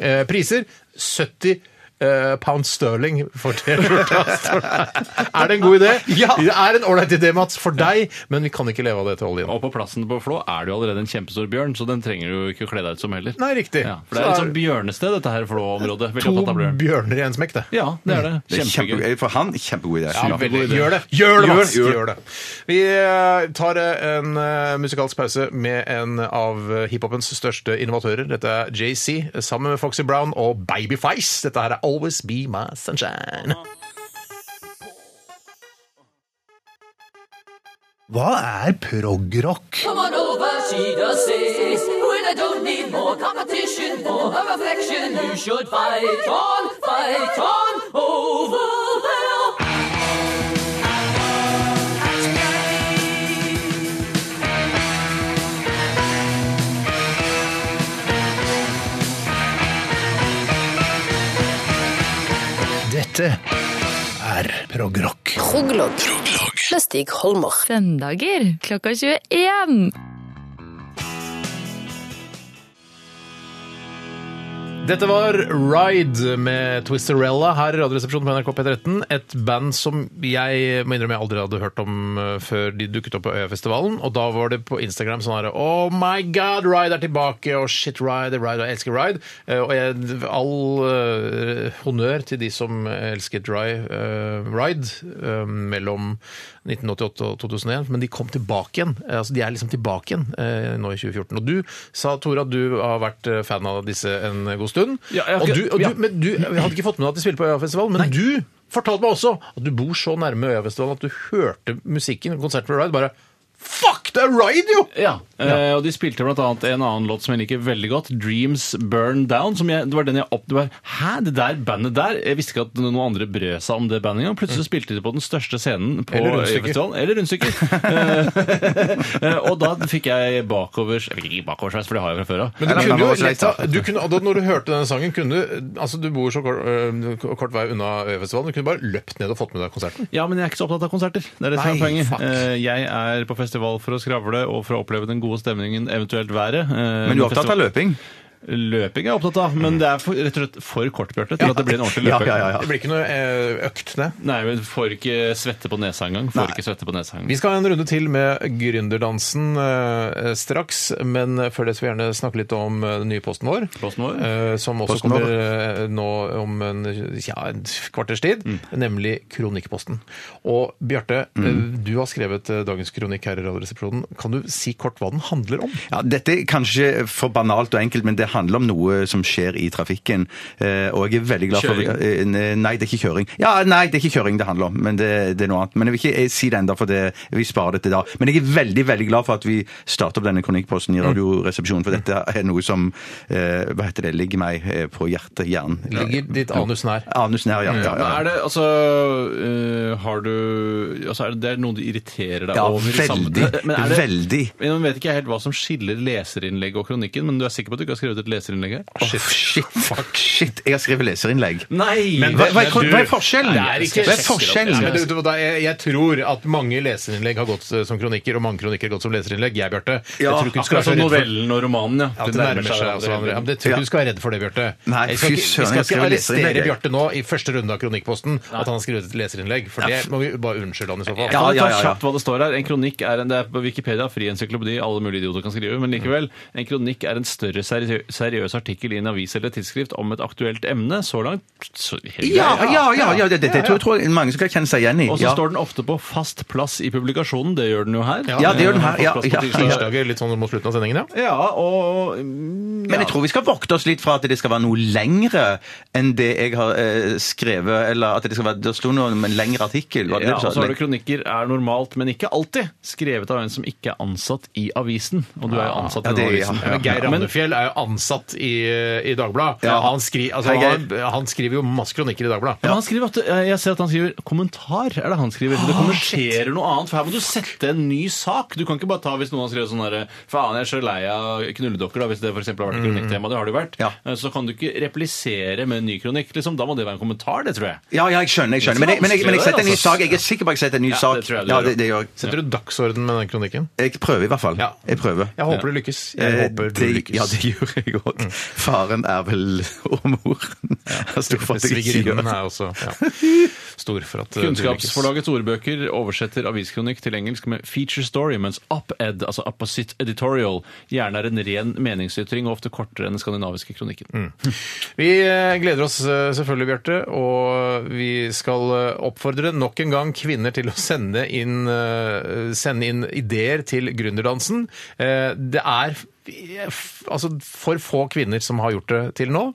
Speaker 1: Eh, Priser 70 eh, pound sterling for T-skjorta. Er det en god idé?
Speaker 2: Ja.
Speaker 1: Det er en ålreit idé, Mats, for deg, men vi kan ikke leve av det til oljen.
Speaker 3: Og på plassen på Flå er det jo allerede en kjempestor bjørn, så den trenger du jo ikke å kle deg ut som heller.
Speaker 1: Nei, riktig.
Speaker 3: Ja, for det er
Speaker 1: Så
Speaker 3: et
Speaker 1: er
Speaker 3: sånt bjørnested, dette her Flå-området. Veldig
Speaker 1: To
Speaker 3: opptatt av bjørn.
Speaker 1: bjørner i en smekk, det.
Speaker 3: Ja, det er det.
Speaker 2: Det er
Speaker 3: Kjempegøy.
Speaker 2: kjempegøy. For han, kjempegod idé.
Speaker 1: Ja,
Speaker 2: Kjempegod
Speaker 1: veldig.
Speaker 2: idé.
Speaker 1: Gjør det! Gjør det,
Speaker 2: Gjør-
Speaker 1: Mats!
Speaker 2: gjør.
Speaker 1: Gjør det. Vi eh, tar eh, en eh, musikalsk pause med en av eh, hiphopens største innovatører. Dette er JC sammen med Foxy Brown og Babyface. Dette her er Always Be My Sunshine.
Speaker 8: Hva er progrock? Dette er progrock.
Speaker 10: Proglog. Med Stig Holmer.
Speaker 7: Søndager klokka 21.
Speaker 1: Dette var Ride med Twisterella her i Radioresepsjonen på NRK P13. Et band som jeg må innrømme jeg aldri hadde hørt om eh, før de dukket opp på Øyafestivalen. Og da var det på Instagram sånn her Oh my god, Ride er tilbake! Og shit, Ride, Ride, og jeg elsker Ride. Eh, Og jeg, all eh, honnør til de som elsket Ride, eh, Ride eh, mellom 1988 og 2001, men de kom tilbake igjen. Eh, Altså, de er liksom tilbake igjen eh, nå i 2014. Og du sa, Tore, at du har vært eh, fan av disse en god stund.
Speaker 3: Ja, jeg har
Speaker 1: og du,
Speaker 3: ikke-
Speaker 1: og du,
Speaker 3: ja.
Speaker 1: men du, jeg hadde ikke fått med deg at de spiller på Øyafestivalen, men du fortalte meg også at du bor så nærme Øyafestivalen at du hørte musikken i konserten med Ride bare Fuck!
Speaker 2: det er Ride, jo!
Speaker 3: Ja, eh, og de spilte blant annet en annen låt som jeg liker veldig godt, 'Dreams Burn Down'. Som jeg, det var den jeg opp... Det var, Hæ, det der bandet der? Jeg visste ikke at noen andre brød seg om det bandet engang. Plutselig spilte de på den største scenen på
Speaker 1: Eller rundstykker.
Speaker 3: Øyafestivalen. Eller rundstykker. Eh, eh, og da fikk jeg bakovers Eller ikke bakoversveis, for det har jeg fra før av.
Speaker 1: Men du
Speaker 2: Nei,
Speaker 1: kunne
Speaker 2: men
Speaker 1: jo
Speaker 2: man var så
Speaker 1: lett ha-
Speaker 2: lei seg.
Speaker 1: du kunne, og da, Når du hørte denne sangen, kunne du Altså, du bor så kort, øh, kort vei unna Øyafestivalen. Du kunne bare løpt ned og fått med deg konserten.
Speaker 3: Ja, men jeg er ikke så opptatt av konserter. Det er det som er
Speaker 1: Nei,
Speaker 3: poenget.
Speaker 1: fuck.
Speaker 3: Eh, Jeg er på festival for å skravle og for å oppleve den gode stemningen, eventuelt været. eh,
Speaker 2: Men du er opptatt av løping?
Speaker 3: Løping er jeg opptatt av, men det er for, rett og slett for kort, Bjarte, til at det blir en ordentlig
Speaker 2: Mm. Ja,
Speaker 3: løpeøkt.
Speaker 2: ja, ja, ja.
Speaker 1: Det blir ikke noe eh, økt ned.
Speaker 3: Nei, men får ikke svette på nesa engang. Får ikke svette på nesa
Speaker 1: Vi
Speaker 3: engang.
Speaker 1: skal ha en runde til med gründerdansen eh, straks, men før det skal vi gjerne snakke litt om eh, den nye posten vår.
Speaker 3: Posten vår.
Speaker 1: eh, som også
Speaker 2: Posten
Speaker 1: kommer eh, nå om en, ja, en kvarters tid,
Speaker 3: Mm.
Speaker 1: nemlig Kronikkposten. Og Bjarte, eh,
Speaker 3: Mm.
Speaker 1: du har skrevet eh, dagens kronikk her i Radioresepsjonen. Kan du si kort hva den handler om?
Speaker 2: Ja, dette er kanskje for banalt og enkelt, men det handler om noe som skjer i trafikken. Eh, Og jeg er veldig glad for
Speaker 3: Kjøring?
Speaker 2: Eh, Nei, det er ikke kjøring. Ja, nei, det er ikke kjøring det handler om, men det, det er noe annet. Men jeg vil ikke eh, si det ennå, for det, vi sparer det til da. Men jeg er veldig, veldig glad for at vi starter opp denne kronikkposten i
Speaker 3: Mm.
Speaker 2: Radioresepsjonen, for dette er noe som eh, Hva heter det? Ligger meg eh, på hjertet, hjernen.
Speaker 1: Ligger ditt anus nær?
Speaker 2: Anus nær, ja. ja, ja.
Speaker 3: Er det, altså, øh, har du, altså er det, det er noe du irriterer deg
Speaker 2: Ja,
Speaker 3: over? i sammen-
Speaker 2: veldig.
Speaker 3: Men er det-
Speaker 2: Veldig.
Speaker 3: Men Nå vet ikke jeg helt hva som skiller leserinnlegg og kronikken, men du er sikker på at du ikke har skrevet et leserinnlegg her?
Speaker 2: Åh, shit, fuck, shit. Jeg har skrevet leserinnlegg.
Speaker 3: Nei!
Speaker 1: Men
Speaker 2: Hva, hva,
Speaker 1: Men
Speaker 2: er,
Speaker 1: du-
Speaker 2: hva er forskjellen?
Speaker 3: Det er ikke- altså.
Speaker 2: hva er forskjellen?
Speaker 1: Ja, men du- du- da, jeg, jeg tror at mange leserinnlegg har gått eh, som kronikker, og mange kronikker har gått som leserinnlegg. Jeg, Bjarte. Jeg
Speaker 2: Ja,
Speaker 1: tror ikke du skal være så
Speaker 3: Akkurat som
Speaker 1: redd for-
Speaker 3: novellen og romanen, ja.
Speaker 1: Ja, det nærmer seg altså
Speaker 3: hverandre.
Speaker 1: hverandre. Ja, men jeg tror ikke
Speaker 2: Ja.
Speaker 1: du skal være redd for det, Bjarte.
Speaker 2: Nei,
Speaker 1: jeg skal
Speaker 2: fy
Speaker 1: ikke, vi skal
Speaker 2: søren, jeg
Speaker 1: ikke
Speaker 2: skriver leserinnlegg,
Speaker 1: arrestere
Speaker 2: jeg.
Speaker 1: Bjarte nå i første runde av Kronikkposten at han har skrevet et leserinnlegg, for det må vi bare unnskylde han i så fall.
Speaker 2: Ja,
Speaker 3: Kan vi
Speaker 2: ja,
Speaker 3: ta
Speaker 2: ja, ja.
Speaker 3: kjapt hva det står her? En kronikk er en, det er på Wikipedia, fri encyklopedi, alle mulige idioter kan skrive, men likevel. En kronikk er en større seriø seriøs artikkel i en avis eller tidsskrift om et aktuelt emne. Så langt så helt
Speaker 2: Ja,
Speaker 3: greit.
Speaker 2: ja, ja, ja, det, det, det tror jeg- tror jeg mange skal kjenne seg igjen i.
Speaker 3: Og så
Speaker 2: Ja.
Speaker 3: står den ofte på fast plass i publikasjonen. Det gjør den jo her.
Speaker 2: Ja, det gjør den her, ja,
Speaker 3: Fast plass på
Speaker 2: ja.
Speaker 3: tirsdag.
Speaker 1: Tirsdager, litt sånn mot slutten av sendingen, ja.
Speaker 3: Ja, og mm,
Speaker 2: Men jeg
Speaker 3: ja.
Speaker 2: tror vi skal vokte oss litt fra at det skal være noe lengre enn det jeg har eh, skrevet, eller at det skal være, det sto noe om en lengre artikkel. Var det
Speaker 3: ja,
Speaker 2: det du
Speaker 3: og så
Speaker 2: sa?
Speaker 3: har du kronikker er normalt, men ikke alltid, skrevet av en som ikke er ansatt i avisen. Og du er jo ansatt
Speaker 2: Ja,
Speaker 3: i
Speaker 2: det-
Speaker 3: denne avisen.
Speaker 2: ja,
Speaker 1: Men Geir Randefjell er jo ansatt i, eh, i Dagbladet.
Speaker 2: Ja.
Speaker 1: Han, skri, altså,
Speaker 2: Hei,
Speaker 1: han,
Speaker 2: Geir.
Speaker 1: han skriver jo masse kronikker i Dagbladet.
Speaker 3: Men han skriver at, eh, jeg ser at han skriver kommentar. er det han skriver. Du kommenterer noe annet, for her må du sette en ny sak. Du kan ikke bare ta hvis noen har skrevet sånn herre Faen, jeg er så lei av knulledokker, da, hvis det for eksempel har vært et kronikktema. Det har det jo vært.
Speaker 2: Ja.
Speaker 3: Eh, Så kan du ikke replisere med en ny kronikk. liksom. Da må det være en kommentar, det tror jeg.
Speaker 2: Ja, ja, jeg skjønner. jeg skjønner. Men jeg, men jeg, men jeg setter en ny sak. Jeg er sikker på at jeg setter en ny
Speaker 3: altså. Ja,
Speaker 2: sak.
Speaker 3: det tror jeg du
Speaker 2: Ja,
Speaker 3: gjør.
Speaker 2: det, det gjør jeg.
Speaker 1: Setter du dagsorden med den kronikken?
Speaker 2: Jeg prøver i hvert fall.
Speaker 1: Ja.
Speaker 2: Jeg prøver.
Speaker 1: Jeg håper det lykkes. Jeg
Speaker 2: Eh,
Speaker 1: håper det
Speaker 2: det,
Speaker 1: lykkes.
Speaker 2: ja, det gjør jeg òg.
Speaker 3: Mm.
Speaker 2: Faren er vel og moren. Altså, for at jeg ikke gjør
Speaker 1: Svigerinnen
Speaker 2: det.
Speaker 1: er også ja, stor for at eh, det lykkes.
Speaker 3: Kunnskapsforlagets ordbøker oversetter aviskronikk til engelsk med feature story, mens op-ed, altså opposite editorial, gjerne er en ren meningsytring og ofte kortere enn den skandinaviske kronikken.
Speaker 1: Vi eh, gleder oss eh, selvfølgelig, Bjarte, og vi skal eh, oppfordre nok en gang kvinner til å sende inn, eh, sende inn ideer til gründerdansen. Eh, Det er f- altså for få kvinner som har gjort det til nå.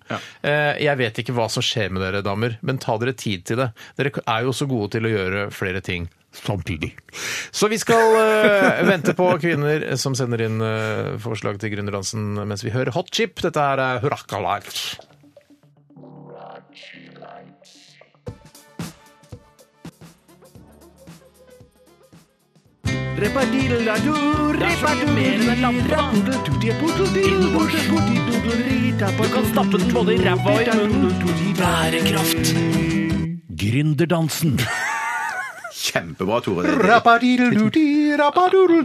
Speaker 1: Eh, Jeg vet ikke hva som skjer med dere, damer, men ta dere tid til det. Dere er jo så gode til å gjøre flere ting. Samtidig. Så vi skal eh, vente på kvinner som sender inn eh, forslag til gründerdansen mens vi hører Hot Chip. Dette her er Hurrakalaj.
Speaker 9: Du kan stappe den både i ræva og i munnen. Bærekraft. Gründerdansen.
Speaker 2: Kjempebra, Tore. Det- det-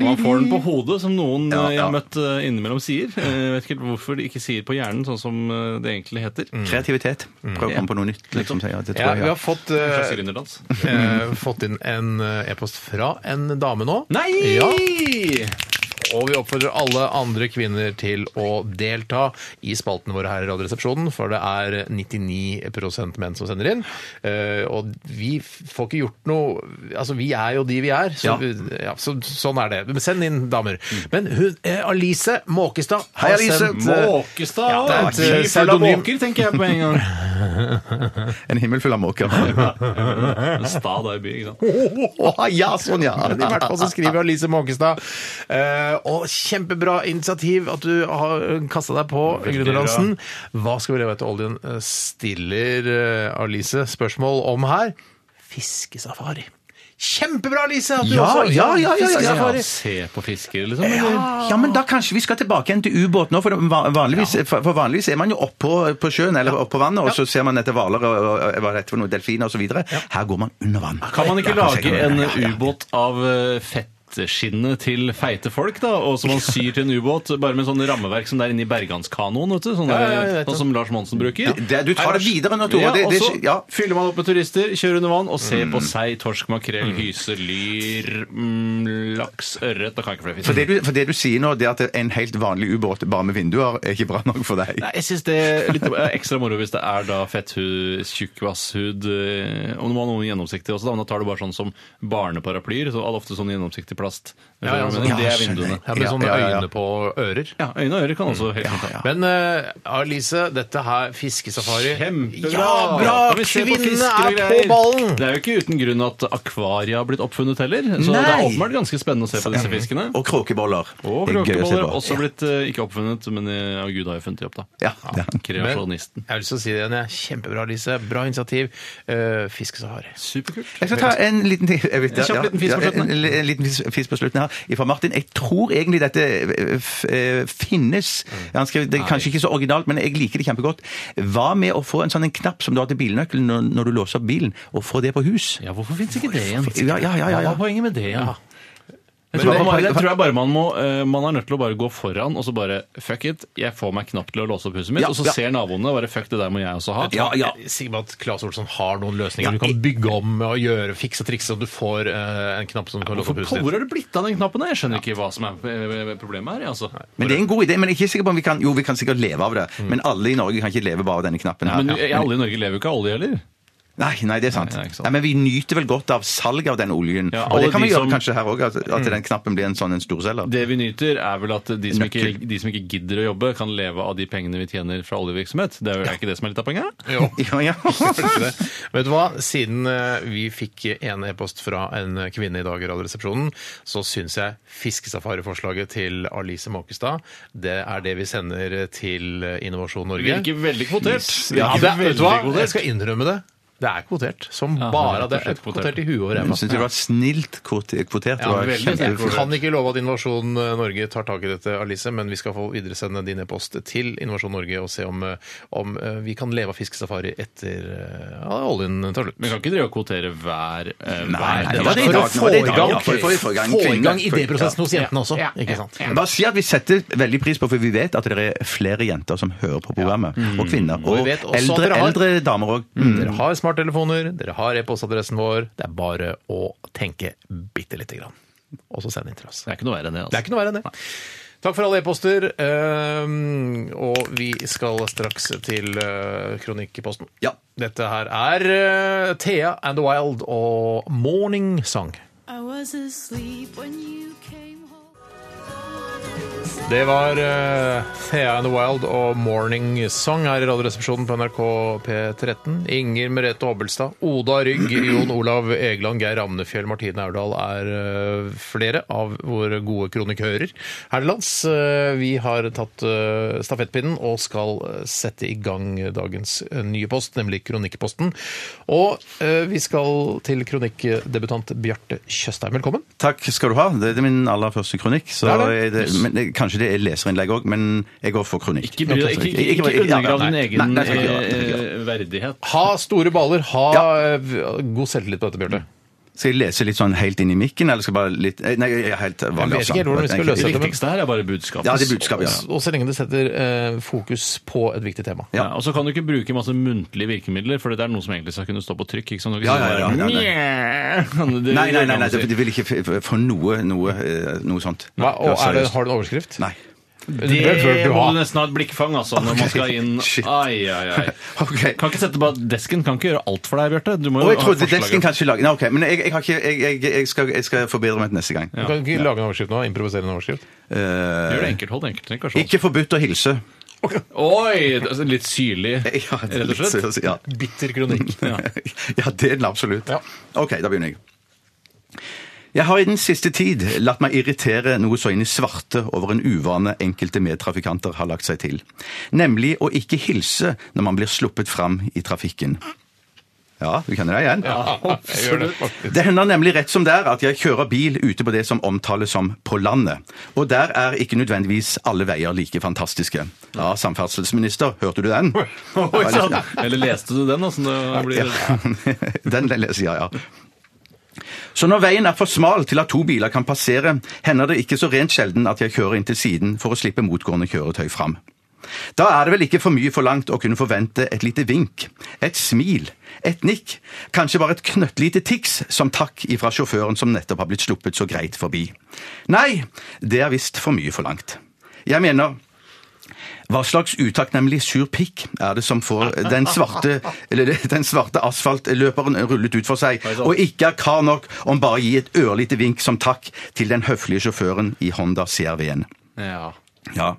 Speaker 3: Man får den på hodet, som noen
Speaker 2: Ja,
Speaker 3: eh, jeg
Speaker 2: ja.
Speaker 3: har møtt eh, innimellom sier. Eh, Jeg vet ikke helt hvorfor de ikke sier på hjernen, sånn som eh, det egentlig heter.
Speaker 2: Kreativitet. Prøv
Speaker 3: Mm.
Speaker 2: å komme på noe nytt. Liksom. Ja, det
Speaker 1: Ja,
Speaker 2: tror jeg.
Speaker 1: vi
Speaker 2: ja.
Speaker 1: har fått,
Speaker 3: En
Speaker 1: eh,
Speaker 3: slags gründerdans.
Speaker 1: eh, fått inn en eh, e-post fra en dame nå.
Speaker 3: Nei!
Speaker 1: Ja. Og vi oppfordrer alle andre kvinner til å delta i spaltene våre her i Radioresepsjonen, for det er 99 menn som sender inn. Eh, Og vi f- får ikke gjort noe Altså, vi er jo de vi er. Så, ja, så, sånn er det. Men send inn damer. Men hun, eh, Alice Måkestad har
Speaker 2: Hei, Alice.
Speaker 1: sendt- eh,
Speaker 3: Måkestad!
Speaker 1: Ja, det er et,
Speaker 3: Fy,
Speaker 1: eh,
Speaker 3: full av
Speaker 1: pseudonym.
Speaker 3: måker, tenker jeg på en gang.
Speaker 2: En himmel full av måker.
Speaker 3: En Stad er by, ikke sant.
Speaker 2: Å, ja, sånn, ja.
Speaker 1: Ja, I hvert fall så skriver Alice Måkestad. Eh, og kjempebra initiativ at du har kasta deg på, Grunnerlandsen. Hva skal vi leve etter oljen? eh, Stiller eh, Alice spørsmål om her. Fiskesafari. Kjempebra, Alice! At du
Speaker 2: Ja,
Speaker 1: også
Speaker 2: ja, ja, ja, ja, ja.
Speaker 1: Fiskesafari.
Speaker 3: Se på fiskere, liksom.
Speaker 2: Ja, men da kanskje vi skal tilbake igjen til ubåt nå, for, det va- vanligvis, for for vanligvis er man jo oppå på sjøen eller oppå vannet, og så ser man etter hvaler og, og, og hva det heter for noe, delfiner osv. Her går man under vann.
Speaker 3: Kan man ikke
Speaker 2: Ja, kanskje
Speaker 3: lage
Speaker 2: jeg kan-
Speaker 3: en
Speaker 2: ja, ja, ja.
Speaker 3: ubåt av eh, fettskinnet til feite folk, da? Og som man syr til en ubåt, bare med sånn rammeverk som det er inne i Berganskanoen, vet du. Sånn,
Speaker 1: ja,
Speaker 3: der,
Speaker 1: jeg vet det.
Speaker 3: sånn som Lars Monsen bruker.
Speaker 2: Det, du tar det videre nå, Tore.
Speaker 3: Ja,
Speaker 2: Det,
Speaker 3: og
Speaker 2: det,
Speaker 3: så
Speaker 2: ja. Mm.
Speaker 3: fyller man opp med turister, kjører under vann og ser på sei, torsk, makrell, hyse, lyr, mm, laks, ørret Da kan jeg ikke flere
Speaker 2: For,
Speaker 3: fisk.
Speaker 2: det du, for det du sier nå, det er at en helt vanlig ubåt bare med vinduer er ikke bra nok for deg.
Speaker 3: Nei, jeg syns det er litt eh, ekstra moro hvis det er da fetthud, tjukkvasshud eh, Om det var noe gjennomsiktig også, da, men da tar du bare sånn som barneparaplyer. Så alle ofte sånn gjennomsiktig plast.
Speaker 1: Ja, ja,
Speaker 3: Men
Speaker 1: sånn.
Speaker 3: det
Speaker 2: Ja,
Speaker 3: er vinduene.
Speaker 1: Ja, med
Speaker 2: Ja,
Speaker 1: sånne
Speaker 2: ja, ja, ja.
Speaker 1: øyne på ører.
Speaker 3: Ja, Øyne og ører kan også helt fint ha.
Speaker 1: Men eh, Alice, dette her fiskesafari
Speaker 3: Kjempebra!
Speaker 1: Ja, bra!
Speaker 3: Kan vi se på
Speaker 1: Kvinnene
Speaker 3: fisker
Speaker 1: er
Speaker 3: og
Speaker 1: på
Speaker 3: greier?
Speaker 1: ballen!
Speaker 3: Det er jo ikke uten grunn at akvaria har blitt oppfunnet heller. Så det er
Speaker 2: Nei!
Speaker 3: åpenbart ganske spennende å se på disse fiskene.
Speaker 2: Og kråkeboller.
Speaker 3: Og
Speaker 2: Det er gøy å se
Speaker 3: kråkeboller
Speaker 2: på.
Speaker 3: også blitt eh, ikke oppfunnet, men eh, ja, Gud har jo funnet de opp, da.
Speaker 2: Ja, ja.
Speaker 3: Kreasjonisten.
Speaker 1: Jeg har lyst til å si det igjen. jeg. Kjempebra, Alice. Bra initiativ. Eh, fiskesafari.
Speaker 3: Superkult.
Speaker 2: Jeg skal ta en liten ting- jeg vet-
Speaker 3: En kjapp
Speaker 2: ja,
Speaker 3: liten fis på
Speaker 2: ja,
Speaker 3: slutten.
Speaker 2: En, en liten fis, fis på slutten her fra Martin. Jeg tror egentlig dette eh, f, eh, finnes.
Speaker 3: Mm.
Speaker 2: Han skrev, det er kanskje ikke så originalt, men jeg liker det kjempegodt. Hva med å få en sånn en knapp som du har til bilnøkkelen når, når du låser opp bilen, og få det på hus?
Speaker 3: Ja, hvorfor fins ikke det igjen?
Speaker 2: Ja, ja, ja, ja, ja.
Speaker 3: Hva er poenget med det? Ja? Jeg
Speaker 2: Men
Speaker 3: tror,
Speaker 2: det-
Speaker 3: man, jeg tror jeg bare man, må, eh, man er nødt til å bare gå foran og så bare fuck it. Jeg får meg knapt til å låse opp huset mitt.
Speaker 2: Ja,
Speaker 3: og så
Speaker 2: ja.
Speaker 3: ser naboene bare fuck det der må jeg også ha.
Speaker 2: Ja, ja.
Speaker 1: Jeg er sikker på at Claes Olsson har noen løsninger du
Speaker 2: Ja,
Speaker 1: kan bygge om og gjøre, fikse og trikse, og du får eh, en knapp som du kan låse
Speaker 3: Hvorfor
Speaker 1: opp huset
Speaker 3: hvor
Speaker 1: ditt.
Speaker 3: er det blitt av den knappen? der? Jeg skjønner ikke hva som er eh, problemet her. Altså.
Speaker 2: Men det er en god idé, men jeg er ikke sikker på om vi kan Jo, vi kan sikkert leve av det, men alle i Norge kan ikke leve bare av denne knappen her.
Speaker 3: Mm. Men eh, alle i Norge lever jo ikke av olje heller.
Speaker 2: Nei, nei, det er sant.
Speaker 3: Nei, det er
Speaker 2: Nei,
Speaker 3: ikke sant.
Speaker 2: men vi nyter vel godt av salget av den oljen.
Speaker 3: Ja,
Speaker 2: og
Speaker 3: alle
Speaker 2: det kan
Speaker 3: de
Speaker 2: vi gjøre
Speaker 3: som- Mm.
Speaker 2: kanskje her òg, at, at den knappen blir en sånn en storselger.
Speaker 3: Det vi nyter, er vel at de som, ikke,
Speaker 2: Nøkkel.
Speaker 3: de som ikke gidder å jobbe, kan leve av de pengene vi tjener fra oljevirksomhet. Det er jo er ikke det som er litt av poenget?
Speaker 1: Jo.
Speaker 2: Ja, ja.
Speaker 1: Følte det. Vet du hva? Siden eh, vi fikk en e-post fra en kvinne i dag i Radioresepsjonen, så syns jeg fiskesafariforslaget til Alice Måkestad, det er det vi sender til eh, Innovasjon
Speaker 3: Vi
Speaker 1: Norge.
Speaker 3: er ikke veldig kvotert. Vi
Speaker 1: Ja,
Speaker 3: er
Speaker 1: det,
Speaker 3: ikke
Speaker 1: vet du
Speaker 3: veldig
Speaker 1: hva? Jeg
Speaker 3: kvotert.
Speaker 1: skal innrømme det. Det er kvotert. Som
Speaker 3: Ja,
Speaker 1: bare
Speaker 3: det
Speaker 1: det.
Speaker 3: er rett og slett
Speaker 1: Kvotert i huet og ræva.
Speaker 2: Jeg syns det var snilt kvote- kvotert. Det
Speaker 3: Ja,
Speaker 2: var
Speaker 3: veldig snilt
Speaker 2: kjempe-
Speaker 3: kvotert.
Speaker 1: Kan ikke love at Innovasjon eh, Norge tar tak i dette, Alice, men vi skal få videresende din e-post til Innovasjon Norge og se om, eh, om eh, vi kan leve av fiskesafari etter eh, ja, oljen tar slutt.
Speaker 3: Vi kan ikke drive og kvotere hver, eh,
Speaker 2: Nei,
Speaker 3: hver
Speaker 2: nei,
Speaker 3: del.
Speaker 2: det var det i dag.
Speaker 1: For å få i
Speaker 2: det var det i dag,
Speaker 1: gang,
Speaker 2: ja, for å få i gang
Speaker 1: få i
Speaker 2: kvinner.
Speaker 1: gang idéprosessen hos jentene også. Ikke sant?
Speaker 2: Bare si at vi setter veldig pris på, for vi vet at det er flere jenter som hører på programmet. Og kvinner. Og,
Speaker 1: Mm. vi vet også at
Speaker 2: eldre,
Speaker 1: dere har- Mm.
Speaker 2: eldre damer Mm. òg.
Speaker 1: Dere har smarttelefoner, dere har e-postadressen vår. Det er bare å tenke bitte lite grann, og så send inn til oss.
Speaker 3: Det er ikke noe verre enn det.
Speaker 1: Det er
Speaker 3: Altså.
Speaker 1: ikke noe verre enn det. Takk for alle e-poster. ehm, og vi skal straks til eh, kronikkposten.
Speaker 2: Ja.
Speaker 1: Dette her er eh, Thea and the Wild og Morning Song.
Speaker 11: I was asleep when you came home.
Speaker 1: Det var eh, Thea and the Wild og Morning Song her i Radioresepsjonen på NRK P13. Inger Merete Hobbelstad, Oda Rygg, Jon Olav Egeland, Geir Ramnefjell, Martine Aurdal er eh, flere av våre gode kronikører her til lands. Eh, vi har tatt eh, stafettpinnen og skal eh, sette i gang dagens eh, nye post, nemlig Kronikkposten. Og eh, vi skal til kronikkdebutant Bjarte Tjøstheim. Velkommen.
Speaker 2: Takk skal du ha. Det er min aller første kronikk. Så
Speaker 1: Det er det.
Speaker 2: er det, men det, kanskje det er leserinnlegg òg, men jeg går for kronikk.
Speaker 3: Ikke, bry deg- ikke, ikke, ikke,
Speaker 2: ja, ja,
Speaker 3: undergrav din
Speaker 2: nei.
Speaker 3: egen
Speaker 2: Nei, nei, jeg skal ikke gjøre det.
Speaker 3: eh, verdighet.
Speaker 1: Ha store baler, ha
Speaker 2: Ja.
Speaker 1: eh, god selvtillit på dette, Bjarte.
Speaker 2: Skal jeg lese litt sånn helt inn i mikken, eller skal jeg bare litt eh, Nei, jeg er helt vanlig.
Speaker 1: vet ikke helt hvordan vi skal løse
Speaker 3: Det
Speaker 1: dette, men-
Speaker 3: viktigste her er bare budskapet.
Speaker 2: Ja, det er budskapet, ja.
Speaker 1: Og så lenge det setter eh, fokus på et viktig tema.
Speaker 3: Ja. og så kan du ikke bruke masse muntlige virkemidler, for det er noe som egentlig skal kunne stå på trykk. ikke sant? Du kan
Speaker 2: Ja,
Speaker 3: ikke
Speaker 2: ja, ja,
Speaker 3: si bare,
Speaker 2: ja,
Speaker 3: «Nye!» Det-
Speaker 2: Nei, nei, nei, nei
Speaker 3: det-
Speaker 2: det, det vil ikke f- f- få noe, noe, eh, noe sånt.
Speaker 1: Hva, og er det,
Speaker 2: Seriøst.
Speaker 1: har du en overskrift?
Speaker 2: Nei.
Speaker 1: bør
Speaker 3: Det
Speaker 1: du
Speaker 3: må
Speaker 1: ha.
Speaker 3: du nesten ha et blikkfang altså, når man skal inn.
Speaker 2: Shit.
Speaker 3: Ai, ai, ai.
Speaker 2: Ok.
Speaker 3: Kan ikke sette på desken kan ikke gjøre alt for deg, Bjarte. Du må
Speaker 2: Og
Speaker 3: jo
Speaker 2: jeg trodde
Speaker 3: forslag.
Speaker 2: desken kanskje lager Nei, ok, men jeg, jeg, har ikke, jeg, jeg, jeg, skal, jeg skal forbedre meg til neste gang.
Speaker 1: Du kan ikke lage en overskrift nå? Improvisere en overskrift?
Speaker 2: Eh,
Speaker 3: Gjør det enkelt, hold det enkelt. trenger ikke være så
Speaker 2: ikke forbudt å hilse.
Speaker 3: Oi! det er Litt syrlig,
Speaker 2: Ja, det er
Speaker 3: rett og
Speaker 2: litt
Speaker 3: slett.
Speaker 2: seriøst, Ja.
Speaker 1: Bitter kronikk.
Speaker 2: ja, det er den absolutt.
Speaker 1: Ja.
Speaker 2: Ok, da begynner jeg. Jeg har i den siste tid latt meg irritere noe så inn i svarte over en uvane enkelte medtrafikanter har lagt seg til, nemlig å ikke hilse når man blir sluppet fram i trafikken. Ja, du kjenner deg igjen?
Speaker 1: Jeg gjør det. faktisk.
Speaker 2: Det hender nemlig rett som det er at jeg kjører bil ute på det som omtales som på landet. Og der er ikke nødvendigvis alle veier like fantastiske. Ja, samferdselsminister, hørte du den?
Speaker 3: Oi, sann. Eller leste du den? da, som det blir...
Speaker 2: Den leser jeg, ja. Så når veien er for smal til at to biler kan passere, hender det ikke så rent sjelden at jeg kjører inn til siden for å slippe motgående kjøretøy fram. Da er det vel ikke for mye forlangt å kunne forvente et lite vink, et smil, et nikk, kanskje bare et knøttlite tics som takk ifra sjåføren som nettopp har blitt sluppet så greit forbi. Nei, det er visst for mye forlangt. Jeg mener, hva slags utakknemlig sur pikk er det som får den svarte, eller det- den svarte asfaltløperen rullet ut for seg, og ikke er kar nok om bare å gi et ørlite vink som takk til den høflige sjåføren i Honda CRV-en?
Speaker 3: Ja.
Speaker 2: Ja.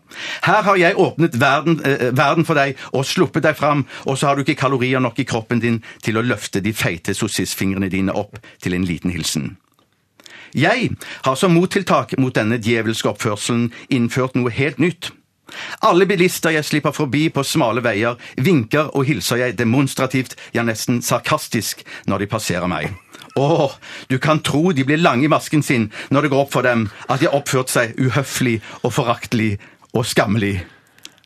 Speaker 2: Her har jeg åpnet verden, eh, verden for deg og sluppet deg fram, og så har du ikke kalorier nok i kroppen din til å løfte de feite sossisfingrene dine opp til en liten hilsen. Jeg har som mottiltak mot denne djevelske oppførselen innført noe helt nytt. Alle bilister jeg slipper forbi på smale veier, vinker og hilser jeg demonstrativt, ja nesten sarkastisk, når de passerer meg. Åh, du kan tro de blir lange i masken sin når det går opp for dem at de har oppført seg uhøflig og foraktelig og skammelig.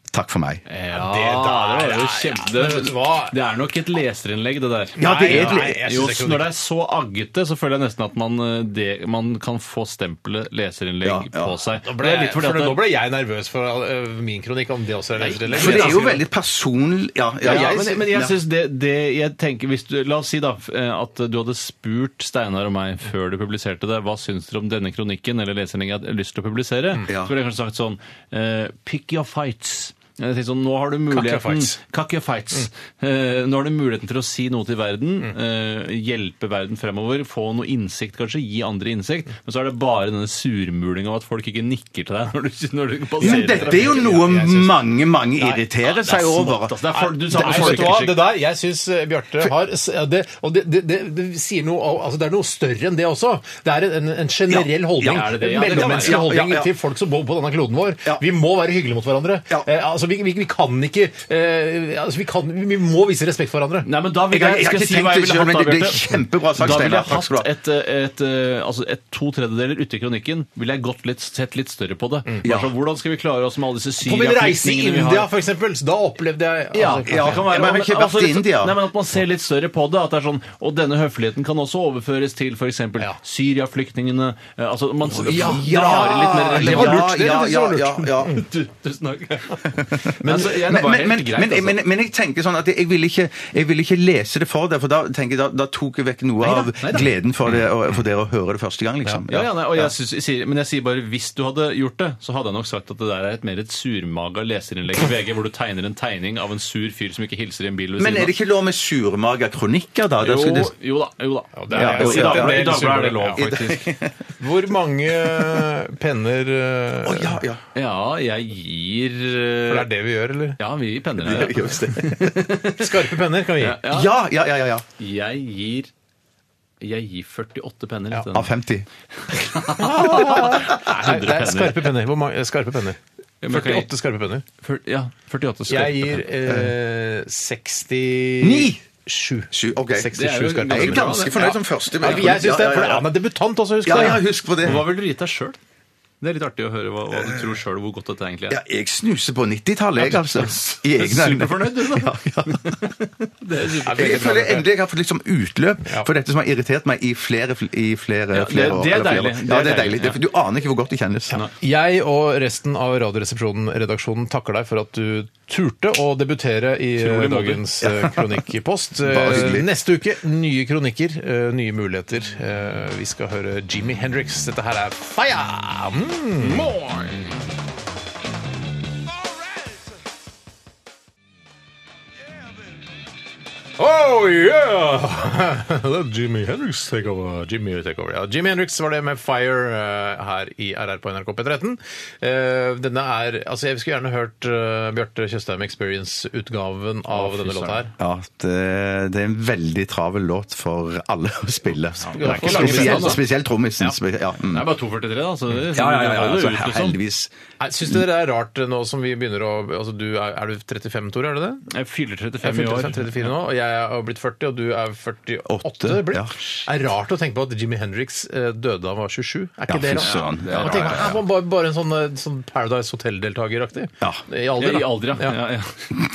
Speaker 2: Takk for meg.
Speaker 3: Ja, det, der, er jo kjempe...
Speaker 1: du hva?
Speaker 3: det er nok et leserinnlegg, det der.
Speaker 2: Ja, det er et
Speaker 1: Nei,
Speaker 2: le-
Speaker 1: jeg
Speaker 3: Jo,
Speaker 1: synes det er
Speaker 3: når
Speaker 1: kronikk.
Speaker 3: det er så aggete, så føler jeg nesten at man, eh, det, man kan få stempelet leserinnlegg
Speaker 2: Ja, ja.
Speaker 3: på seg.
Speaker 1: Nå
Speaker 3: Det
Speaker 1: ble,
Speaker 3: er litt fordi
Speaker 1: for
Speaker 3: at
Speaker 1: nå
Speaker 3: det-
Speaker 1: ble jeg nervøs for eh, min kronikk, om det også er leserinnlegg.
Speaker 2: For det er jo veldig personlig Ja, ja,
Speaker 3: ja,
Speaker 2: jeg-
Speaker 3: men, men jeg
Speaker 2: ja.
Speaker 3: synes det, det jeg tenker hvis du, La oss si da f- eh, at du hadde spurt Steinar og meg før du publiserte det, hva syns dere om denne kronikken eller leserinnlegget jeg har lyst til å publisere,
Speaker 2: Mm. Ja.
Speaker 3: så ville jeg kanskje sagt sånn eh, Pick your fights. Jeg tenker Sånn, nå har du
Speaker 1: your
Speaker 3: muligheten
Speaker 1: fights.
Speaker 3: Cock your fights.
Speaker 2: Mm.
Speaker 3: Eh, nå har du muligheten til å si noe til verden, eh, hjelpe verden fremover, få noe innsikt kanskje, gi andre innsikt, men så er det bare denne surmulinga av at folk ikke nikker til deg når du, når du passerer.
Speaker 2: Men dette er jo noe mange, mange irriterer seg over.
Speaker 3: Smått, altså. Det er for, du sa
Speaker 1: Nei,
Speaker 3: det
Speaker 1: vet du hva?
Speaker 3: folkeskikk.
Speaker 1: Det der, jeg syns Bjarte har s- ja, det, Og det, det, det, det sier noe om- altså Det er noe større enn det også. Det er en, en generell
Speaker 2: Ja,
Speaker 1: holdning.
Speaker 3: ja, er det det? Ja,
Speaker 1: en
Speaker 3: det kan
Speaker 1: mellommenneskelig
Speaker 2: være. Ja, ja,
Speaker 1: holdning
Speaker 2: ja.
Speaker 1: til folk som bor på denne kloden vår.
Speaker 2: Ja.
Speaker 1: Vi må være hyggelige mot hverandre.
Speaker 2: Ja.
Speaker 1: Eh, altså, vi, vi, vi kan ikke eh, altså, vi, kan, vi må vise respekt for hverandre.
Speaker 3: Nei, men da vil
Speaker 2: Jeg har-
Speaker 3: jeg,
Speaker 2: jeg har
Speaker 3: skal
Speaker 2: ikke
Speaker 3: jeg si hva jeg
Speaker 2: tenkt det
Speaker 3: ville
Speaker 2: selv,
Speaker 3: hatt da,
Speaker 2: men det- det er
Speaker 3: Bjarte.
Speaker 2: kjempebra sagt,
Speaker 3: Da ville
Speaker 2: Steinar.
Speaker 3: jeg
Speaker 2: Takk skal du
Speaker 3: hatt
Speaker 2: ha.
Speaker 3: et, eh, et, eh, altså et to tredjedeler ute i kronikken. Ville jeg gått litt, sett litt større på det. Bare
Speaker 2: Mm. Ja.
Speaker 3: sånn, hvordan skal vi klare oss med alle disse
Speaker 1: På min reise i
Speaker 3: Syria-flyktningene vi
Speaker 1: India,
Speaker 3: har?
Speaker 1: for eksempel, så da opplevde jeg altså,
Speaker 3: Ja,
Speaker 1: kanskje-
Speaker 3: ja, det kan være,
Speaker 2: Men jeg har ikke vært
Speaker 3: altså, litt-
Speaker 2: i India.
Speaker 3: Nei, men At man ser litt større på det. at det er sånn, Og denne høfligheten kan også overføres til f.eks.
Speaker 1: Ja.
Speaker 3: Syria-flyktningene. eh, Altså, man ja,
Speaker 2: Ja,
Speaker 3: drar litt mer
Speaker 2: det var lurt, det.
Speaker 1: Ja, ja,
Speaker 2: ja, ja.
Speaker 3: Du- Tusen takk. Men, altså, jeg, det
Speaker 2: Men,
Speaker 3: var
Speaker 2: men,
Speaker 3: helt
Speaker 2: men,
Speaker 3: greit, altså.
Speaker 2: men, men, men jeg tenker sånn at jeg vil ikke, jeg vil ikke lese det for deg, for da, tenker jeg, da, da tok jeg vekk noe av gleden for, det, og- for dere å høre det første gang, liksom.
Speaker 3: Ja, ja, nei, og jeg synes, jeg sier, men jeg sier bare hvis du hadde gjort det, så hadde jeg nok sagt at det der er et mer et surmaga leserinnlegg i VG, hvor du tegner en tegning av en sur fyr som ikke hilser i en bil ved
Speaker 2: Men er det
Speaker 3: siden av.
Speaker 2: ikke lov med surmaga kronikker, da? Da skal
Speaker 3: Jo,
Speaker 2: det-
Speaker 3: jo da. jo da.
Speaker 1: det er-
Speaker 3: Ja, jo, I dag
Speaker 2: ja,
Speaker 3: ble-
Speaker 2: ja,
Speaker 3: i dag ble det lov,
Speaker 1: ja.
Speaker 3: faktisk.
Speaker 1: Hvor mange penner eh,
Speaker 2: Å, ja, ja.
Speaker 3: Ja, jeg gir
Speaker 1: For det
Speaker 3: eh,
Speaker 1: er det vi gjør, eller?
Speaker 3: Ja, vi gir penner. her, ja.
Speaker 2: Just det.
Speaker 1: Skarpe penner kan vi gi.
Speaker 3: Ja,
Speaker 2: Ja, ja, ja, ja, ja.
Speaker 3: jeg gir jeg gir 48 penner. Ja,
Speaker 2: Av 50.
Speaker 3: 100
Speaker 1: Det er
Speaker 3: penner.
Speaker 1: skarpe penner. Hvor mange, skarpe penner.
Speaker 3: Ja, men kan jeg-
Speaker 1: 48 skarpe penner.
Speaker 3: fyr- Ja, 48 skarpe
Speaker 1: Jeg gir eh,
Speaker 3: penner.
Speaker 1: 60...
Speaker 2: Ni!
Speaker 1: 7.
Speaker 2: Sju, ok.
Speaker 3: Det er jo
Speaker 1: 67 skarpe
Speaker 2: Jeg er
Speaker 3: ganske
Speaker 1: penner.
Speaker 2: ganske fornøyd som første. men-
Speaker 1: Jeg synes det, for
Speaker 2: Ja, ja,
Speaker 1: Han
Speaker 2: ja.
Speaker 1: er debutant også, husk
Speaker 2: Ja, ja,
Speaker 1: det.
Speaker 2: husk på det.
Speaker 3: Hva vil du gi deg sjøl? Det er litt artig å høre hva, hva du tror sjøl hvor godt dette egentlig
Speaker 2: Ja,
Speaker 3: er.
Speaker 2: jeg snuser på 90-tallet, jeg, altså. I egne øyne.
Speaker 3: Superfornøyd, du, da. Det er
Speaker 2: Jeg, jeg føler endelig jeg har fått liksom utløp for dette som har irritert meg i flere, i flere,
Speaker 3: Ja, det-
Speaker 2: flere år.
Speaker 3: det
Speaker 2: eller flere
Speaker 3: er deilig.
Speaker 2: år.
Speaker 3: Det
Speaker 2: Ja,
Speaker 3: er
Speaker 2: det er
Speaker 3: deilig,
Speaker 2: deilig. Det- Du aner ikke hvor godt det kjennes.
Speaker 1: Jeg og resten av Radioresepsjonen-redaksjonen takker deg for at du turte å debutere i eh,
Speaker 3: Utrolig modig.
Speaker 1: dagens eh, kronikkpost.
Speaker 2: Bare hyggelig.
Speaker 1: Eh, Neste uke nye kronikker, eh, nye muligheter. Eh, Vi skal høre Jimmy Hendrix. Dette her er Fire! Mm. Oh yeah! Det er Jimmy Hendrix takeover. Jimmy takeover, ja. Jimmy Hendrix var det med Fire eh, her i RR på NRK P13. Eh, denne er Altså, jeg skulle gjerne hørt eh, Bjarte Tjøstheim Experience-utgaven av
Speaker 3: Å, fy
Speaker 1: denne låta her.
Speaker 3: søren.
Speaker 2: Ja, det, det er en veldig travel låt for alle å spille.
Speaker 1: ikke
Speaker 3: lange
Speaker 2: Spesielt,
Speaker 3: bestandene.
Speaker 2: spesielt trommisen.
Speaker 3: Ja.
Speaker 2: spe- Ja. mm.
Speaker 3: Det er bare 2,43, da. Så det
Speaker 2: Ja, ja, ja, ja,
Speaker 3: holder
Speaker 2: altså,
Speaker 3: ut, liksom.
Speaker 2: heldigvis.
Speaker 1: Nei, Syns dere det er rart eh, nå som vi begynner å altså, du er, er du 35, Tore? Er du det?
Speaker 3: Jeg fyller
Speaker 1: Jeg
Speaker 3: 35 i
Speaker 1: er
Speaker 3: år.
Speaker 1: 35, 34 nå, og jeg har blitt 40, og du er 48. det blir.
Speaker 2: Ja.
Speaker 1: Det er rart å tenke på at Jimmy Hendrix eh, døde da han var 27. Er ikke
Speaker 2: Ja,
Speaker 1: det
Speaker 2: fy
Speaker 1: rart?
Speaker 2: søren.
Speaker 1: Ja, man tenker, er man bare, bare en sånn, eh, sånn Paradise Hotel-deltakeraktig?
Speaker 2: Ja.
Speaker 1: I
Speaker 3: Ja,
Speaker 1: alder,
Speaker 3: I
Speaker 1: da.
Speaker 3: alder, ja. ja. ja.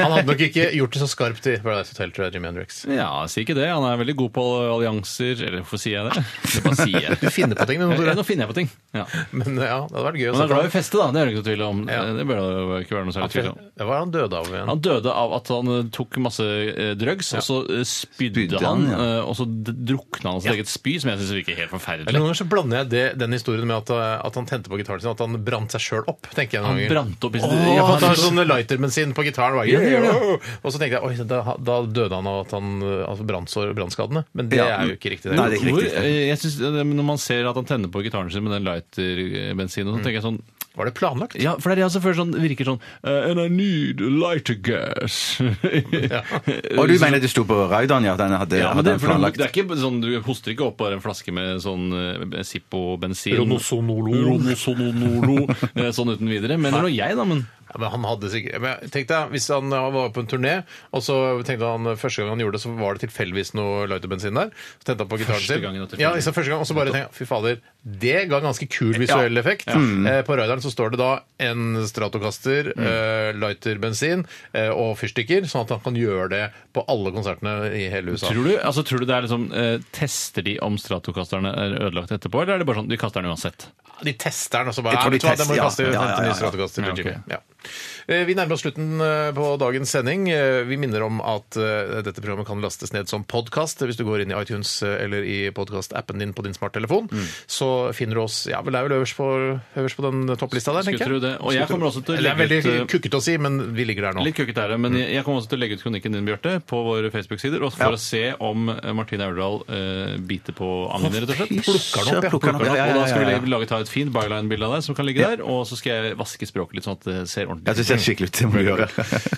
Speaker 1: Han hadde nok ikke gjort det så skarpt i Paradise Hotel, tror jeg, Jimmy Hendrix.
Speaker 3: Ja, si ikke det. Han er veldig god på allianser. Eller hvorfor sier jeg det? Det bare sier jeg.
Speaker 1: Du finner på ting, du,
Speaker 3: Ja,
Speaker 1: Tore.
Speaker 3: nå finner jeg på ting. Ja.
Speaker 1: Men eh, ja, det hadde vært gøy å
Speaker 3: Men han
Speaker 1: se
Speaker 3: er glad i
Speaker 1: på.
Speaker 3: å feste, da. Det er det ikke noe tvil om.
Speaker 1: Ja.
Speaker 3: Det bør det jo ikke være noe særlig tvil om.
Speaker 1: Det var han døde av igjen.
Speaker 3: liksom. Han døde av at han eh, tok masse eh, drugs, og så eh, spydde
Speaker 2: Spydde
Speaker 3: han,
Speaker 2: han, ja.
Speaker 3: eh, og så d- drukna han sitt eget spy, som jeg syns virker helt forferdelig.
Speaker 1: Noen ganger så blander jeg det, den historien med at, eh, at han tente på gitaren sin, at han brant seg sjøl opp. tenker jeg noen
Speaker 3: Han
Speaker 1: ganger.
Speaker 3: brant opp i sitt
Speaker 1: Ja,
Speaker 3: Ja,
Speaker 1: for han
Speaker 3: han-
Speaker 1: har sånn lighterbensin på gitaren. Bare,
Speaker 3: Ja, det gjør det,
Speaker 1: Og så tenkte jeg oi, da, da døde han av at han altså brannsår brannskadene. Men det
Speaker 2: Ja.
Speaker 1: er jo ikke riktig.
Speaker 2: Nei, det er ikke
Speaker 3: Hvor,
Speaker 2: riktig.
Speaker 3: eh, jeg synes, eh, når man ser at han tenner på gitaren sin med den lighterbensin, så tenker jeg sånn
Speaker 1: Var det planlagt?
Speaker 3: Ja, for det er det jeg også føler sånn, virker sånn eh, And I need lighter gas.
Speaker 2: Og du mener det sto på Raudan, ja? Den hadde,
Speaker 3: Ja, men
Speaker 2: hadde
Speaker 3: det,
Speaker 2: han
Speaker 3: for du,
Speaker 2: planlagt.
Speaker 3: det er ikke sånn, du hoster ikke opp bare en flaske med sånn eh, Zippo-bensin.
Speaker 1: Ronosonolo.
Speaker 3: Ronosonolo, eh, sånn uten videre. Men det var jeg, da. Men
Speaker 1: Ja, men han hadde sikkert men Tenk deg, Hvis han eh, var på en turné, og så tenkte han eh, første gang han gjorde det, så var det tilfeldigvis noe lighterbensin der. Så tente han på gitaren
Speaker 3: Første
Speaker 1: sin.
Speaker 3: gangen at det
Speaker 1: ja,
Speaker 3: fikk-
Speaker 1: så første gang, Og så bare tenkte jeg, fy fader, det ga ganske kul visuell effekt. Eh, på Raideren så står det da en Stratocaster, eh, lighterbensin eh, og fyrstikker, sånn at han kan gjøre det på alle konsertene i hele USA.
Speaker 3: tror du, altså, tror du det er liksom eh, Tester de om Stratocasterne er ødelagt etterpå, eller er det bare sånn de kaster den uansett?
Speaker 1: De tester den, og så bare
Speaker 2: Jeg tror
Speaker 1: "Ja,
Speaker 2: de
Speaker 1: vet du hva, den må
Speaker 2: tester,
Speaker 1: vi
Speaker 2: ja.
Speaker 1: kaste
Speaker 2: Ja, ja,
Speaker 1: hente
Speaker 2: ja,
Speaker 1: ny
Speaker 2: ja.
Speaker 1: stratokaster til
Speaker 3: Ja, ok.
Speaker 1: Jimmy. Ja. Eh, Vi nærmer oss slutten eh, på dagens sending. Eh, Vi minner om at eh, dette programmet kan lastes ned som podkast. Hvis du går inn i iTunes eh, eller i podkastappen din på din smarttelefon,
Speaker 2: Mm.
Speaker 1: så finner du oss ja, vel, det er vel øverst på, øverst på den eh, topplista der,
Speaker 3: Skulle
Speaker 1: tenker
Speaker 3: tro det. Og jeg kommer også til å
Speaker 1: Eller Det
Speaker 3: legge
Speaker 1: er veldig
Speaker 3: ut, eh,
Speaker 1: kukkete å si, men vi ligger der nå.
Speaker 3: Litt kukket er det, men jeg, jeg kommer også til å legge ut kronikken din, Bjarte, på våre Facebook-sider, og for å se om eh, Martine Aurdal eh, biter på agnet, rett og
Speaker 1: Plukker den opp, ja.
Speaker 3: slett.
Speaker 2: Plukker den opp, ja, ja,
Speaker 3: Og da skal
Speaker 2: ja,
Speaker 3: vi
Speaker 2: ja,
Speaker 3: lage, lage ta et fint byline-bilde av deg som kan ligge der, og så skal jeg vaske språket litt sånn at det ser
Speaker 2: Ja,
Speaker 3: ordentlig
Speaker 2: det ser skikkelig ut. Det må du gjøre.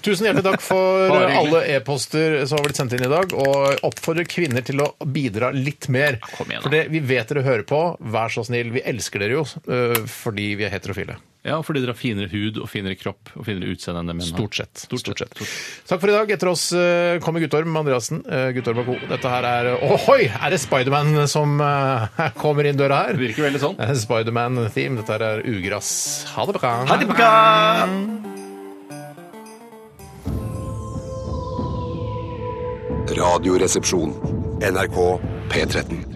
Speaker 1: Tusen hjertelig takk for
Speaker 3: Bare hyggelig.
Speaker 1: alle e-poster som har blitt sendt inn i dag, og oppfordrer kvinner til å bidra litt mer.
Speaker 3: kom igjen, da.
Speaker 1: For det- vi vet dere hører på. Vær så snill. Vi elsker dere jo øh, fordi vi er heterofile.
Speaker 3: Ja, fordi dere har finere hud og finere kropp og finere utseende enn det menn har.
Speaker 1: Stort sett.
Speaker 3: Stort sett. Stort sett.
Speaker 1: Takk for i dag. Etter oss øh, kommer Guttorm Andreassen. Øh, Guttorm og co. Dette her er Ohoi! Er det Spiderman som øh, kommer inn døra her?
Speaker 3: Det virker veldig sånn.
Speaker 1: Det er Spiderman-theme. Dette her er ugress. Ha det bra.
Speaker 2: Ha det bra!
Speaker 6: Radioresepsjon. NRK P13.